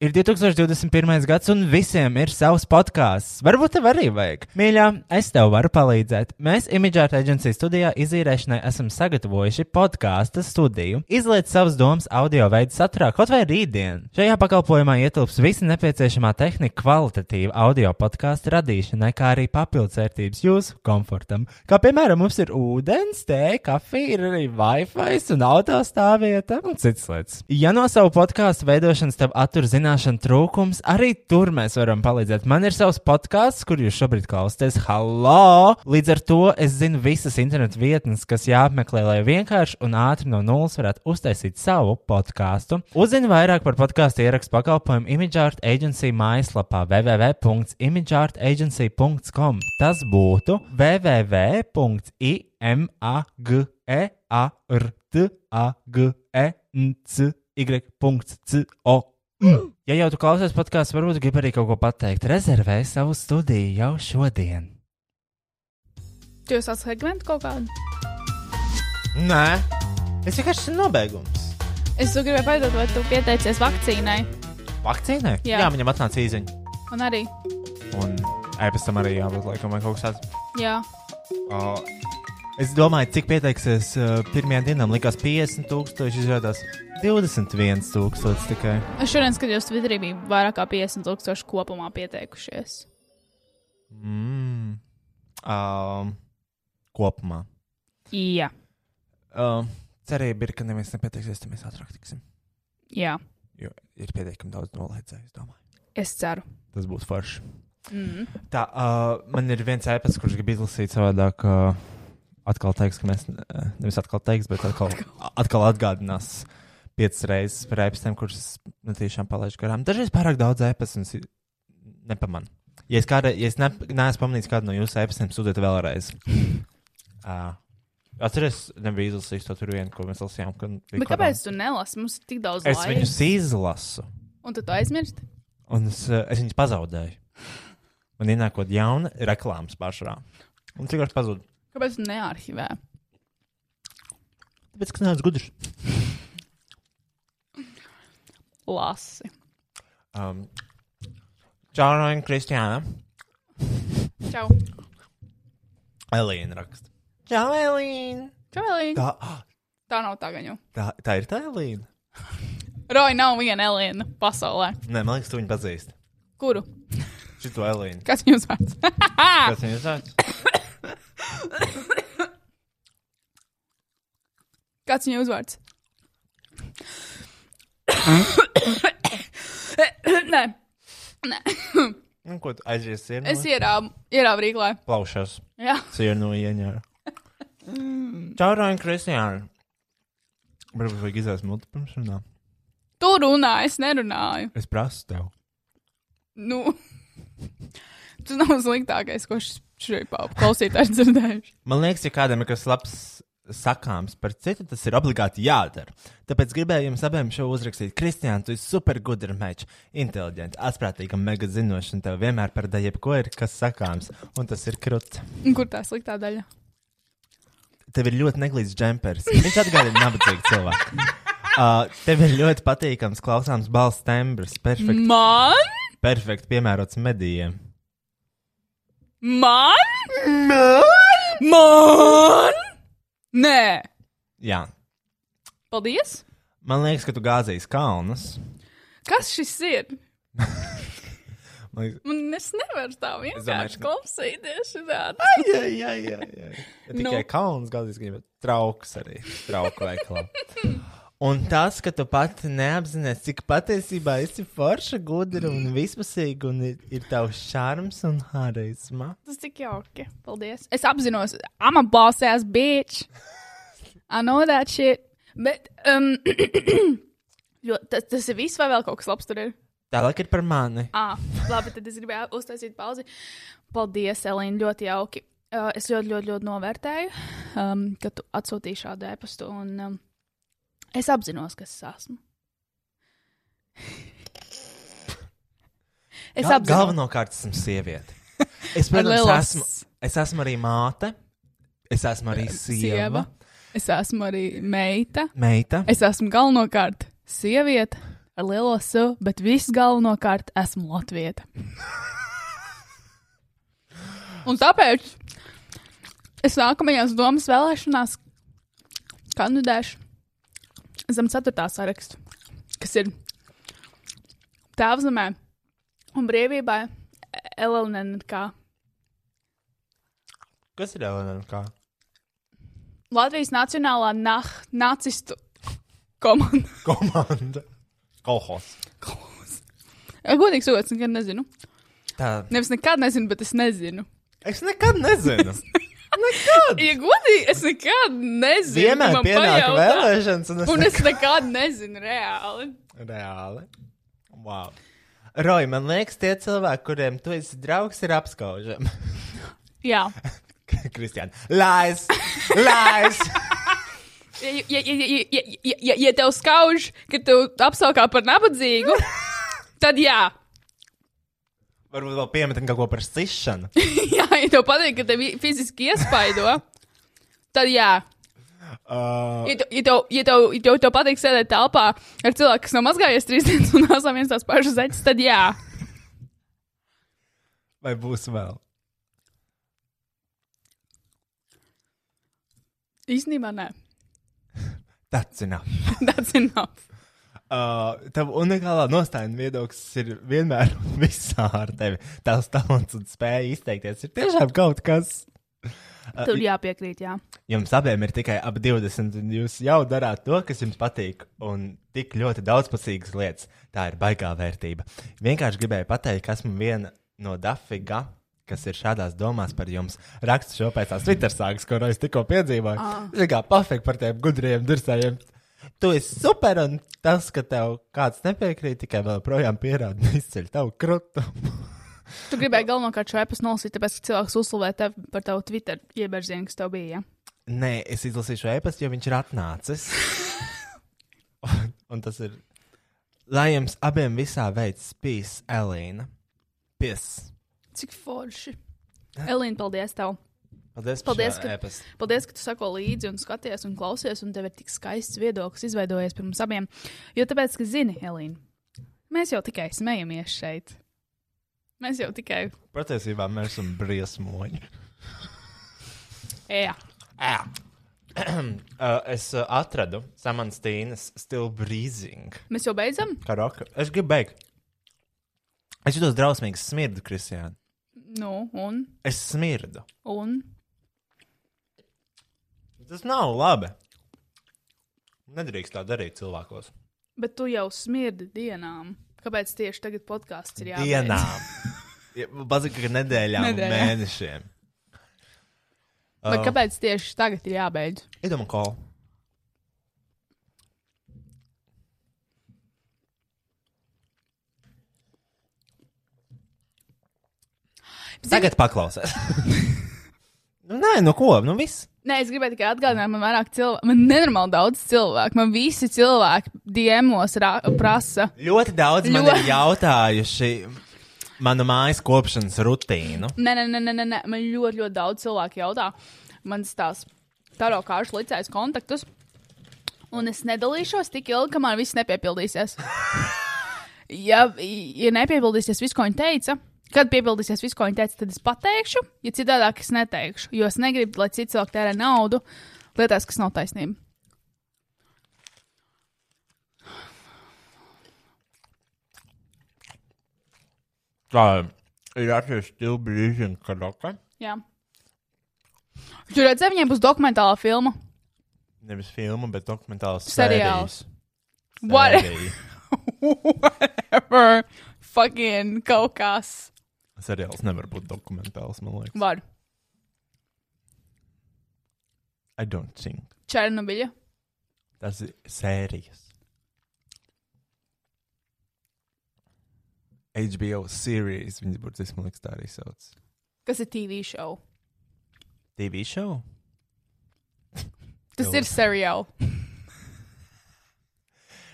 F: Ir 2021. gads, un visiem ir savs podkāsts. Varbūt tev arī vajag. Mīļā, es tev varu palīdzēt. Mēs Imagēta aģentūras studijā izīrēšanai esam sagatavojuši podkāstu studiju. Izliet savas domas audio veidu saturā, kaut vai rītdien. Šajā pakalpojumā ietilps visa nepieciešamā tehnika kvalitatīva audio podkāstu radīšanai, kā arī papildvērtības jūsu komfortam. Kā piemēram, mums ir ūdens, tēja, kafija, ir arī Wi-Fi un autostāvvieta un citas lietas. Ja no savu podkāstu veidošanas tev attur zināšanu trūkums, arī tur mēs varam palīdzēt. Man ir savs podkāsts, kur jūs šobrīd klausāties. Halo! Līdz ar to es zinu visas internetu vietnes, kas jāapmeklē, lai vienkārši un ātri no nulles varētu uztaisīt savu podkāstu. Uzzini vairāk par podkāstu ierakstu pakalpojumu ImageArt Agency mājaslapā www.imageartagency.com. Tas būtu www.i M A G E A R T A G E N C Y. C O. M. Ja jau tu klausies podkāstu, varbūt gribi arī kaut ko pateikt. Rezervē savu studiju jau šodien.
C: Tu jau sāc segmentu kaut kādu?
B: Nē, es vienkārši esmu nobeigums.
C: Es tu gribēju pajautāt, vai tu pieteicies vakcīnai.
B: Vakcīnai?
C: Jā.
B: Jā viņam atnāca īziņa.
C: Un arī,
B: Un ai, pēc tam arī jābūt laikam vai kaut kas tāds.
C: jā,
B: Uh, es domāju, cik pieteiksies uh, pirmajā dienā. Man Likās 50,000, izrādās 21,000 tikai.
C: es šodien skatījos Twitterī, bija vairāk kā 50 tūkstoši kopumā pieteikušies.
B: Mm. Um, kopumā.
C: Jā,
B: Um, cerība ir, ka neviens nepieteiksies, tad mēs ātrāk tiksim.
C: jā,
B: Jo ir pietiekami daudz nolaicēju, es domāju.
C: es ceru.
B: Tas būs forši.
C: Mm.
B: Tā, uh, man ir viens ēpasts, kurš grib izlasīt savādāk. Uh, atkal teiks, ka mēs ne- nevis atkal teiks, bet atkal, atkal atgādinās piecas reizes par ēpastiem, kurus es nu tiešām palaidu garām. Dažreiz pārāk daudz ēpastu un es nepamanu. Ja es, kāda, ja es ne, neesmu pamanījis kādu no jūsu ēpastiem, sūtiet vēlreiz. Uh, Atcerieties, nebija izlasījis to tur vienu, ko mēs lasījām. kad bija
C: Bet
B: korona.
C: kāpēc tu nelasi? Mums ir tik daudz
B: Es
C: laika.
B: viņus izlasu.
C: Un tad tu aizmirsti?
B: Un es, eh, es viņus pazaudēju. Man ienākot jauna reklāmas pašā. Un cik vienkārši pazudu?
C: Kāpēc tu nearchivē?
B: Tāpēc, ka neesmu gudrs.
C: Lasi.
B: Um, Čāra un Kristiāna.
C: Čau.
B: Elīna raksta. Jā, Elīna.
C: Čau, Elīna.
B: Tā, ah,
C: Tā nav tā gaņa.
B: tā, tā ir tā Elīna.
C: Roja nav viena Elīna pasaulē.
B: Nē, man liekas, tu viņu pazīsti.
C: Kuru?
B: Šito Elīnu.
C: Kas jums vārds?
B: Kas viņa zina?
C: Kāds viņa uzvārds? Nē,
B: Nu, ko tu aizies sienu?
C: es ierāvu, ierāvu rīklē.
B: plaušos.
C: Jā,
B: Sienu ieņēru. Čāra un Kristiāna. Varbūt vajag izvēlēties mutu pirms runā.
C: tu runā, es nerunāju.
B: Es prasu tev.
C: Nu, tas nav sliktākais, ko šis šeit klausītājs dzirdējuši.
B: Man liekas, ja kādam ir kas labs sakāms par citu, tas ir obligāti jādara. Tāpēc gribēju jums abiem šo uzrakstīt. Kristiāna, tu esi supergudra meč, inteliģenta, atprātīga, mega zinoša, un tev vienmēr par daļu jebko ir kas sakāms, un tas ir kruts.
C: Un Kur tā sliktā daļa?
B: tev ir ļoti neglīts džempers. Viņš atgādina nabadzīgu cilvēku. Uh, tev ir ļoti patīkams, klausāms balss tembrs. Perfekti,
C: Man?
B: perfekti piemērots medijiem.
C: Man? Man? Nē.
B: Jā,
C: Paldies.
B: man liekas, ka tu gāzīs kalnus.
C: Kas šis ir?
B: Man liekas-
C: Man es nevaru tā vienkārši
B: ka-
C: klausīties. šitā.
B: Jā, jā, jā. jā. Ja Tikai
C: Nu.
B: nu. kalns gāzīs, bet trauks arī. Trauku veikalā. Un tas, ka tu pati neapzinājies, cik patiesībā esi forša, gudra un vispasīga, un ir, ir tavs šarms un harizma.
C: Tas tik jauki. Paldies. Es apzinos, I'm a boss ass bitch. I know that shit. Bet, um, jo, tas, tas ir viss, vai vēl kaut kas labs tur ir?
B: Tālāk ir par mani.
C: Ah, labi, tad es gribēju uztaisīt pauzi. Paldies, Elīna, ļoti jauki. Uh, es ļoti, ļoti, ļoti novērtēju, um, ka tu atsūtīji šādu e-pastu. Un, um, es apzinos, kas es esmu. es
B: Gal-
C: apzinos,
B: Galvenokārt esmu sieviete. Es,
C: Ar
B: protams,
C: lielos-
B: esmu, es esmu arī māte. Es esmu arī sieva. sieva.
C: Es esmu arī meita.
B: Meita.
C: Es esmu galvenokārt sieviete ar lielo savu, bet viss galvenokārt esmu latvieta. Un tāpēc es nākamajās domas vēlēšanās kandidēšu zem 4. sarakstu, kas ir tēvzemē un brīvībai LNNK.
B: Kas ir Elena? Kā?
C: Latvijas Nacionālā nah nacistu komanda.
B: Komanda. Kolhos.
C: Godīgi sakot, es nekad nezinu.
B: Tā.
C: Nevis nekad nezinu, bet es nezinu.
B: Es nekad nezinu.
C: Ja godīgi, es nekad nezinu.
B: Vienmēr
C: man
B: pienāk
C: pajautā.
B: vēlēšanas, un es
C: Un es nekad nezinu reāli.
B: Reāli. Wow. Roy, man liekas, tie cilvēki, kuriem tu esi draugs, ir apskaužami.
C: Jā,
B: Kristiāna. Lais! Lais!
C: ja, ja, ja, ja, ja, ja, ja, ja tev skauž, ka tu apsaukā par nabadzīgu, tad jā.
B: Varbūt vēl piemetam kaut ko par sišanu.
C: Jā, ja tev patīk, ka tev fiziski iespaido, tad jā.
B: Uh,
C: Ja tev, ja tev, ja tev, ja tev, tev patīk sēdēt telpā ar cilvēku, kas nav mazgājies trīs dienas un esam viens tās pašas zeķes, tad jā.
B: vai būs vēl?
C: Īstenībā nē.
B: That's enough.
C: That's enough.
B: Uh, Tava unikālā nostājuma viedoklis ir vienmēr un visā ar tevi. Tās talants un spēja izteikties ir tiešām kaut kas.
C: Tur jāpiekrīt, jā.
B: Jums abiem ir tikai ap 20, un jūs jau darāt to, kas jums patīk, un tik ļoti daudzpusīgas lietas. Tā ir baigā vērtība. Vienkārši gribēju pateikt, ka esmu viena no dafiga, kas ir šādās domās par jums. Rakstu šo pēc tās Twitter sākas, ko es tikko piedzīvoju. Zini, kā pafīgi par tiem gudriem dursējiem. Tu esi super, un tas, ka tev kāds nepiekrīt, tikai vēl projām pierāda un izceļ tavu krutumu.
C: Tu gribēji galvenokārt šo episodu nolasīt, tāpēc, ka cilvēks uzslavē tevi par tavu Twitter iebērzienu, kas tev bija. Ja?
B: Nē, es izlasīšu e-pastu, jo viņš ir atnācis. un, un tas ir. Lai jums abiem visā veids spīs, Elīna. Pies.
C: Cik forši. Elīna, paldies tev.
B: Paldies,
C: Paldies,
B: par
C: ka-
B: šo e-pastu.
C: Paldies, ka tu sako līdzi un skaties un klausies, un tev ir tik skaists viedoklis izveidojies par mums abiem. Jo tāpēc, ka zini, Elīna, mēs jau tikai smejamies šeit. Mēs jau tikai.
B: Patiesībā mēs esam briesmoņi.
C: Jā,
B: Uh, es uh, atradu Samanstīnas stilu breezing.
C: mēs jau beidzam.
B: Karoka. Es gribu beigt. Es jutos drausmīgi smirdu, Kristiāna.
C: Nu, un.
B: Es smirdu.
C: un.
B: Tas nav labi. Nedrīkst tā darīt cilvēkos.
C: Bet tu jau smirdi dienām. Kāpēc tieši tagad podkāsts ir jābeidz?
B: dienām. Bazika, ka nedēļām un
C: Nedēļām.
B: mēnešiem.
C: Bet kāpēc tieši tagad ir jābeidz?
B: Idam kol. Tagad paklausies. nu, nē, nu ko, nu viss.
C: Nē, es gribēju tikai atgādināt, man vairāk cilvēku, man nenormāli daudz cilvēku, man visi cilvēki diemos rā- prasa.
B: Ļoti daudz man
C: Ļoti.
B: ir jautājuši manu mājas kopšanas rutīnu.
C: Nē, nē, nē, nē, nē, nē, man ļoti, ļoti daudz cilvēku jautā. Man stāsta, Taro kāršu licējas kontaktus. Un es nedalīšos tik ilgi, kamēr viss nepiepildīsies. ja, ja nepiepildīsies viss, ko viņa teica, kad piepildīsies viss, ko viņa teica, tad es pateikšu. Ja citādāk es neteikšu, jo es negribu, lai cits cilvēks tērē naudu lietās, kas nav taisnība.
B: Tā ir atšķirīga stila brīža, kad roka.
C: Jā. Tur redzēju, viņiem būs dokumentāla filma.
B: Nevis filma, bet dokumentāls
C: Seriāls.
B: seriāls.
C: What? Whatever. Fucking kaut kas.
B: Seriāls nevar būt dokumentāls, man liekas.
C: Var.
B: I don't think.
C: Černobiļa.
B: Tas ir sērijas. HBO sērijas, viņas burtiski, man liekas, tā arī sauc.
C: Kas ir TV show?
B: TV show?
C: Tas
B: Jau.
C: ir seriāls.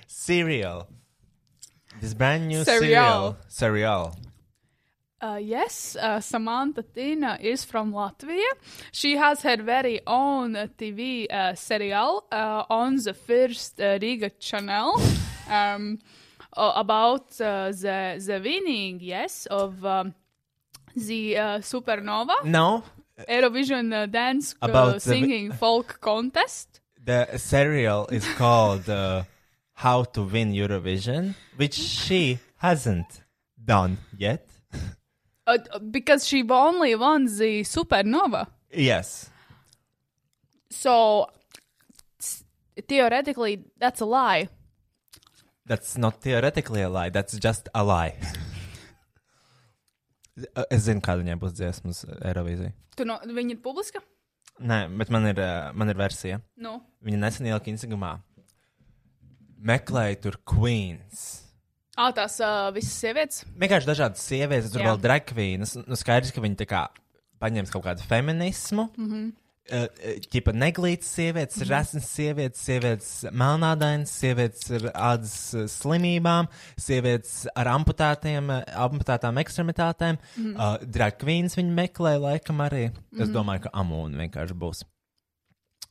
B: Serial. This brand new
C: Serial.
B: serial. Serial.
C: Uh, yes, uh, Samantha Tina is from Latvia. She has her very own uh, TV uh, serial uh, on the first uh, Riga channel um, uh, about uh, the, the winning, yes, of um, the uh, Supernova
B: No,
C: Eurovision uh, dance uh,
B: About the vi-
C: singing folk contest.
B: the serial is called uh, How to Win Eurovision, which she hasn't done yet.
C: Uh, because she only won the Supernova.
B: Yes.
C: So s- theoretically, that's a lie.
B: That's not theoretically a lie, that's just a lie. Es zinu, kāda viņai būs dziesmas uh, Eirovīzija.
C: Tu no, viņa ir publiska?
B: Nē, bet man ir, uh, man ir versija.
C: Nu,
B: Viņa nesen ielika Instagramā. Meklēja tur Queens.
C: ah, tās uh, visas sievietes.
B: vienkārši dažādas sievietes, tur
C: Jā.
B: vēl dragvīnas. Nu, skaidrs, ka viņi tā kā paņems kaut kādu feminismu. Mm
C: Mhm.
B: -hmm. Ķipa neglītas sievietes, mm -hmm. rasnas sievietes, sievietes melnādainas, sievietes ar ādas uh, slimībām, sievietes ar amputētiem, uh, amputētām ekstremitātēm.
C: Mhm.
B: Mm -hmm. uh, Dragvīnas viņi meklē laikam arī. Mm -hmm. Es domāju, ka amūna vienkārši būs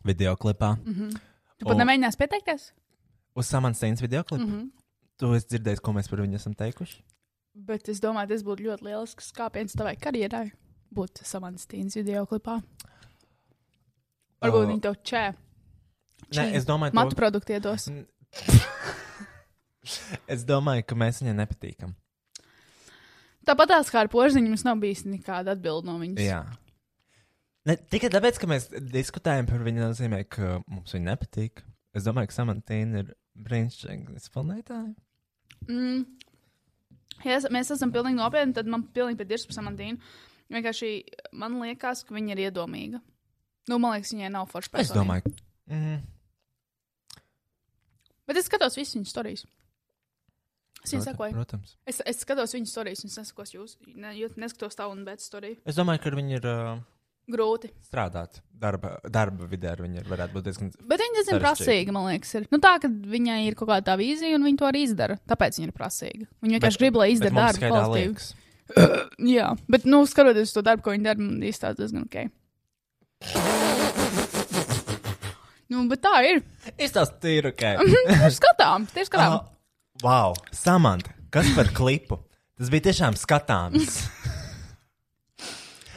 B: videoklipā. Mm -hmm.
C: Mhm. Tu pat nemēģināsi pieteikties? Mhm.
B: Uz Samanstīnas videoklipu. Mm -hmm. Tu esi dzirdējis, ko mēs par viņu esam teikuši?
C: Bet es domāju, tas būtu ļoti lielisks kāpiens tavai karjerai. Būt Samanstīnas video klipā. Varbūt
B: O.
C: viņi to čē.
B: Nē, es domāju,
C: Matu produktu iedos.
B: Es domāju, ka mēs viņai nepatīkam.
C: Tāpat tās kā ar porziņu, mums nav bijis nekāda atbilde no viņas.
B: Jā. Ne, tikai tāpēc, ka mēs diskutējam par viņu, nozīmē, ka mums viņa nepatīk. Es domāju, ka Samantīna ir brīnišķīga izpildītāja.
C: Mm. Ja es, mēs esam pilnīgi nopietni, tad man pilnīgi pietiks par Samantīnu. Vienkārši man liekas, ka viņa ir iedomīga. Nu, man liekas, viņai nav forša
B: Es
C: personība.
B: domāju, ka mm,
C: Bet es skatos visus viņas stāstus. Es viņu
B: protams,
C: sekoju.
B: protams.
C: Es, es skatos viņu stāstus, un es nesakos jūs. Ne, jo neskatos tavu un bēdas stāstu.
B: Es domāju, ka ar viņu ir uh,
C: Grūti.
B: strādāt. Darba, darba vidē ar viņu ir- varētu būt diezgan.
C: Bet viņa diezgan
B: Sarežģīti.
C: prasīga, man liekas, ir. Nu, tā, ka viņai ir kaut kāda tā vīzija, un viņa to arī izdara. Tāpēc viņa ir prasīga. Viņa vienkārši grib, lai
B: bet
C: izdara
B: mums
C: darbu
B: tikai tā
C: kvalitīvi.
B: liekas.
C: Jā, bet, nu, skatoties uz to darbu, ko viņa dara, man īstenībā diezgan ok. Nu, bet tā ir.
B: Izstāst, ir ok.
C: Tieši skatām, tieši skatām.
B: Ah, Wow, Samants, kas par klipu? Tas bija tiešām skatāms.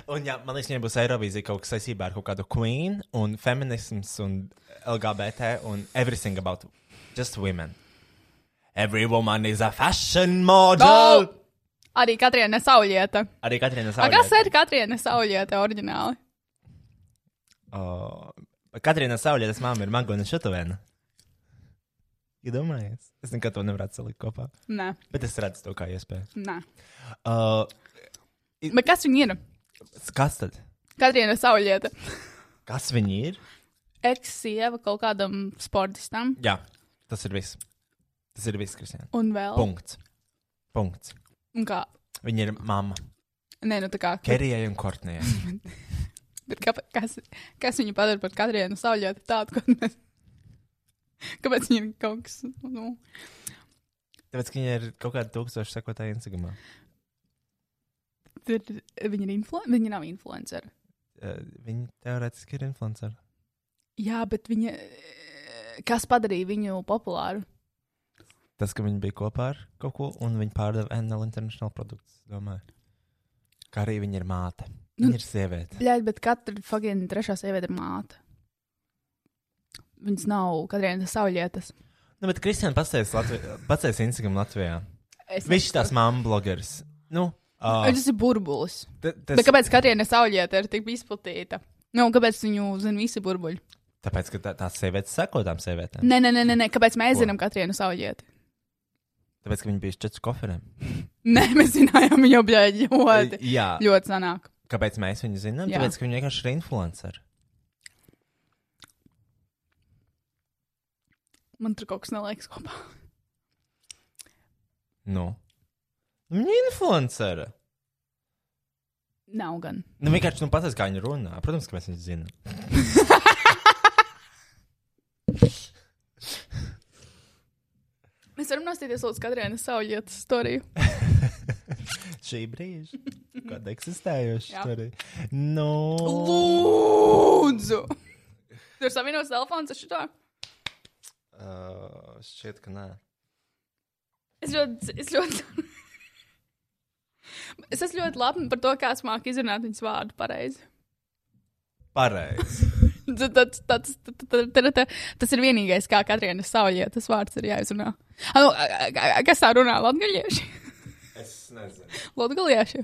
B: Un, jā, man liekas, viņai būs Eirovīzija kaut kas saistībā ar kaut kādu queen, un feminisms, un LGBT, un everything about just women. Every woman is a fashion model!
C: Oh! Arī Katrīna Saulieta.
B: Arī Katrīna
C: A, kas
B: Saulieta.
C: ir Katrīna Saulieta oriģināli?
B: Oh, Katrīna Saulietas māma ir Magona Šutovena. Iedomājies? Es nekad to nevarētu salikt kopā,
C: Nē,
B: bet es redzu to kā iespēju.
C: nē.
B: Uh,
C: Bet kas viņa ir?
B: kas tad?
C: Katrīna Saulieta.
B: Kas viņi ir?
C: Ex-sieva kaut kādam sportistam.
B: Jā, tas ir viss. Tas ir viss, Kristija.
C: Un vēl.
B: Punkts. Punkts.
C: Un kā?
B: Viņa ir mamma
C: Nē, nu tā kā.
B: Kerijai un Kortnijai.
C: Bet kāpēc, kas, kas viņu padara par Katrīnu Saulieta tādu, ko mēs. Kāpēc viņa ir kaut kas. Nu,
B: Tāpēc, ka viņai ir kaut kāda tūkstoša sekotāja Instagram.
C: tur,
B: Eh,
C: viņa, ir influ... viņa nav influencer.
B: Viņa teorētiski ir influencer.
C: Jā, bet viņa. eh, Kas padarīja viņu populāru?
B: Tas, ka viņi bija kopā ar kaut ko, un viņi pārdeva NL International produktus, domāju. Kā arī viņa ir māte.
C: Nu.
B: Viņa ir sieviete.
C: Jā, bet katra fucking trešā sieviete ir māte. Viņas nav katrai no savas lietas.
B: Nu, bet Kristiāna pacēs, Latvi... pacēs Instagram Latvijā.
C: Es
B: Viņš tās mamma blogeris. Nu, uh,
C: Tas ir burbulis.
B: tas
C: Es... Bet kāpēc katrai no savas lietas ir tik izplatīta? Nu, un kāpēc viņu zina visi burbuļi?
B: Tāpēc, ka tā, tās sievietes seko tām sievietēm.
C: Nē, nē, nē, nē, nē. kāpēc mēs zinām katrai no savas lietas?
B: Tāpēc, ka viņi bija četri koferiem.
C: Nē, mēs zinājām, jau bija ļoti,
B: Jā,
C: ļoti sanāk.
B: kāpēc mēs viņu zinām?
C: Jā.
B: Tāpēc, ka viņi vienkārši ir influenceri.
C: Man tur kaut kas neliekas kopā.
B: Nu. Viņa ir influenceri.
C: Nav gan.
B: Nu, vienkārši nu, pasakiet, kā viņi runā. Protams, ka mēs viņu zinām.
C: Mēs varam nostīties līdz katrai no savas lietas storiju.
B: Šī brīža, kad eksistējuši
C: Jā.
B: tur ir. Nu,
C: Lūdzu! Tur savienots telefons ar šo.
B: uh, šķiet, ka nē.
C: Es ļoti. Es, ļoti... es esmu ļoti labi par to, kāds māca izrunāt viņas vārdu pareizi.
B: Pareizi.
C: Tas- tas- tas- tas- tas- tas- Tas ir vienīgais, kā katrai no savas lietas vārds ir jāizrunā. Ah, nu, a- a- a- Kas tā runā? Latvieši!
B: es nezinu.
C: Latvieši!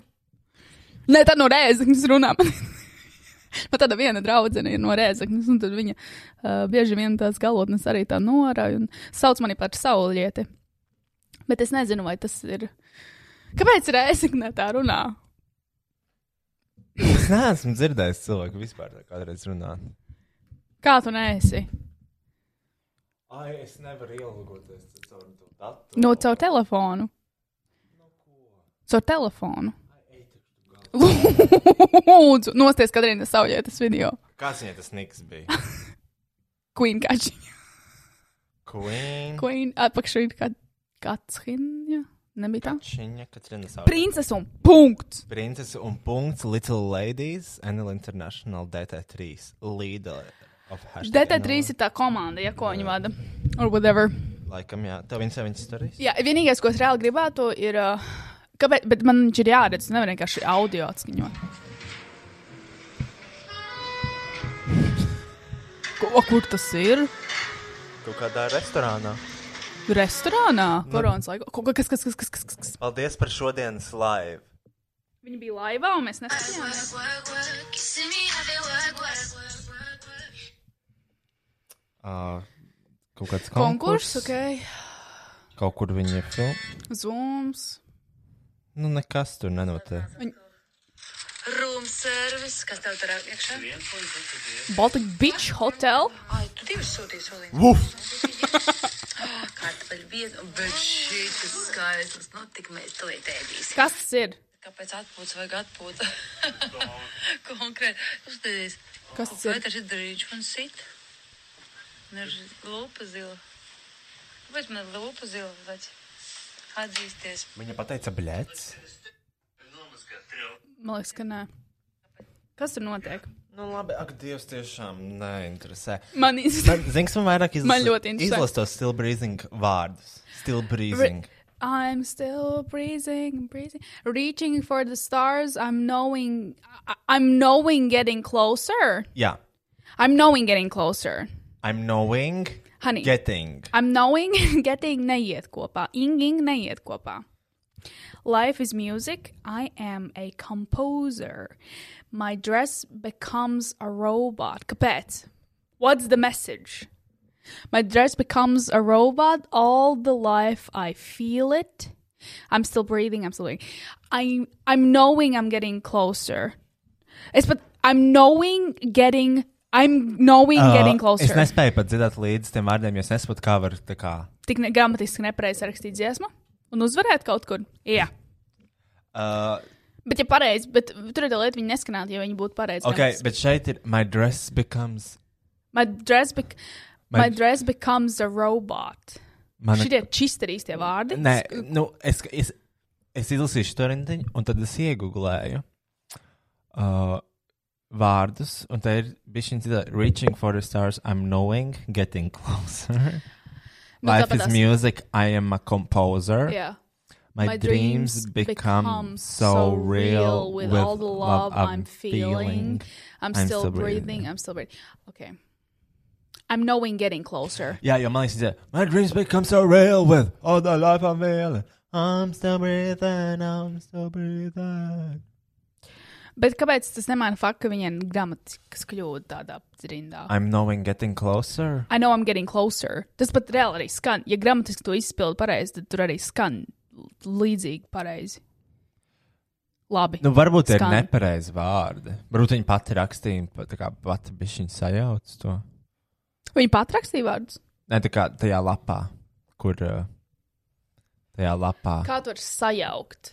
C: Nē, tā no rēzaknes runā. Man tāda viena draudzene ir no rēzaknes, un tad viņa uh, bieži vien tās galotnes arī tā norāda un sauc mani par saulieti. Bet es nezinu, vai tas ir. Kāpēc rēzakne tā runā?
B: Es neesmu dzirdējis cilvēku vispār tā kādreiz runāt.
C: Kā tu nēsi?
B: Ai, es nevaru ielūgoties caur to datu.
C: No caur telefonu. Caur telefonu. Lūdzu, nosties Katrīna Saulietas video.
B: Kāds viņai tas niks bija?
C: Queen Kači.
B: Queen.
C: Queen äh, apakšā ir kā Katrīna. Nebija tā.
B: Viņa Katrina Saura.
C: Princese un punkts.
B: Princese un punkts Little Ladies NL International DT3 leader of hashtag.
C: DT3 ir tā komanda, er ja ko viņi vada. Or whatever.
B: Laikam, jā. Tev viņas jau viņas stāstīs?
C: Jā, vienīgais, ko es reāli gribētu, ir. Uh, kāpēc, bet man viņš ir jāredz, nevar vienkārši audio atskaņot. Ko, oh, kur tas ir?
B: Kaut kādā restorānā.
C: Restorānā? Koronas laikā. Ko- Kas, kas, kas, kas, kas, kas, kas?
B: Paldies par šodienas live.
C: Viņi bija laivā, un mēs nesaprotam.
B: Uh, kaut kāds
C: Konkurss,
B: konkurss.
C: ok.
B: Kaut kur viņi ir filmā.
C: Zooms.
B: Nu, nekas tur nenotiek.
G: Room service, kas tev tur iekšā?
C: Baltic Beach Hotel.
G: Ai, tu divas sūtīji solījumus. Vuf! Ah, Kartupeļu biezs, bet šī tas skaistas, nu tik mēs to ēdīsim.
C: Kas tas ir?
G: Kāpēc atpūtas vajag atpūta? Konkrēti, uzstādījies.
C: Kas tas ir?
G: Vai tas ir drīdž man sit? Neži lupa zila. Kāpēc man lupa zila, vec? Atzīsties.
B: Viņa pateica, blēts.
C: Man liekas, ka nē. Kas tur notiek?
B: Nu, labi, ak, Dievs, tiešām neinteresē.
C: Man īsti.
B: Man, zini, kas man vairāk izlasa,
C: Man ļoti interesē.
B: izlasa tos still breathing vārdus. Still breathing.
C: I'm still breathing, breathing, reaching for the stars. I'm knowing, I- I'm knowing getting closer.
B: Jā,
C: I'm knowing getting closer.
B: I'm knowing,
C: Honey.
B: getting.
C: I'm knowing and getting neiet kopā. Inging neiet kopā. Life is music. I am a composer. My dress becomes a robot. Kāpēc? What's the message? My dress becomes a robot. All the life I feel it. I'm still breathing. I'm still breathing. I'm, I'm knowing I'm getting closer. It's but I'm knowing getting. I'm knowing
B: Uh,
C: getting closer.
B: Es nespēju pat dzirdēt līdz tiem vārdiem, jo es nesaprotu, kā var tā kā.
C: tik ne, gramatiski nepareizi rakstīt dziesmu un uzvarēt kaut kur. Jā.
B: Uh,
C: Bet, ja pareizi, bet tur ir tā lieta, viņa neskanētu, ja viņa būtu pareizi.
B: ok, bet šeit ir my dress becomes.
C: My dress, bec my...
B: My-
C: my dress becomes a robot.
B: Mana...
C: Šitie čist ir īstie vārdi.
B: Nē, nu, es, es, es izlasīju to rindiņu, un tad es iegūlēju. Uh, vārdus, un te ir bijis šī cita - reaching for the stars, I'm knowing, getting closer.
C: Nu,
B: Life is
C: tāpatās.
B: music, I am a composer.
C: Jā.
B: My,
C: My
B: dreams,
C: dreams
B: become,
C: become
B: so
C: so
B: real
C: real with all the love I'm feeling. I'm,
B: I'm
C: still,
B: still
C: breathing.
B: breathing.
C: I'm still breathing. Okay. I'm knowing getting closer.
B: Jā, jo man liekas, tas ir, my dreams become so real with all the love I'm feeling. I'm still breathing, I'm still breathing.
C: Bet kāpēc tas nemaina faktu, ka viņiem gramatikas kļūda tādā rindā?
B: I'm knowing getting closer.
C: I know I'm getting closer. Tas pat reāli arī skan. Ja gramatiski to izpildu pareizi, tad tur arī skan līdzīgi pareizi. Labi.
B: Nu, varbūt tie ir
C: Skan.
B: nepareizi vārdi. Varbūt viņi pati rakstīja, pa- tā kā pati bija viņa sajauc to.
C: Viņa pat rakstīja vārdus.
B: Nē, tā kā tajā lapā, kur. uh, Tajā lapā.
C: Kā tu vari sajaukt?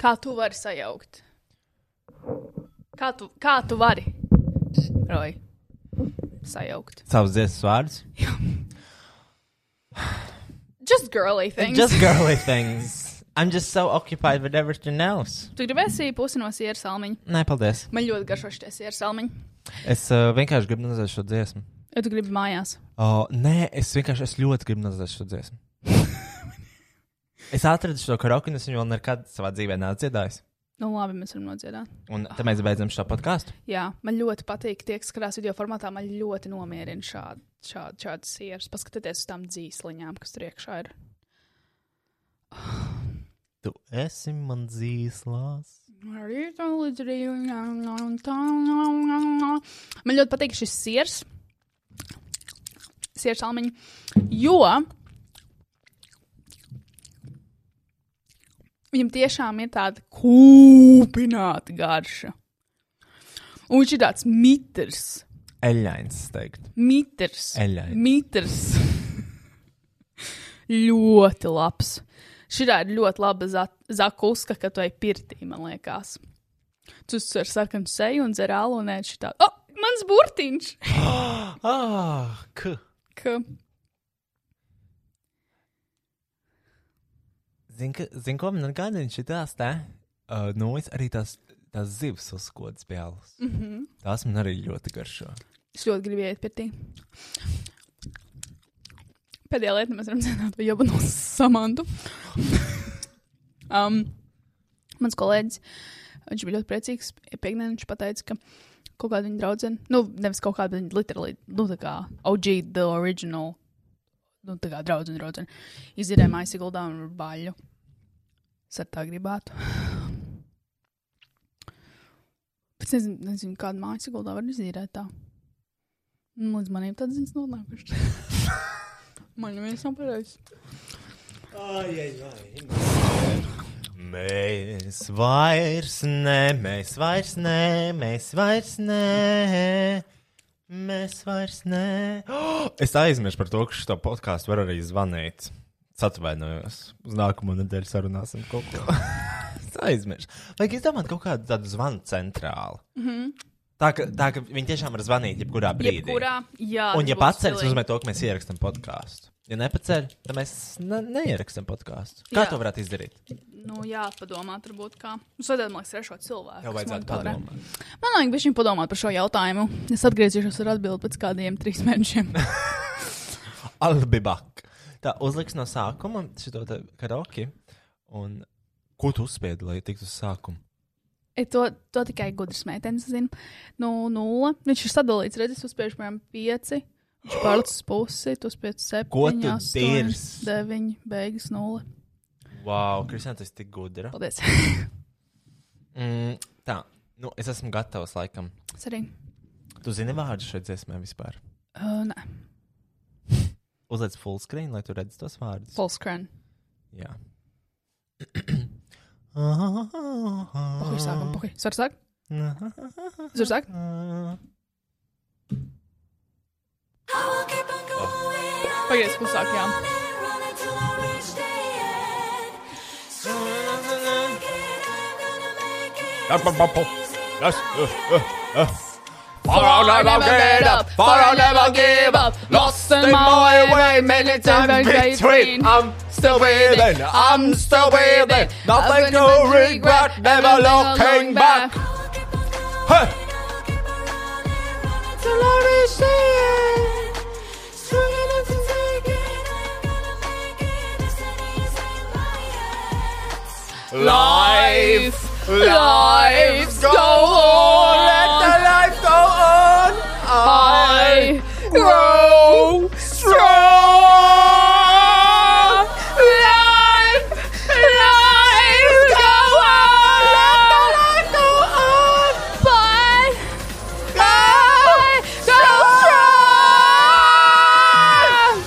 C: Kā tu vari sajaukt? Kā tu, kā tu vari? Roj. Sajaukt.
B: Savs dziesmas vārds.
C: Just girly things.
B: Just girly things. I'm just so occupied with everything else.
C: Tu gribēsi pusi no sieru salmiņa.
B: Nē, paldies.
C: Man ļoti garšo šie sieru salmiņi.
B: Es uh, vienkārši gribu nozagt šo dziesmu.
C: Ja tu gribi mājās.
B: Oh, nē, es vienkārši es ļoti gribu nozagt šo dziesmu. es atradu šo karaoke, un es viņu vēl nekad savā dzīvē neesmu dziedājis.
C: Nu labi, mēs varam nodziedāt.
B: Un tad mēs beidzam šo podkāstu.
C: Jā, man ļoti patīk tie, kas skatās video formātā. Man ļoti nomierina šādi, šādi, šādi sieras. Paskatieties uz tām dzīsliņām, kas tur iekšā ir.
B: Tu esi man dzīslās.
C: Arī tā līdz rītam. Man ļoti patīk šis siers, siers almiņš, jo viņam tiešām ir tāda kūpināta garša. Un viņš ir tāds mitrs,
B: Eļļains, teikt.
C: mitrs,
B: Eļļains.
C: mitrs. ļoti labs. Šī ir ļoti laba za- zakuska, ka tu ej pirtī, man liekas. Tu ar sarkanu seju un dzer alu un ēd šitā. O, oh, mans burtiņš!
B: Ah, k.
C: Ka-
B: Zini, ka- zini, ko man atgādina šī tās tā? Uh, nu, es arī tās, tās zivs uzkodas pēlas. Mm -hmm. Tās man arī ļoti garšo.
C: Es ļoti gribu iet pirtī. Pēdējā lieta, mēs varam dzirdēt, vai jau no samantu. um, mans kolēģis, viņš bija ļoti priecīgs. Pēkdienā viņš pateica, ka kaut kāda viņa draudzene, nu, nevis kaut kāda, bet literāli, nu, tā kā OG, the original, nu, tā kā draudzene, draudzene, izdzīvē mājas ieguldā un ar baļu. Es ar tā gribētu. Bet es nezinu, nezinu kādu mājas ieguldā var izdzīvēt tā. Nu, Līdz maniem tādas ziņas nav nākušas. Man neviens nav pareizs.
B: Mēs vairs ne, mēs vairs ne, mēs vairs ne. Mēs vairs ne. Oh, es aizmirsu par to, ka šo podkāstu var arī zvanīt. Es atvainojos. Uz nākamo nedēļu sarunāsim kaut ko. es aizmirsu. Vajag izdomāt kaut kādu tādu zvanu centrālu. Mm -hmm. Tā ka, tā ka viņi tiešām var zvanīt jebkurā brīdī.
C: Jebkurā, jā.
B: Un, ja
C: tas būtu
B: paceļ,
C: stilīgi.
B: uzmet to, ka mēs ierakstām podkāstu. Ja nepaceļ, tad mēs ne neierakstām podkāstu. Kā
C: Jā.
B: to varētu izdarīt?
C: Nu, jā, padomā, turbūt kā. Mums vajadzētu, man liekas, trešo cilvēku.
B: Tev
C: kas
B: vajadzētu
C: monitorē.
B: padomāt.
C: Man liekas, viņš padomā par šo jautājumu. Es atgriezīšos ar atbildi pēc kādiem trīs mēnešiem.
B: Albibak. Tā uzliks no sākuma šo karaoke. Un ko tu uzspiedi, lai tiktu uz sākuma?
C: E, to, to tikai gudrs meitenes zina. Nu, nulle. Viņš ir sadalīts, redzēs, uzspiež piemēram pieci. Viņš pārlec uz pusi, tu uzspiež
B: Ko tu
C: septiņi, astoņi,
B: dirsi?
C: deviņi, beigas nulle.
B: Wow, Kristija, tas ir Mm. tik gudra.
C: Paldies.
B: Mm, tā, nu es esmu gatavs laikam.
C: Es arī.
B: Tu zini vārdu šai dziesmai vispār.
C: Uh, nē,
B: Uzliec full screen, lai tu redzētu tos vārdus.
C: full screen.
B: Jā.
C: Pakaļ sākam, pakaļ. Svar sāk? Svar sāk? Pagaidies, klusāk, jā. Far I'll never get up, far I'll never give up. Lost in my way, many times between. I'm
D: still breathing, I'm still breathing. Nothing to regret, never looking back. Hey! Life, lives go on. Let the life go on. I grow strong. Life, lives go on. Let the life go on. But I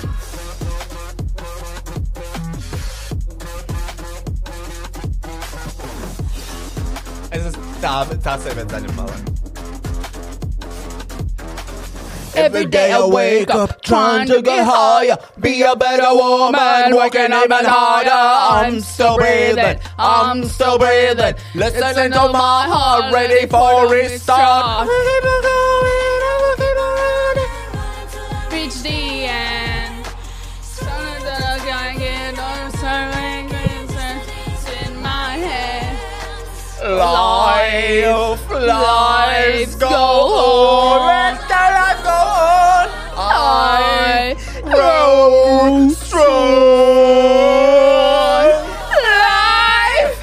D: go strong.
B: Es esmu tā, tā sievietes daļa malā.
D: Every day I wake up trying to get higher, be a better woman, working even harder. I'm still breathing, I'm still breathing. Listen to my heart, ready for it start.
C: Reach the end. Something that I can't get on serving it's in my head.
D: Life, life, go on. Let the life go on. I grow strong. Life,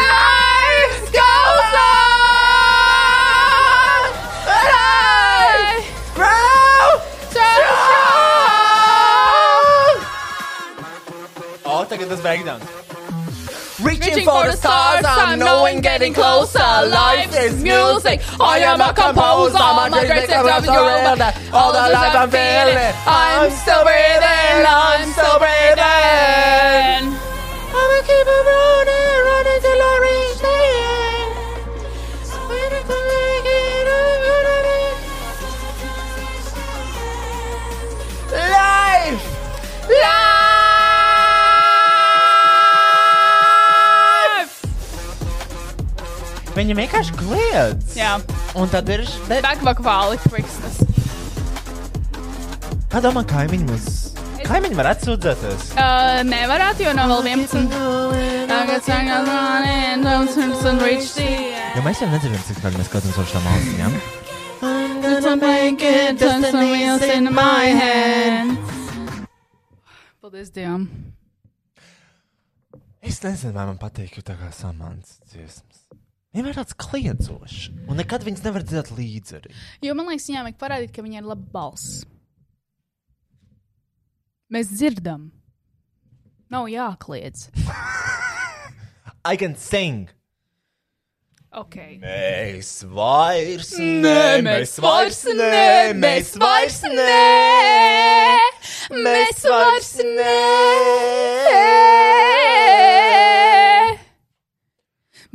D: life goes on. Life, grow strong.
B: O, tagad tas breakdowns.
D: Reaching for the stars, I'm knowing getting closer. Life is music. I am a composer. My great sense of humor. All the life I'm feeling. I'm still breathing. I'm still breathing. I'ma keep it running, running till I reach the end. I'm waiting to make it. I'm gonna make it. Life, life.
B: Viņa vienkārši kliedz.
C: Jā,
B: Un tad ir. Be...
C: backvokāli Christmas.
B: Kā domā, kaimiņi mums? Kaimiņi varētu sūdzēties.
C: Uh, nevarētu, jo nav vēl 11. Tagad sākās man and I'm turns and reach the end.
B: Jo mēs jau nedzirdam, cik tālu mēs skatāmies uz šām austiņām.
C: Just to make it, turn some wheels in my hand. Paldies Dievam.
B: Es nezinu, vai man patīk, jo tā kā samants dziesmas. Vienmēr tāds kliedzošs, un nekad viņas nevar dzirdēt līdzi. Arī.
C: Jo man liekas, viņām vajag parādīt, ka viņiem ir laba balss. Mēs dzirdam. Nav jākliedz.
B: I can sing!
C: Okay.
B: Mēs vairs
C: Nē, mēs vairs nē, mēs vairs nē, mēs vairs nē.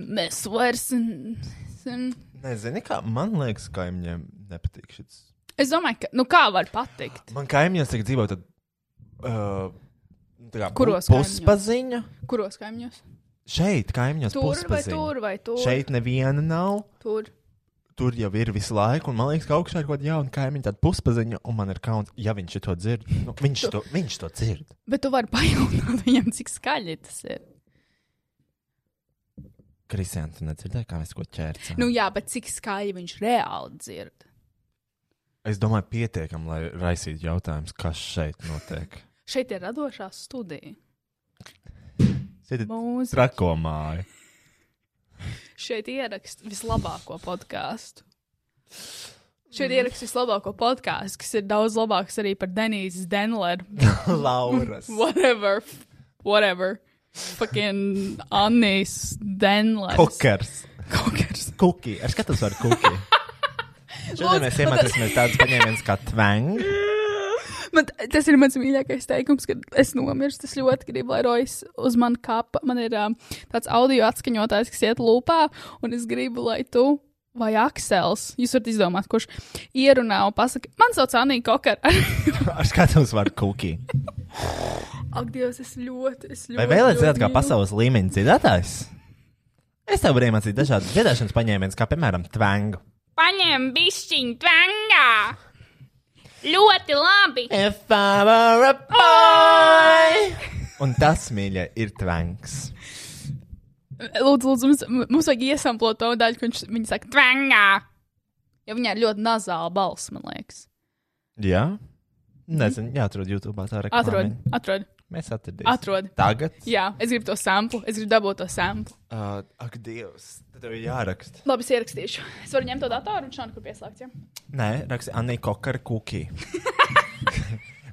C: Mēs vairs nē.
B: Nezinu, kā man liekas, kaimiņiem nepatīk šis.
C: Es domāju, ka, nu kā var patikt?
B: Man kaimiņos tagad dzīvo tad. Uh, tā kā
C: Kuros kaimiņos?
B: puspaziņa?
C: Kuros kaimiņos?
B: Šeit kaimiņos
C: Tur vai
B: puspaziņa.
C: tur vai tur?
B: Šeit neviena nav.
C: Tur.
B: Tur jau ir visu laiku, un man liekas, ka augšā ir kaut kāda jauna kaimiņa, tāda puspaziņa, un man ir kauns, ja viņš to dzird. Nu, viņš, to, viņš to dzird.
C: Bet tu vari pajaunināt viņam, cik skaļi tas ir.
B: Kristiāna, tu nedzirdēji, kā mēs ko ķērām?
C: Nu jā, bet cik skaļi viņš reāli dzird.
B: Es domāju, pietiekami, lai raisītu jautājumus, kas šeit notiek.
C: Šeit ir radošā studija.
B: Sēdiet
C: Mūzika.
B: trako māju.
C: šeit ierakstu vislabāko podkāstu. Šeit ierakstu vislabāko podkāstu, kas ir daudz labāks arī par Denīzes Denleru.
B: Lauras.
C: Whatever. f- Whatever. Fucking Anijas Denlers.
B: Kokers.
C: Kokers.
B: Kuki. Es skatos ar kuki. Šodien mēs iemācīsimies tādu paņēmienu kā tvang.
C: Man, t- tas ir mans mīļākais teikums, kad es nomirstu. Es ļoti gribu, lai Rojas uz mani kāpa. Man ir um, tāds audio atskaņotājs, kas iet lūpā, un es gribu, lai tu. Vai Aksels, jūs varat izdomāt, kurš ierunā un pasakā, man sauc Anija Kokera.
B: Ar skatos ar kuki.
C: Ak, Dievs, es ļoti, es ļoti.
B: Vai vēlaties zināt, kā
C: mīlu.
B: pasaules līmeņa dziedātājs? Es tev varu iemācīt dažādas dziedāšanas paņēmienus, kā piemēram tvangu.
H: paņem bišķiņu tvangā. Ļoti labi.
B: If I were a boy, Un tas, mīļie, ir tvanks.
C: Lūdzu, lūdzu mums, mums vajag iesamplot to daļu, ka viņš, viņa saka, tvangā. Jo viņai ir ļoti nazāla balss, man liekas.
B: Jā? Nezinu, jāatrod YouTube tā reklāma.
C: Atrod, atrod,
B: Mēs atradīsim.
C: atrod.
B: Tagad.
C: Jā, es gribu to samplu, es gribu dabūt to samplu.
B: Uh, ak, Dievs, tad tev ir jāraksta.
C: Labi, es ierakstīšu. Es varu ņemt to datoru un šādu, kur pieslēgt. Ja?
B: Nē, raksti Anī Kokar kukī.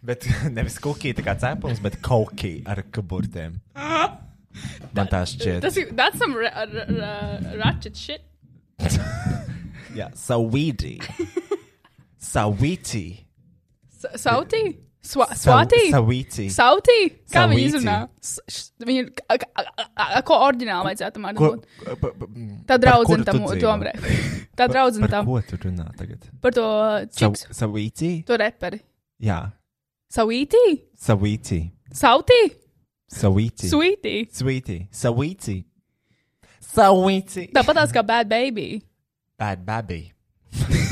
B: bet nevis kukī tā kā cēpums, bet kokī ar kaburtēm. Man tā šķiet.
C: Tas ir, that's some ra ra ra ratchet shit.
B: Jā, Sawīdī. Sawītī.
C: Sa- Sautī? Swa swatī?
B: Sawītī.
C: Sautī? Kā viņi
B: Sauītī.
C: izrunā? S- š- Viņi ir, a- a- a- a- ko oriģināli vajadzētu tomēr
B: Ko?
C: būt?
B: pa- pa- mm,
C: Tā
B: par kuru tu
C: draudzene tam,
B: dzīvo?
C: tomēr.
B: Par-
C: Tā draudzene
B: par
C: tam,
B: Ko tu runā tagad?
C: par to čips,
B: Sawītī?
C: to reperi.
B: Jā,
C: Sautī?
B: Sawītī.
C: Sautī?
B: Sawītī.
C: Sweetie.
B: Sweetie. Sawītī. Sawītī.
C: Tāpat tās kā Bad Baby.
B: Bad baby.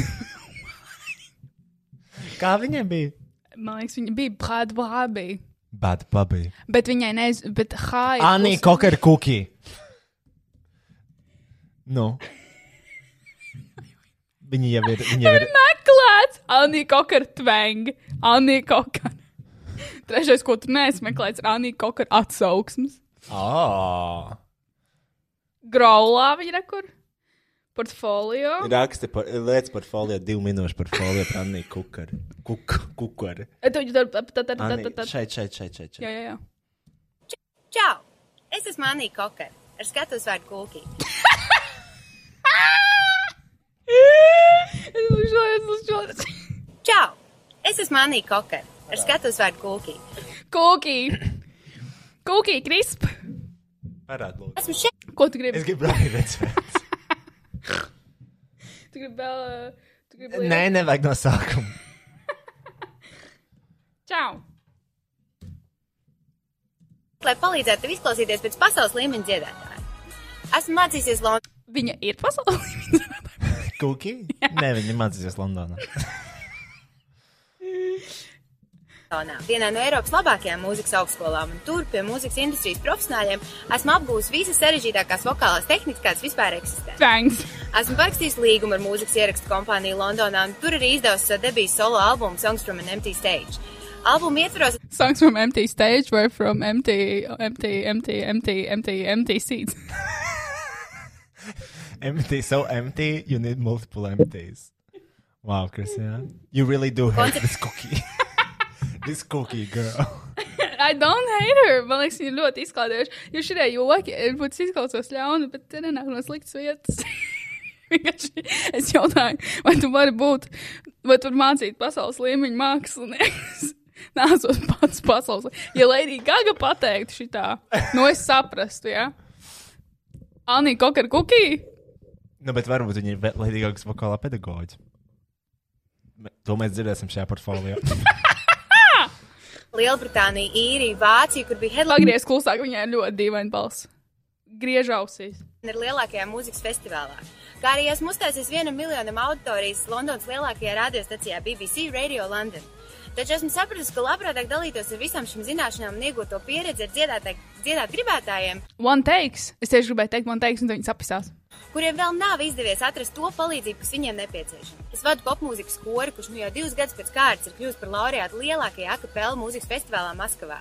B: Kā viņiem bija?
C: Man liekas, viņa bija Bad Baby.
B: Bad baby.
C: Bet viņai nezinu, bet hāja.
B: Anī Kokar kukī. Nu. Viņi jau ir. Viņi jau ir.
C: Meklēts! Anī Kokar tvang. Anī Kokar. Trešais, ko tu neesi meklējis, ir Anī Kokar atsauksmes.
B: Oh.
C: Graulā viņa rekur. Portfolio.
B: Raksti par lietas portfolio, divu minūšu portfolio par Anī Kukar. Kuk, kukar.
C: E, tu- tu- tu- tu- tu-
B: Anī,
C: tu- tu- tu-
B: šeit, šeit, šeit, šeit. šeit.
C: Jā, jā, jā.
I: Čau! Es esmu Anija Kokere ar skatu uzvārdu Kulkī.
C: Es uzšaujos, uzšaujos.
I: Čau! Es esmu Anija Kokere ar skatu uzvārdu Kulkī.
C: Kūkī. Kūkī, krisp.
B: Parād, lūdzu.
I: Esmu šeit!
C: Ko tu gribi?
B: Es gribu rādi redzēt.
C: Tu gribi vēl. eh, Tu gribi lielu-
B: Nē, nevajag no sākuma.
H: Čau!
I: Lai palīdzētu tev izklausīties pēc pasaules līmeņa dziedātāja. Esmu mācījusies Londonā.
C: Viņa ir pasaulē.
B: Kuki? Nē, viņi mācīsies Londonā.
I: Vienā no Eiropas labākajām mūzikas augstskolām, un tur pie mūzikas industrijas profesionāļiem esmu apgūlis visas sarežģītākās vokālās tehnikas, kādas vispār eksistē.
C: Thanks.
I: Esmu parakstījis līgumu ar mūzikas ierakstu kompāniju Londonā, un tur arī izdevusi savu debijas solo albumu Songs from an Empty Stage. Albuma ietvaros
C: Songs from empty stage were from empty, empty, empty, empty, empty, empty seats.
B: Empty, so empty, you need multiple empties. Wow, Christian. You really do hate this cookie. this cookie girl.
C: I don't hate her. Man liekas, viņa ir ļoti izklaidējuša. Jo šitie joki, varbūt es izklausos ļauni, bet te nenāk no sliktas vietas. Vienkārši es jautāju, vai tu vari būt, vai tu vari mācīt pasaules līmeņa mākslinieks. Nāzot pats pasaules līmeņa. Ja Lady Gaga pateiktu šitā, nu es saprastu, jā. Ja? Anī, kokar kukī?
B: Nu, bet varbūt viņi ir Latvijas vokālā pedagoģi. Me- To mēs dzirdēsim šajā portfolio.
I: Lielbritānija, Īrija, Vācija, kur bija headline
C: Pagriez klusāk, viņai ir ļoti dīvaini balss. Griež ausīs.
I: ar lielākajā mūzikas festivālā. Kā arī esmu uzstājies vienam miljonam auditorijas Londonas lielākajā radiostacijā BBC Radio London. Taču esmu sapratusi, ka labprātāk dalītos ar visām šīm zināšanām un iegūto pieredzi ar dziedātā- dziedāt gribētājiem,
C: One takes. Es tieši gribēju teikt, one takes, un viņi sapisās.
I: kuriem vēl nav izdevies atrast to palīdzību, kas viņiem nepieciešama. Es vadu popmūzikas skolu, kurš nu jau divus gadus pēc kārtas ir kļuvis par laureātu lielākajā akapela mūzikas festivālā Maskavā.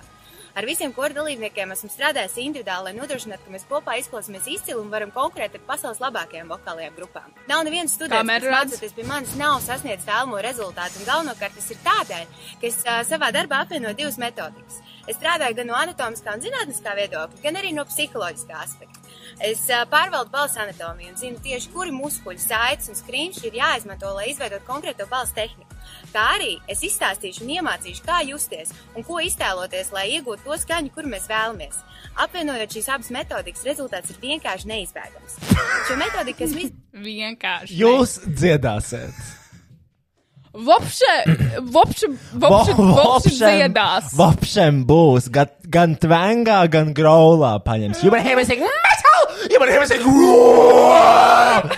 I: Ar visiem koru dalībniekiem esmu strādājis individuāli, lai nodrošinātu, ka mēs kopā izklausāmies izcili un varam konkurēt ar pasaules labākajām vokālajām grupām. Nav nevienas studijas,
C: Kamera
I: kas
C: redz.
I: mācoties pie manis, nav sasniedzis vēlamo rezultātu, un galvenokārt tas ir tādēļ, ka es uh, savā darbā apvienoju divas metodikas. Es strādāju gan no anatomiskā un zinātniskā viedokļa, gan arī no psiholoģiskā aspekta. Es ā, pārvaldu balss anatomiju un zinu tieši, kuri muskuļi, saites un skrīmši ir jāizmanto, lai izveidotu konkrēto balss tehniku. Tā arī es izstāstīšu un iemācīšu, kā justies un ko iztēloties, lai iegūtu to skaņu, kur mēs vēlamies. Apvienojot šīs abas metodikas, rezultāts ir vienkārši neizbēgams. Šo metodiku esmu iz-
C: Vienkārši.
B: Jūs dziedāsiet.
C: Vopše, vopše, vopše,
B: Vo-
C: vopše
B: vopšem-
C: dziedās.
B: Vopšem būs gan, gan tvangā, gan graulā paņems. You better hear me sing metal! You better hear me sing roar!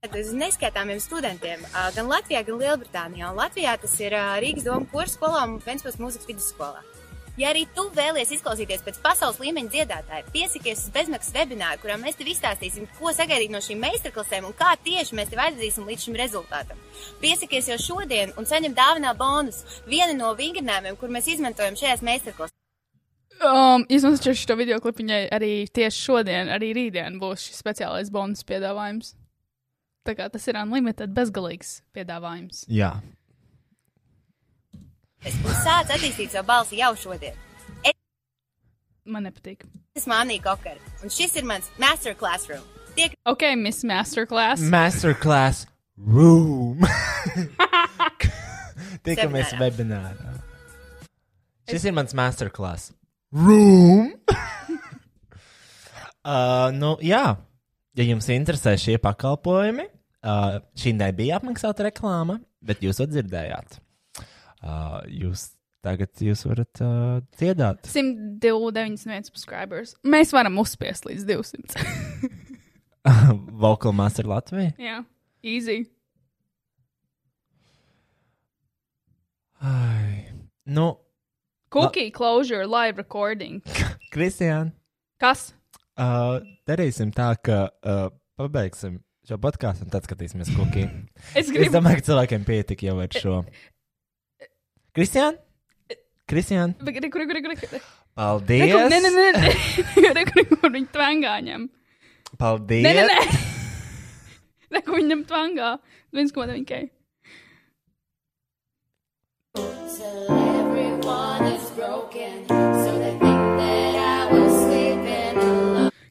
I: tātad uz neskaitāmiem studentiem, ā, gan Latvijā, gan Lielbritānijā. Un Latvijā tas ir ā, Rīgas doma kurs skolā un Ventspils mūzikas vidusskolā. Ja arī tu vēlies izklausīties pēc pasaules līmeņa dziedātāja, piesakies uz bezmaksas webināru, kurā mēs tev izstāstīsim, ko sagaidīt no šīm meistarklasēm un kā tieši mēs tev aizvedīsim līdz šim rezultātam. Piesakies jau šodien un saņem dāvinā bonusu vienu no vingrinājumiem, kur mēs izmantojam šajās meistarklasēs.
C: Um, Izmantošu šo video klipiņai arī tieši šodien, arī rītdien būs šis speciālais bonus piedāvājums. Tā kā tas ir unlimited, bezgalīgs piedāvājums.
B: Jā,
I: Sāc attīstīt savu balsi jau šodien.
C: Man nepatīk.
I: Esmu Anija Kokara, un šis ir mans masterclass room. Tiek
C: Ok, Miss Masterclass.
B: Masterclass Room. Tikamies e
I: Seminārā.
B: webinārā.
F: Šis ir mans masterclass.
B: Room. uh, nu, jā, ja jums interesē šie pakalpojumi, uh, šī nebija apmaksāta reklāma, bet jūs to dzirdējāt. Uh, jūs tagad jūs varat uh, dziedāt.
C: 129 subscribers. Mēs varam uzspiest līdz 200.
B: Vocal Master Latvija.
C: Jā, easy.
B: Ai. Nu,
C: Cookie closure, live recording.
B: Kristiāna.
C: Kas?
B: Uh, darīsim tā, ka uh, pabeigsim šo podkāstu un tad skatīsimies, ko kīna.
C: Es
B: Es
C: gribu.
B: domāju, ka cilvēkiem pietika jau ar šo. Kristiāna? Kristiāna?
C: Reku, reku, reku, reku.
B: Paldies!
C: Reku, nē, nē, nē, nē. Reku, reku, viņi tvangā ņem.
B: Paldies!
C: Nē, nē, nē. Reku, viņi ņem tvangā. 1,9k.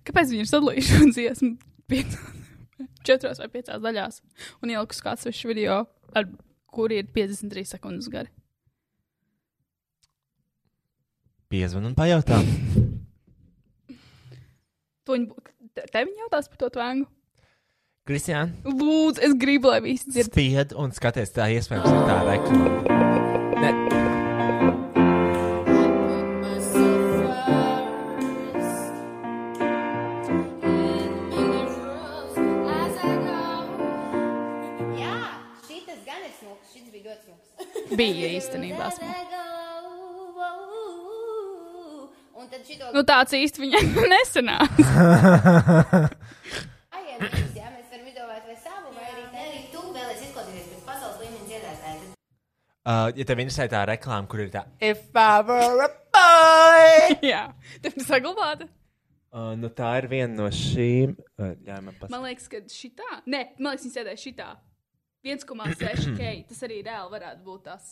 C: Kāpēc viņi ir sadalījuši šo dziesmu piecās- četrās vai piecās daļās un ielikuši kāds sešu video, ar kuri ir 53 sekundes gari?
B: Piezvan un pajautā.
C: To viņi būtu. Te viņi jautās par to tvangu.
B: Kristiāna,
C: Lūdzu, es gribu, lai visi dzird.
B: spied un skaties, tā iespējams ir tā reklāma. Nē,
I: Jā, šis gan ir smūgs, šis bija ļoti smūgs.
C: Bija īstenībā. Esmu.
I: Un tad šito
C: Nu, tāds īsti viņai nesanāca.
I: gājiem līdz, jā, mēs varam izdomāt vai savu, vai arī tevi. Tu vēlies izklausīties pēc pasaules līmeņa dziedātāja. tad
B: uh, ja tev interesē tā reklāma, kur ir tā.
C: Jā, tev ir saglabāta.
B: Uh, nu tā ir viena no šīm. Uh, jā, man patīk.
C: Man liekas, ka šitā. Nē, man liekas, viņa sēdēja šitā. 1,6k. Tas arī reāli varētu būt tas.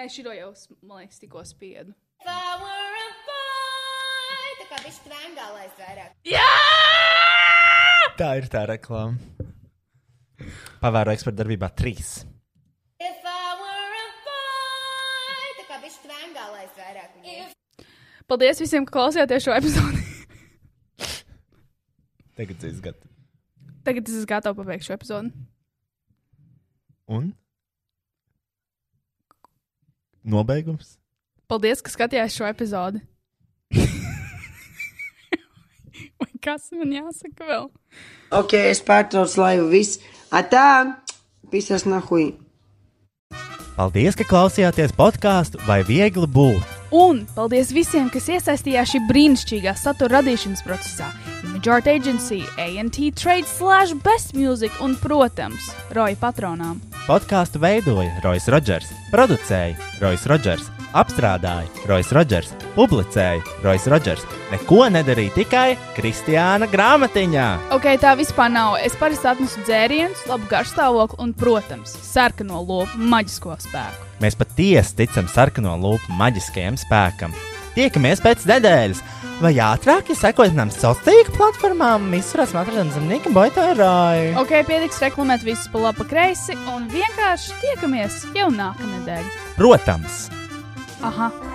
C: Nē, šito jau, es, man liekas, tikko spiedu.
I: If I were a boy! Tā kā viņš tvangā laist vairāk.
C: Jā!
B: Tā ir tā reklāma. Pavēru eksperta darbībā trīs.
I: If I were a boy! Tā kā viņš tvangā laist vairāk. If
C: Paldies visiem, ka klausījāties šo epizodi.
B: Tagad es gatavu.
C: Tagad es esmu gatavs pabeigt šo epizodi.
B: Un? Nobeigums?
C: Paldies, ka skatījāties šo epizodi. Vai Kas man jāsaka vēl?
J: Ok, es pārtraucu laivu viss. Atā, pisas nahuj.
B: Paldies, ka klausījāties podkāstu vai viegli būt.
C: Un paldies visiem, kas iesaistījās šī brīnišķīgā satura radīšanas procesā. Image Art Agency, ANT Trade, Slash, Best Music un, protams, Roja patronām.
B: Podkāstu veidoja Rois Rodžers, producēja Rois Rodžers, apstrādāja Rois Rodžers, publicēja Rois Rodžers. Neko nedarīja tikai Kristiāna grāmatiņā.
C: Ok, tā vispār nav. Es parasti atnesu dzērienus, labu garšstāvokli un, protams, sarkano lopu maģisko spēku.
B: Mēs patiesi ticam sarkano lupu maģiskajam spēkam. Tiekamies pēc nedēļas, vai ātrāk, ja sekojat manām sociālajām tīkla platformām, visurās matradienas zemnieka boitārāju.
C: Ok, pietiks reklamēt visus pa labi, pa kreisi un vienkārši tiekamies jau nākamnedēļ.
B: Protams!
C: Aha!